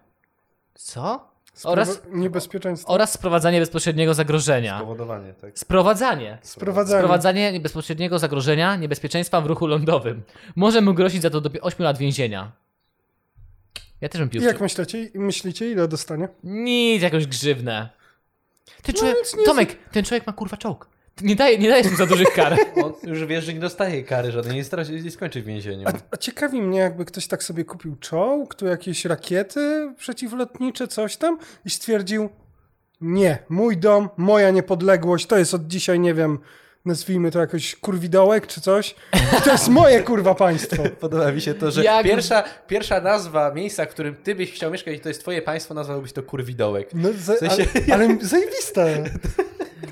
Speaker 1: Co?
Speaker 3: Sprawa-
Speaker 1: Oraz,
Speaker 3: niebezpieczeństwo.
Speaker 1: oraz sprowadzanie bezpośredniego zagrożenia.
Speaker 4: Spowodowanie, tak?
Speaker 1: Sprowadzanie.
Speaker 3: Sprowadzanie.
Speaker 1: Sprowadzanie bezpośredniego zagrożenia niebezpieczeństwa w ruchu lądowym. Może mu grozić za to do 8 lat więzienia. Ja też bym pił.
Speaker 3: I Jak myślicie, myślicie, ile dostanie?
Speaker 1: Nic, jakąś grzywnę. Ty człowiek,
Speaker 3: No nic nie-
Speaker 1: Tomek, ten człowiek ma kurwa czołg. Ty Nie, daje, nie dajesz mu za dużych
Speaker 3: [laughs]
Speaker 1: kar.
Speaker 4: On już wiesz, że nie dostaje kary żadnej, nie, straci, nie skończy w więzieniu.
Speaker 3: A, a ciekawi mnie, jakby ktoś tak sobie kupił czołg, tu jakieś rakiety przeciwlotnicze, coś tam i stwierdził, nie, mój dom, moja niepodległość, to jest od dzisiaj, nie wiem, nazwijmy to jakoś kurwidołek czy coś. To jest moje kurwa państwo.
Speaker 4: Podoba mi się to, że
Speaker 1: Jak-
Speaker 4: pierwsza, pierwsza nazwa miejsca, w którym ty byś chciał mieszkać i to jest twoje państwo, nazwałbyś to Kurwidołek.
Speaker 3: No, za,
Speaker 4: W sensie-
Speaker 3: ale, ale zajebiste.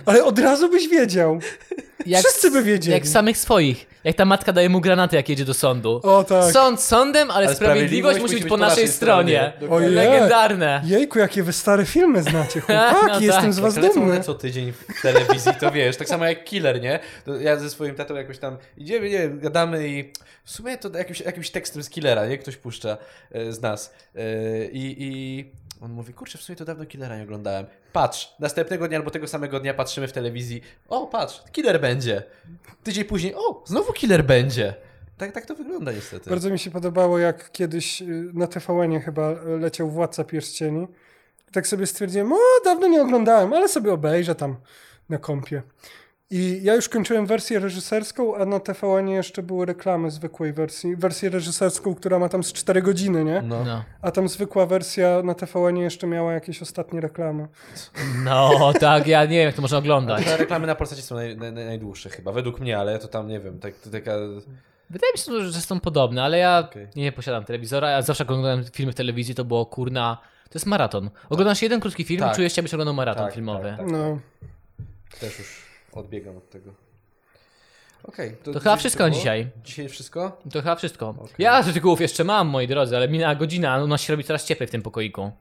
Speaker 3: Ale od razu byś wiedział.
Speaker 1: Jak,
Speaker 3: Wszyscy by wiedzieli.
Speaker 1: Jak samych swoich. Jak ta matka daje mu granaty, jak jedzie do sądu.
Speaker 3: O tak.
Speaker 1: Sąd sądem, ale,
Speaker 4: Ale
Speaker 1: sprawiedliwość,
Speaker 4: sprawiedliwość
Speaker 1: musi być po naszej stronie.
Speaker 4: Dokładnie.
Speaker 3: Ojej.
Speaker 1: Legendarne.
Speaker 3: Jejku, jakie wy stare filmy znacie,
Speaker 1: [laughs]
Speaker 3: chłopaki,
Speaker 1: No
Speaker 3: jestem
Speaker 1: tak,
Speaker 3: z
Speaker 4: Jak
Speaker 3: was
Speaker 4: lecą
Speaker 3: dumny.
Speaker 4: one co tydzień w telewizji, to wiesz, tak samo jak Killer, nie? To ja ze swoim tatą jakoś tam idziemy, nie wiem, gadamy i w sumie to jakimś, jakimś tekstem z Killera, nie? Ktoś puszcza e, z nas. E, I, I on mówi, kurczę, w sumie to dawno Killera nie oglądałem. Patrz, następnego dnia albo tego samego dnia patrzymy w telewizji, o patrz, Killer będzie. Tydzień później, o, znowu Killer będzie. Tak, tak to wygląda niestety.
Speaker 3: Bardzo mi się podobało, jak kiedyś y, na tvn chyba y, leciał Władca Pierścieni. I Tak sobie stwierdziłem, o, dawno nie oglądałem, ale sobie obejrzę tam na kompie. I ja już kończyłem wersję reżyserską, a na tvn jeszcze były reklamy zwykłej wersji. Wersję reżyserską, która ma tam z 4 godziny, nie?
Speaker 4: No.
Speaker 1: No.
Speaker 3: A tam zwykła wersja na tvn jeszcze miała jakieś ostatnie reklamy.
Speaker 1: no, tak, ja nie wiem, jak to można oglądać.
Speaker 4: Te reklamy na Polsacie są naj, naj, naj- najdłuższe chyba, według mnie, ale to tam, nie wiem, tak, to taka...
Speaker 1: Wydaje mi się, że są podobne, ale ja
Speaker 4: Okej.
Speaker 1: nie posiadam telewizora. Ja zawsze jak oglądałem filmy w telewizji, to było kurna. To jest maraton. Oglądasz jeden krótki film
Speaker 4: Tak.
Speaker 1: i czujesz się, jakbyś oglądał maraton
Speaker 4: Tak,
Speaker 1: filmowy.
Speaker 4: tak, tak.
Speaker 3: No.
Speaker 4: Też już odbiegam od tego. Okej.
Speaker 1: To chyba wszystko na dzisiaj.
Speaker 4: Dzisiaj wszystko?
Speaker 1: To chyba wszystko. Ja tytułów jeszcze mam, moi drodzy, ale minęła godzina, a u nas się robi coraz cieplej w tym pokoiku.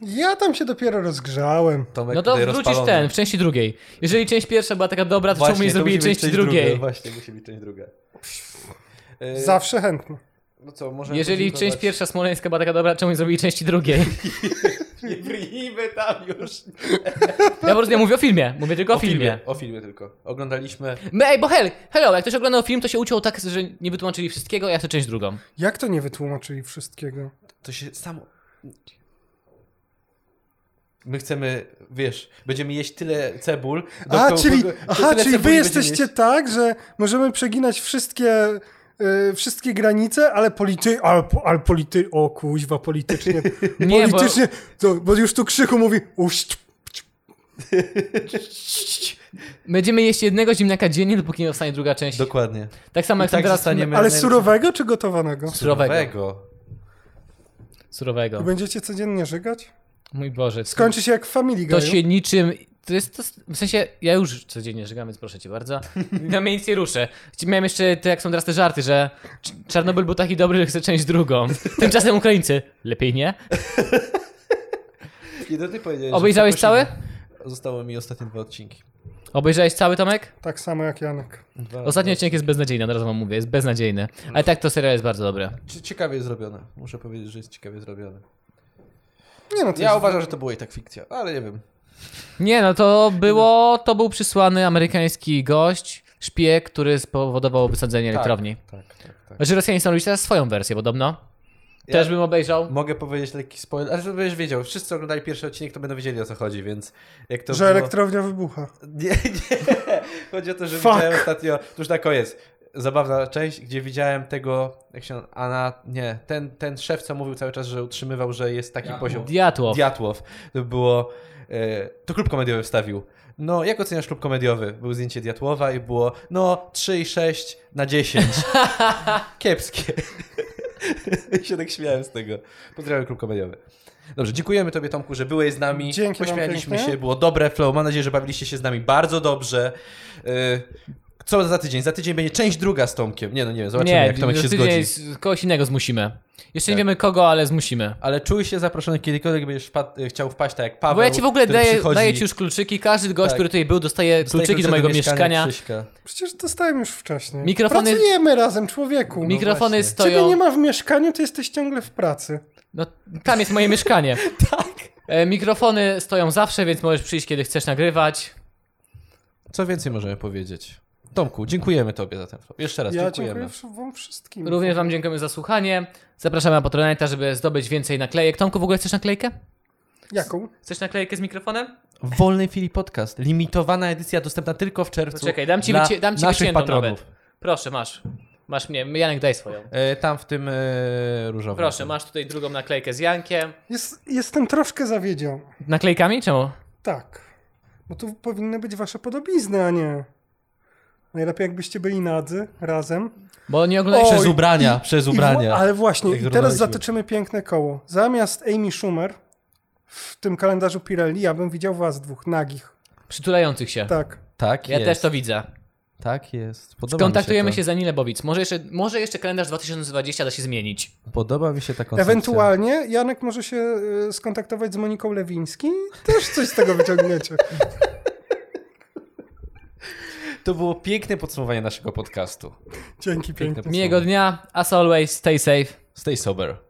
Speaker 3: Ja tam się dopiero rozgrzałem.
Speaker 4: Tomek
Speaker 1: No to
Speaker 4: Tak tutaj
Speaker 1: wrócisz
Speaker 4: rozpalony.
Speaker 1: ten, w części drugiej. Jeżeli część pierwsza była taka dobra, to czemu
Speaker 4: Właśnie,
Speaker 1: nie
Speaker 4: to
Speaker 1: zrobili
Speaker 4: musi być
Speaker 1: części
Speaker 4: część druga,
Speaker 1: drugiej?
Speaker 4: Właśnie, musi być część druga. E,
Speaker 3: Zawsze chętny.
Speaker 4: No co, możemy
Speaker 1: Jeżeli
Speaker 4: podziękować.
Speaker 1: część pierwsza smoleńska była taka dobra, czemu nie zrobili części drugiej?
Speaker 4: Nie bryjmy tam już.
Speaker 1: Ja po prostu nie mówię o filmie, mówię tylko o, filmie.
Speaker 4: O filmie tylko. Oglądaliśmy...
Speaker 1: filmie. Ej, bo hel, hello, jak ktoś oglądał film, to się uciął tak, że nie wytłumaczyli wszystkiego, ja chcę część drugą.
Speaker 3: Jak to nie wytłumaczyli wszystkiego?
Speaker 4: To się samo... My chcemy, wiesz, będziemy jeść tyle cebul... do
Speaker 3: A,
Speaker 4: koło-
Speaker 3: czyli,
Speaker 4: do-
Speaker 3: aha,
Speaker 4: tyle
Speaker 3: czyli wy
Speaker 4: cebuli
Speaker 3: jesteście
Speaker 4: będziemy
Speaker 3: tak, że możemy przeginać wszystkie, y, wszystkie granice, ale polity, ale, po- ale polity, o kuźwa, politycznie,
Speaker 1: [laughs] Nie, bo-
Speaker 3: politycznie, bo... To, bo już tu Krzychu mówi, uść,
Speaker 1: Będziemy jeść jednego ziemniaka dziennie, dopóki nie powstanie druga część.
Speaker 4: jeść. Dokładnie.
Speaker 1: tak samo
Speaker 4: I
Speaker 1: jak
Speaker 4: tak
Speaker 1: teraz
Speaker 4: zostaniemy-
Speaker 3: ale
Speaker 4: Miałem-
Speaker 3: surowego czy gotowanego?
Speaker 1: Surowego.
Speaker 4: Surowego.
Speaker 1: surowego.
Speaker 3: I będziecie codziennie żygać?
Speaker 1: Mój Boże.
Speaker 3: Skończy się jak w Family
Speaker 1: To
Speaker 3: Guy.
Speaker 1: się niczym. To jest to, w sensie, ja już codziennie żegam, więc proszę cię
Speaker 4: [laughs]
Speaker 1: bardzo. Na mnie nic nie ruszę. Chci- Miałem jeszcze, te, jak są teraz te żarty, że Cz- Czarnobyl był taki dobry, że chce część
Speaker 4: [laughs]
Speaker 1: drugą. Tymczasem Ukraińcy. Lepiej nie.
Speaker 4: I to ty powiedziałeś, że
Speaker 1: Obejrzałeś
Speaker 4: przeprosimy.
Speaker 1: cały?
Speaker 4: Zostały mi ostatnie dwa odcinki.
Speaker 1: Obejrzałeś cały, Tomek?
Speaker 3: Tak samo jak Janek.
Speaker 4: Dwa,
Speaker 1: Ostatni odcinek jest beznadziejny, od razu wam mówię, jest beznadziejny.
Speaker 4: No.
Speaker 1: Ale tak, to serial jest bardzo dobry.
Speaker 4: Cie- Ciekawie zrobione. Muszę powiedzieć, że jest ciekawie zrobione.
Speaker 3: Nie no, to
Speaker 4: Ja
Speaker 3: jest...
Speaker 4: uważam, że to była i tak fikcja, ale nie wiem.
Speaker 1: Nie, no to było, to był przysłany amerykański gość, szpieg, który spowodował wysadzenie elektrowni.
Speaker 4: Tak, tak, tak.
Speaker 1: Znaczy Rosjanie są robić teraz swoją wersję podobno.
Speaker 4: Ja-
Speaker 1: Też bym obejrzał.
Speaker 4: Mogę powiedzieć lekki spoiler, ale to będziesz wiedział. Wszyscy oglądali pierwszy odcinek, to będą wiedzieli o co chodzi, więc jak to
Speaker 3: że
Speaker 4: było...
Speaker 3: elektrownia wybucha.
Speaker 4: [laughs] Nie, nie. Chodzi o to, że
Speaker 3: Fuck.
Speaker 4: widziałem ostatnio, tuż na koniec, zabawna część, gdzie widziałem tego, jak się on, Ana, nie, ten, ten szef, co mówił cały czas, że utrzymywał, że jest taki poziom.
Speaker 1: Diatłow.
Speaker 4: Diatłow. To było. e, To klub komediowy wstawił. No, jak oceniasz klub komediowy? Było zdjęcie Diatłowa i było, no, 3,6
Speaker 1: [laughs]
Speaker 4: na 10. Kiepskie. [laughs] I się tak śmiałem z tego. Pozdrawiam klub komediowy. Dobrze, dziękujemy Tobie, Tomku, że byłeś z nami.
Speaker 3: Dzięki wam
Speaker 4: Pośmialiśmy
Speaker 3: pięknie.
Speaker 4: się, było dobre flow. Mam nadzieję, że bawiliście się z nami bardzo dobrze. E, Co za tydzień? Za tydzień będzie część druga z Tomkiem. Nie, no nie wiem, zobaczymy,
Speaker 1: Nie,
Speaker 4: jak Tomek się
Speaker 1: tydzień
Speaker 4: zgodzi.
Speaker 1: z- kogoś innego zmusimy. Jeszcze nie wiemy kogo, ale zmusimy.
Speaker 4: Ale czuj się zaproszony kiedykolwiek będziesz wpa- chciał wpaść, tak jak Paweł.
Speaker 1: Bo ja ci w ogóle
Speaker 4: który
Speaker 1: daję,
Speaker 4: przychodzi-
Speaker 1: daję ci już kluczyki. Każdy gość,
Speaker 4: Tak.
Speaker 1: który tutaj był, dostaje
Speaker 4: dostaje
Speaker 1: kluczyki do mojego mieszkania.
Speaker 4: Krzyśka.
Speaker 3: Przecież dostałem już wcześniej.
Speaker 1: Mikrofony-
Speaker 3: Pracujemy razem, człowieku.
Speaker 1: Mikrofony
Speaker 4: właśnie.
Speaker 1: stoją.
Speaker 3: no Ciebie nie ma w mieszkaniu, ty jesteś ciągle w pracy.
Speaker 1: No, tam jest moje mieszkanie. tak. Mikrofony stoją zawsze, więc możesz przyjść, kiedy chcesz nagrywać.
Speaker 4: Co więcej możemy powiedzieć? Tomku, dziękujemy Tobie za ten flow. Jeszcze raz
Speaker 3: Ja
Speaker 4: dziękujemy.
Speaker 3: dziękuję wam wszystkim.
Speaker 1: Również Wam dziękujemy za słuchanie. Zapraszamy na Patronite, żeby zdobyć więcej naklejek. Tomku, w ogóle chcesz naklejkę?
Speaker 3: Jaką?
Speaker 1: Chcesz naklejkę z mikrofonem?
Speaker 4: W wolnej chwili podcast. Limitowana edycja dostępna tylko w czerwcu.
Speaker 1: Poczekaj, dam ci,
Speaker 4: dla
Speaker 1: wycie- dam ci
Speaker 4: naszych
Speaker 1: wyciętą
Speaker 4: patronów.
Speaker 1: nawet. Proszę, masz. Masz mnie. Janek, daj swoją.
Speaker 4: E, tam w tym e, różowym.
Speaker 1: Proszę, masz tutaj drugą naklejkę z Jankiem.
Speaker 3: Jest, jestem troszkę zawiedziony.
Speaker 1: Naklejkami? Czemu?
Speaker 3: Tak. Bo tu powinny być wasze podobizny, a nie. Najlepiej jakbyście byli nadzy razem.
Speaker 1: Bo nie
Speaker 3: O,
Speaker 1: oglądaliśmy
Speaker 4: Przez
Speaker 3: i-
Speaker 4: ubrania, przez
Speaker 3: I
Speaker 4: ubrania.
Speaker 3: wła- ale właśnie,
Speaker 4: Jak
Speaker 3: i teraz
Speaker 4: żurnaliści.
Speaker 3: zatoczymy piękne koło. Zamiast Amy Schumer w tym kalendarzu Pirelli, ja bym widział was dwóch nagich.
Speaker 1: przytulających się.
Speaker 3: Tak.
Speaker 4: Tak
Speaker 1: Ja
Speaker 4: jest.
Speaker 1: też to widzę.
Speaker 4: Tak jest. Podoba
Speaker 1: Kontaktujemy
Speaker 4: mi
Speaker 1: się, za Nile Bowic. Może jeszcze, może jeszcze kalendarz 2020 da się zmienić.
Speaker 4: to. Podoba mi się ta koncepcja.
Speaker 3: Ewentualnie Janek może się y, skontaktować z Moniką Lewiński. Też coś z
Speaker 4: [laughs]
Speaker 3: tego wyciągniecie.
Speaker 4: To było piękne podsumowanie naszego podcastu.
Speaker 3: Dzięki pięknie.
Speaker 1: Miłego dnia, as always, stay safe.
Speaker 4: Stay sober.